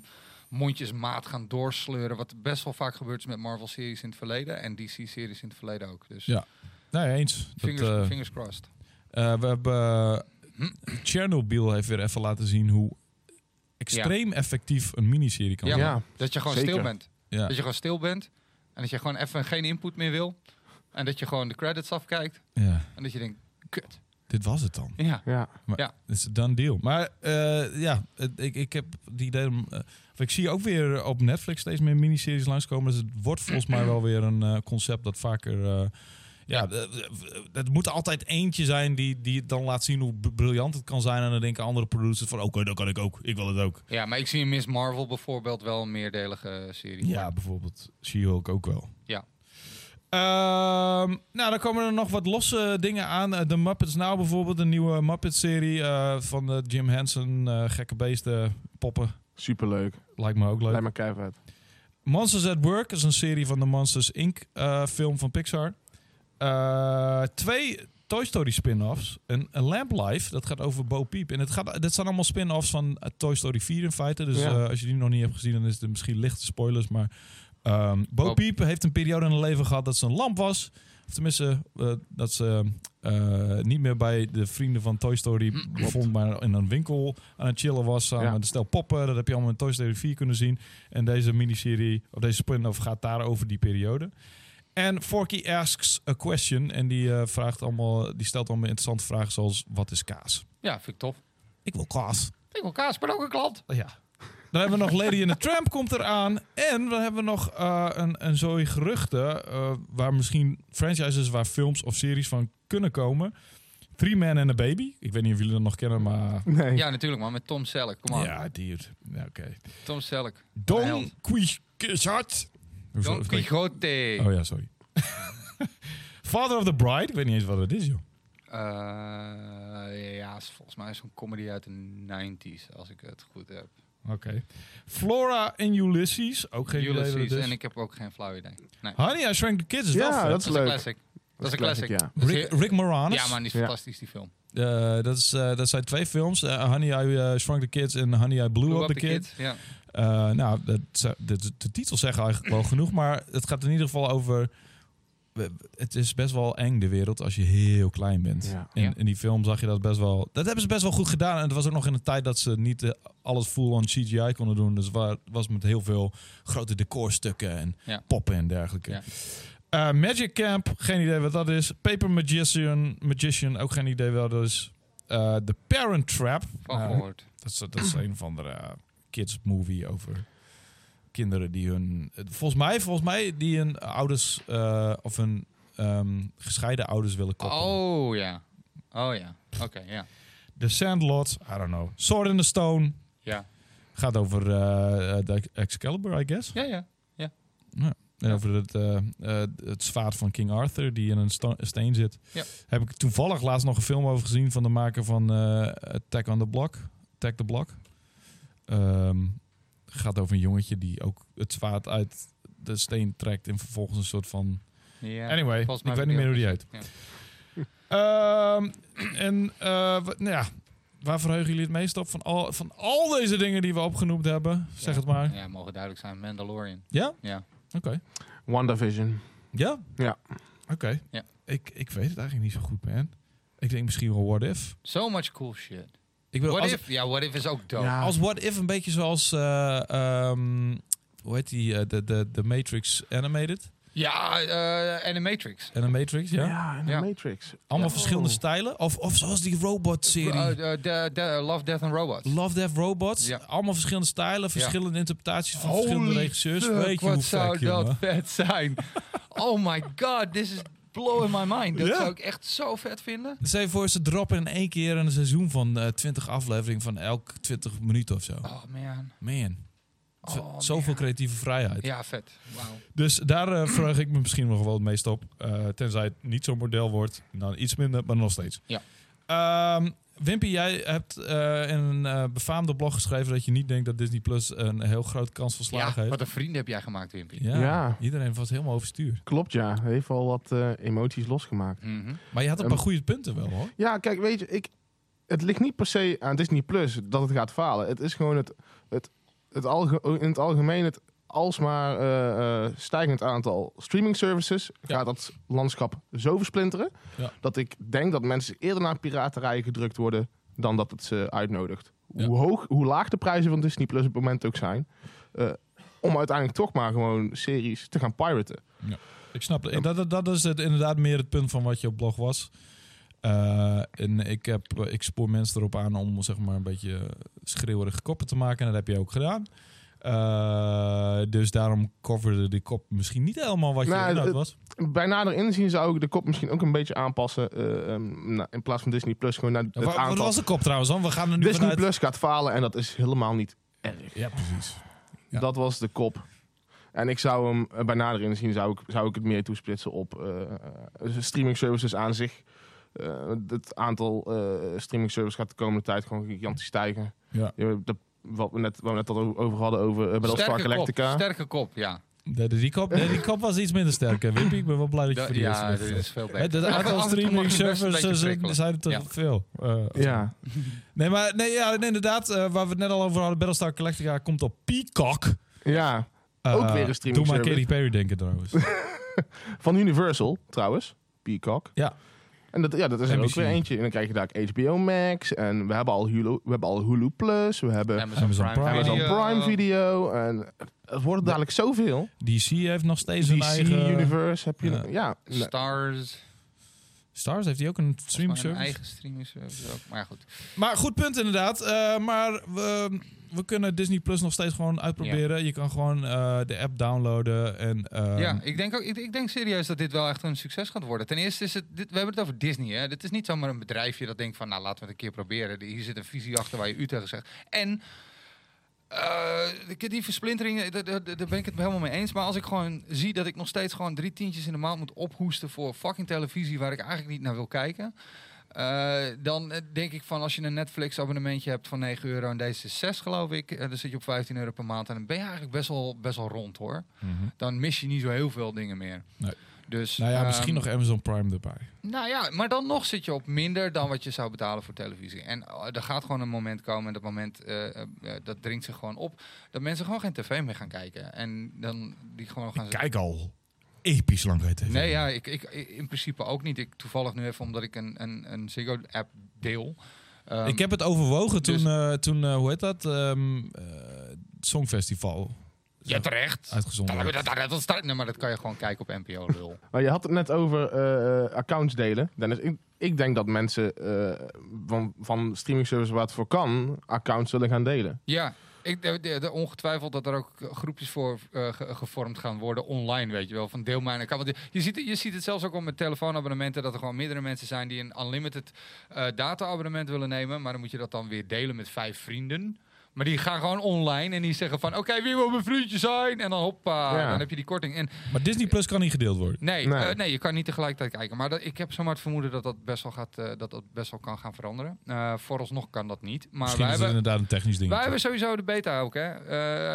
B: mondjesmaat gaan doorsleuren. Wat best wel vaak gebeurd is met Marvel-series in het verleden. En DC-series in het verleden ook. Dus
A: Nou Ja, Nee, eens. Dat,
B: fingers,
A: eh,
B: fingers crossed.
A: eh, we hebben... eh,
B: Hm?
A: Chernobyl heeft weer even laten zien hoe extreem effectief een miniserie kan
B: Ja,
A: zijn.
C: ja.
B: Dat je gewoon
C: zeker.
B: stil bent.
A: Ja.
B: Dat je gewoon stil bent. En dat je gewoon even geen input meer wil. En dat je gewoon de credits afkijkt.
A: Ja.
B: En dat je denkt, kut.
A: Dit was het dan.
B: Ja.
C: Ja.
A: Dat is een done deal. Maar eh, ja, het- ik, ik heb het idee... om, eh, of ik zie ook weer op Netflix steeds meer miniseries langskomen. Dus het wordt volgens mij wel weer een eh, concept dat vaker... eh, ja, d- d- het moet altijd eentje zijn die, die het dan laat zien hoe b- briljant het kan zijn. En dan denken andere producers van... Oké, dat kan ik ook. Ik wil het ook.
B: Ja, maar ik zie in Miss Marvel bijvoorbeeld wel een meerdelige eh, serie.
A: Ja, bijvoorbeeld She-Hulk ook wel.
B: Ja.
A: Ehm, nou, dan komen er nog wat losse dingen aan. Eh, De Muppets Now bijvoorbeeld, een nieuwe Muppet-serie eh, van eh, Jim Henson. eh, gekke beesten, poppen.
C: Superleuk.
A: Lijkt me ook leuk.
C: Lijkt me keihard.
A: Monsters at Work is een serie van de Monsters Inc. eh, film van Pixar. Eh, twee Toy Story spin-offs. Een, een Lamp Life, dat gaat over Bo Peep. En het gaat, dit zijn allemaal spin-offs van eh, Toy Story 4 in feite. Dus
C: Ja.
A: eh, als je die nog niet hebt gezien, dan is het misschien lichte spoilers. Maar ehm Bo
B: Bo-
A: Peep heeft een periode in haar leven gehad dat ze een lamp was. Of tenminste, eh, dat ze eh, niet meer bij de vrienden van Toy Story vond, maar in een winkel aan het chillen was. Samen
C: Ja.
A: met een stel poppen, dat heb je allemaal in Toy Story 4 kunnen zien. En deze miniserie, of deze spin-off, gaat daar over die periode. En Forky asks a question. En die, eh, vraagt allemaal, die stelt allemaal interessante vragen zoals... Wat is kaas?
B: Ja, vind ik tof.
A: Ik wil kaas.
B: Ik wil kaas, maar ook een klant.
A: Ja. Dan hebben we nog Lady in the Tramp komt eraan. En dan hebben we nog eh, een, een zooi geruchten... eh, waar misschien franchises waar films of series van kunnen komen. Three Men and a Baby. Ik weet niet of jullie dat nog kennen, maar...
C: Nee.
B: Ja, natuurlijk man, met Tom Selleck. Kom maar.
A: Ja, dude. Ja, oké.
B: Tom Selleck.
A: Don
B: Held.
A: Quixote. Hoezo?
B: Don Quixote.
A: Oh ja, sorry. Father of the Bride. Ik weet niet eens wat het is, joh.
B: Eh, ja, is volgens mij zo'n comedy uit de 90s, als ik het goed heb.
A: Oké. Flora en Ulysses. Ook geen idee wat het
B: Ulysses,
A: is.
B: en ik heb ook geen flauw idee. Nee.
A: Honey, I Shrunk the Kids is
C: Ja,
A: wel vet.
C: dat
B: Dat is een
C: leuk.
B: classic. Dat is een classic.
C: Ja.
B: Dat is
A: Rick,
B: heel-
A: Rick Moranis.
B: Ja, man, die is
C: Ja.
B: fantastisch, die film.
A: Eh, dat, is, eh, dat zijn twee films. Eh, Honey, I eh, Shrunk the Kids en Honey, I Blew, Up, the, Kid.
B: Ja.
A: Eh, nou, dat, zou- de, de, de titels zeggen eigenlijk wel genoeg. Maar het gaat in ieder geval over... we- Het is best wel eng, de wereld, als je heel klein bent.
C: Ja.
A: In,
B: Ja.
A: in die film zag je dat best wel... Dat hebben ze best wel goed gedaan. En het was ook nog in een tijd dat ze niet eh, alles full-on CGI konden doen. Dus waar, was met heel veel grote decorstukken en
B: Ja.
A: poppen en dergelijke.
B: Ja.
A: Eh, Magic Camp, geen idee wat dat is. Paper Magician, Magician ook geen idee wat dat is. Eh The Parent Trap.
B: Van
A: Nou,
B: gehoord.
A: dat is, dat is een of andere eh, kids movie over kinderen die hun... eh, Volgens mij, volgens mij die hun ouders eh, of hun ehm, gescheiden ouders willen koppelen.
B: Oh ja. Oh ja. Oké, ja.
A: The Sandlot, I don't know. Sword in the Stone.
B: Ja.
A: Gaat over eh, eh, de Excalibur, I guess.
B: Ja, ja.
A: Ja. En over het, eh, eh, het zwaard van King Arthur die in een sta- steen zit.
B: Ja.
A: Heb ik toevallig laatst nog een film over gezien van de maker van eh, Attack on the Block. Attack the Block. Ehm, gaat over een jongetje die ook het zwaard uit de steen trekt en vervolgens een soort van...
B: Ja,
A: anyway, ik
B: volgens mij
A: weet niet meer hoe die heet.
B: verkeerd. Ja.
A: Ehm, en eh, wat- nou ja, waar verheugen jullie het meest op? Van al, van al deze dingen die we opgenoemd hebben, zeg
B: Ja.
A: het maar.
B: Ja, mogen duidelijk zijn. Mandalorian.
A: Ja?
B: Ja.
A: Oké.
C: WandaVision.
A: Ja?
C: Ja.
A: Oké.
B: Ja.
A: Ik, ik weet het eigenlijk niet zo goed, man. Ik denk misschien wel What If.
B: So much cool shit.
A: Ik wil
B: What
A: als,
B: if? Ja, what if is ook dope.
C: Ja.
A: als What If een beetje zoals... eh, ehm, hoe heet die? eh, de, de, de Matrix Animated.
B: Ja, eh Animatrix.
A: Animatrix, ja.
C: Ja, en de
B: Ja.
C: Matrix.
A: Allemaal
C: Ja.
A: verschillende
C: Oh.
A: stijlen. Of, of zoals die robot-serie.
B: Eh, eh, de, de, Love, Death and Robots.
A: Love Death Robots.
B: Ja.
A: Allemaal verschillende stijlen, verschillende interpretaties van
B: Holy
A: verschillende regisseurs.
B: fuck,
A: Weet je
B: wat
A: hoe
B: zou
A: vaak, jongen.
B: dat vet zijn? oh my god, this is blowing my mind. Dat
A: Ja.
B: zou ik echt zo vet vinden.
A: Stel je Dus voor, ze droppen in één keer een seizoen van eh 20 afleveringen van elk 20 minuten of zo.
B: Oh man.
A: Man.
B: Oh,
A: Z-
B: man.
A: Zoveel creatieve vrijheid.
B: Ja, vet. Wauw.
A: Dus daar eh, verheug ik me misschien nog wel het meest op. Eh, tenzij het niet zo'n model wordt. Dan iets minder, maar nog steeds.
B: Ja.
A: Ehm, Wimpy, jij hebt eh, in een eh, befaamde blog geschreven dat je niet denkt dat Disney Plus een heel grote kans van slagen
B: Ja,
A: heeft.
B: wat een vrienden heb jij gemaakt, Wimpy.
A: Ja,
C: Ja.
A: iedereen was helemaal overstuur.
C: Klopt, ja. Heeft al wat eh, emoties losgemaakt.
B: Mhm.
A: Maar je had een
C: Ehm,
A: paar goede punten wel hoor.
C: Ja, kijk, weet je, ik, het ligt niet per se aan Disney Plus dat het gaat falen. Het is gewoon het, het, het alge, in het algemeen het alsmaar eh, eh, stijgend aantal streaming services
A: Ja.
C: gaat dat landschap zo versplinteren
A: Ja.
C: dat ik denk dat mensen eerder naar piraterij gedrukt worden dan dat het ze uitnodigt.
A: Ja.
C: Hoe hoog, hoe laag de prijzen van Disney Plus op het moment ook zijn, eh, om uiteindelijk toch maar gewoon series te gaan piraten.
A: Ik snap het. Dat, dat, dat is het, inderdaad meer het punt van wat je op blog was. Eh, en ik, heb, eh, ik spoor mensen erop aan om zeg maar, een beetje schreeuwerige koppen te maken. En dat heb je ook gedaan. Eh, dus daarom coverde die kop misschien niet helemaal wat je
C: Nou,
A: inhoud
C: het-
A: was.
C: bij nader inzien zou ik de kop misschien ook een beetje aanpassen. eh, ehm, nou, in plaats van Disney Plus, gewoon naar
A: Wa-
C: het
A: Wat
C: aantal.
A: was de kop trouwens dan? We gaan er nu
C: Disney
A: vanuit...
C: Plus gaat falen en dat is helemaal niet erg.
A: Ja, precies. Ja.
C: Dat was de kop. En ik zou hem eh, bij nader inzien, zou ik, zou ik het meer toesplitsen op eh, eh, streaming services aan zich. Eh, het aantal eh, streaming services gaat de komende tijd gewoon gigantisch stijgen.
A: Ja.
C: Je hebt de- wat we net, waar we net al over hadden over eh, Battlestar
B: Sterke kop,
C: Galactica.
B: sterke kop, ja.
A: Nee, Die kop, nee, die kop was iets minder sterk. hè, Wimpy, ik ben wel blij dat je
B: Da-
A: voor de eerste
B: ja,
A: bent
B: dit
A: geweest.
B: is veel
A: Hè,
B: beter.
A: Het aantal
B: Af en toe mag
A: streaming
B: je best een beetje
A: services
B: prikkelen.
A: zijn er te
B: Ja.
A: veel. Eh,
C: Ja,
A: Nee, maar nee, ja, nee, inderdaad, eh, waar we het net al over hadden, Battlestar Galactica komt op Peacock.
C: ja.
A: Eh,
C: Ook weer een streaming
A: Doe maar
C: service.
A: Katy Perry denken trouwens.
C: Van Universal, trouwens. Peacock.
A: Ja.
C: En dat, ja, dat is er
A: NBC.
C: ook weer eentje. En dan krijg je daar ook HBO Max. En we hebben al Hulu, we hebben al Hulu Plus. We hebben
B: Amazon,
A: Amazon
B: Prime,
A: Prime.
C: Amazon
B: Video. eh,
C: Prime Video. En het wordt dadelijk zoveel.
A: DC heeft nog steeds een
C: DC
A: eigen...
C: Universe heb je.
A: Ja.
C: Ja. ja. Nee.
B: Stars.
A: Stars heeft hij ook een streaming
B: Streaming
A: service.
B: eigen streaming service ook. Maar goed.
A: Maar goed punt inderdaad. Eh, maar we, we kunnen Disney Plus nog steeds gewoon uitproberen. Je kan gewoon eh, de app downloaden en... eh,
B: ja, ik denk, ook, ik, ik denk serieus dat dit wel echt een succes gaat worden. Ten eerste is het, dit, we hebben het over Disney. Hè? Dit is niet zomaar een bedrijfje dat denkt van, nou laten we het een keer proberen. Hier zit een visie achter waar je u tegen zegt. En eh, ik- die versplinteringen, daar- daar daar ben ik het helemaal mee eens. Maar als ik gewoon zie dat ik nog steeds gewoon drie tientjes in de maand moet ophoesten voor fucking televisie waar ik eigenlijk niet naar wil kijken. eh, dan eh, denk ik van als je een Netflix abonnementje hebt van 9 euro en deze is 6 geloof ik, eh, dan zit je op 15 euro per maand en dan ben je eigenlijk best wel, best wel rond hoor
A: mhm.
B: dan mis je niet zo heel veel dingen meer.
A: Nee.
B: Dus,
A: Nou ja,
B: ehm,
A: misschien nog Amazon Prime erbij.
B: Nou ja, maar dan nog zit je op minder dan wat je zou betalen voor televisie. En eh, er gaat gewoon een moment komen, en dat moment, eh, eh, dat dringt zich gewoon op, dat mensen gewoon geen tv meer gaan kijken. En dan die gewoon gaan...
A: Ik kijk al episch lang bij tv.
B: Nee, ja, ik, ik, ik- in principe ook niet. Ik toevallig nu even, omdat ik een, een, een Ziggo-app deel. Ehm,
A: ik heb het overwogen toen,
B: dus-
A: eh, toen eh, hoe heet dat? Ehm, eh, Songfestival.
B: Ja, terecht.
A: Uitgezonden. werd.
B: Dat start, nee, maar dat kan je gewoon kijken op NPO, lul.
C: Maar je had het net over eh, accounts delen. Dennis, ik, ik denk dat mensen eh, van, van streaming services waar het voor kan, accounts zullen gaan delen.
B: Ja, ik, de, de- de- ongetwijfeld dat er ook groepjes voor eh, ge- gevormd gaan worden online, weet je wel. Van deel mijn account. Want je- je ziet, het- je ziet het zelfs ook al met telefoonabonnementen, dat er gewoon meerdere mensen zijn die een unlimited eh data-abonnement willen nemen. Maar dan moet je dat dan weer delen met vijf vrienden. Maar die gaan gewoon online en die zeggen van... Oké, wie wil mijn vriendje zijn? En dan hoppa,
C: Ja.
B: dan heb je die korting. En
A: Maar Disney Plus kan niet gedeeld worden.
B: nee,
C: Nee.
B: nee. nee, je kan niet tegelijkertijd kijken. Maar dat, ik heb zomaar het vermoeden dat dat best wel, gaat, eh, dat dat best wel kan gaan veranderen. Eh, vooralsnog kan dat niet. Maar
A: Misschien
B: wij
A: is het
B: hebben,
A: inderdaad een technisch ding.
B: wij hebben sowieso de beta ook, hè?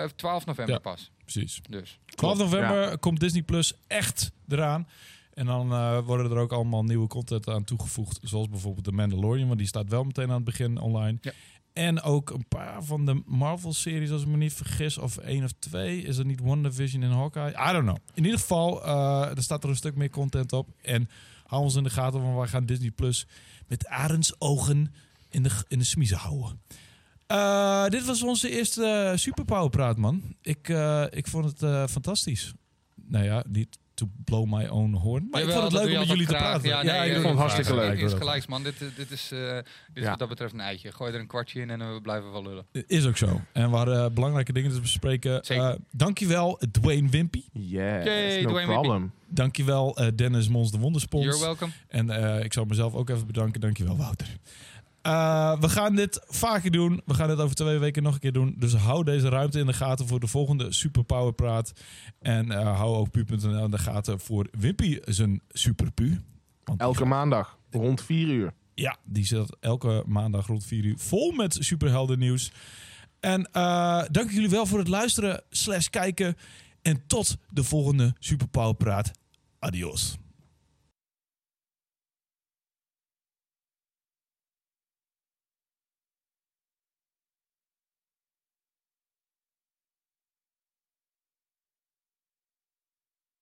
B: Eh, 12 november
A: Ja.
B: pas.
A: Precies.
B: Dus.
A: 12
C: Klopt,
A: november komt Disney Plus echt eraan. En dan eh, worden er ook allemaal nieuwe content aan toegevoegd. Zoals bijvoorbeeld The Mandalorian, want die staat wel meteen aan het begin online.
B: Ja.
A: En ook een paar van de Marvel-series, als ik me niet vergis. Of één of twee. Is er niet WandaVision en Hawkeye? I don't know. In ieder geval, eh, er staat er een stuk meer content op. En hou ons in de gaten, want wij gaan Disney Plus met arendsogen in de, in de smiezen houden. Eh, dit was onze eerste eh, Superpower Praat, man. Ik, eh, ik vond het eh, fantastisch. Nou ja, niet to blow my own horn. Maar
B: Jawel,
A: ik vond het
B: dat doe
A: leuk
B: je
A: om met
B: altijd
A: jullie te
B: graag.
A: praten.
B: Ja, nee,
A: ik
B: eh,
C: vond het hartstikke
B: eh,
C: leuk.
B: Eens
A: Ik
B: gelijks, man. Dit, eh, dit is, eh, dit is
C: Ja.
B: wat dat betreft een eitje. Gooi er een kwartje in en eh, we blijven wel lullen.
A: vond het- Is ook zo. En we hadden eh, belangrijke dingen te bespreken.
B: Zeker.
A: Eh, dankjewel Dwayne Wimpy.
C: Yeah,
B: Yay,
C: no
B: Dwayne
C: problem.
A: Dankjewel eh, Dennis Mons de
B: You're
A: Wonderspons.
B: welcome.
A: En eh, ik zal mezelf ook even bedanken. Dankjewel, Wouter. Eh, we gaan dit vaker doen. We gaan dit over twee weken nog een keer doen. Dus hou deze ruimte in de gaten voor de volgende Superpower Praat. En eh, hou ook pu.nl in de gaten voor Wimpy zijn Superpu. Want die
C: Elke maandag rond 4 uur.
A: ja, die zit elke maandag rond 4 uur vol met superhelden nieuws. En eh, dank jullie wel voor het luisteren slash kijken. En tot de volgende Superpower Praat. Adios.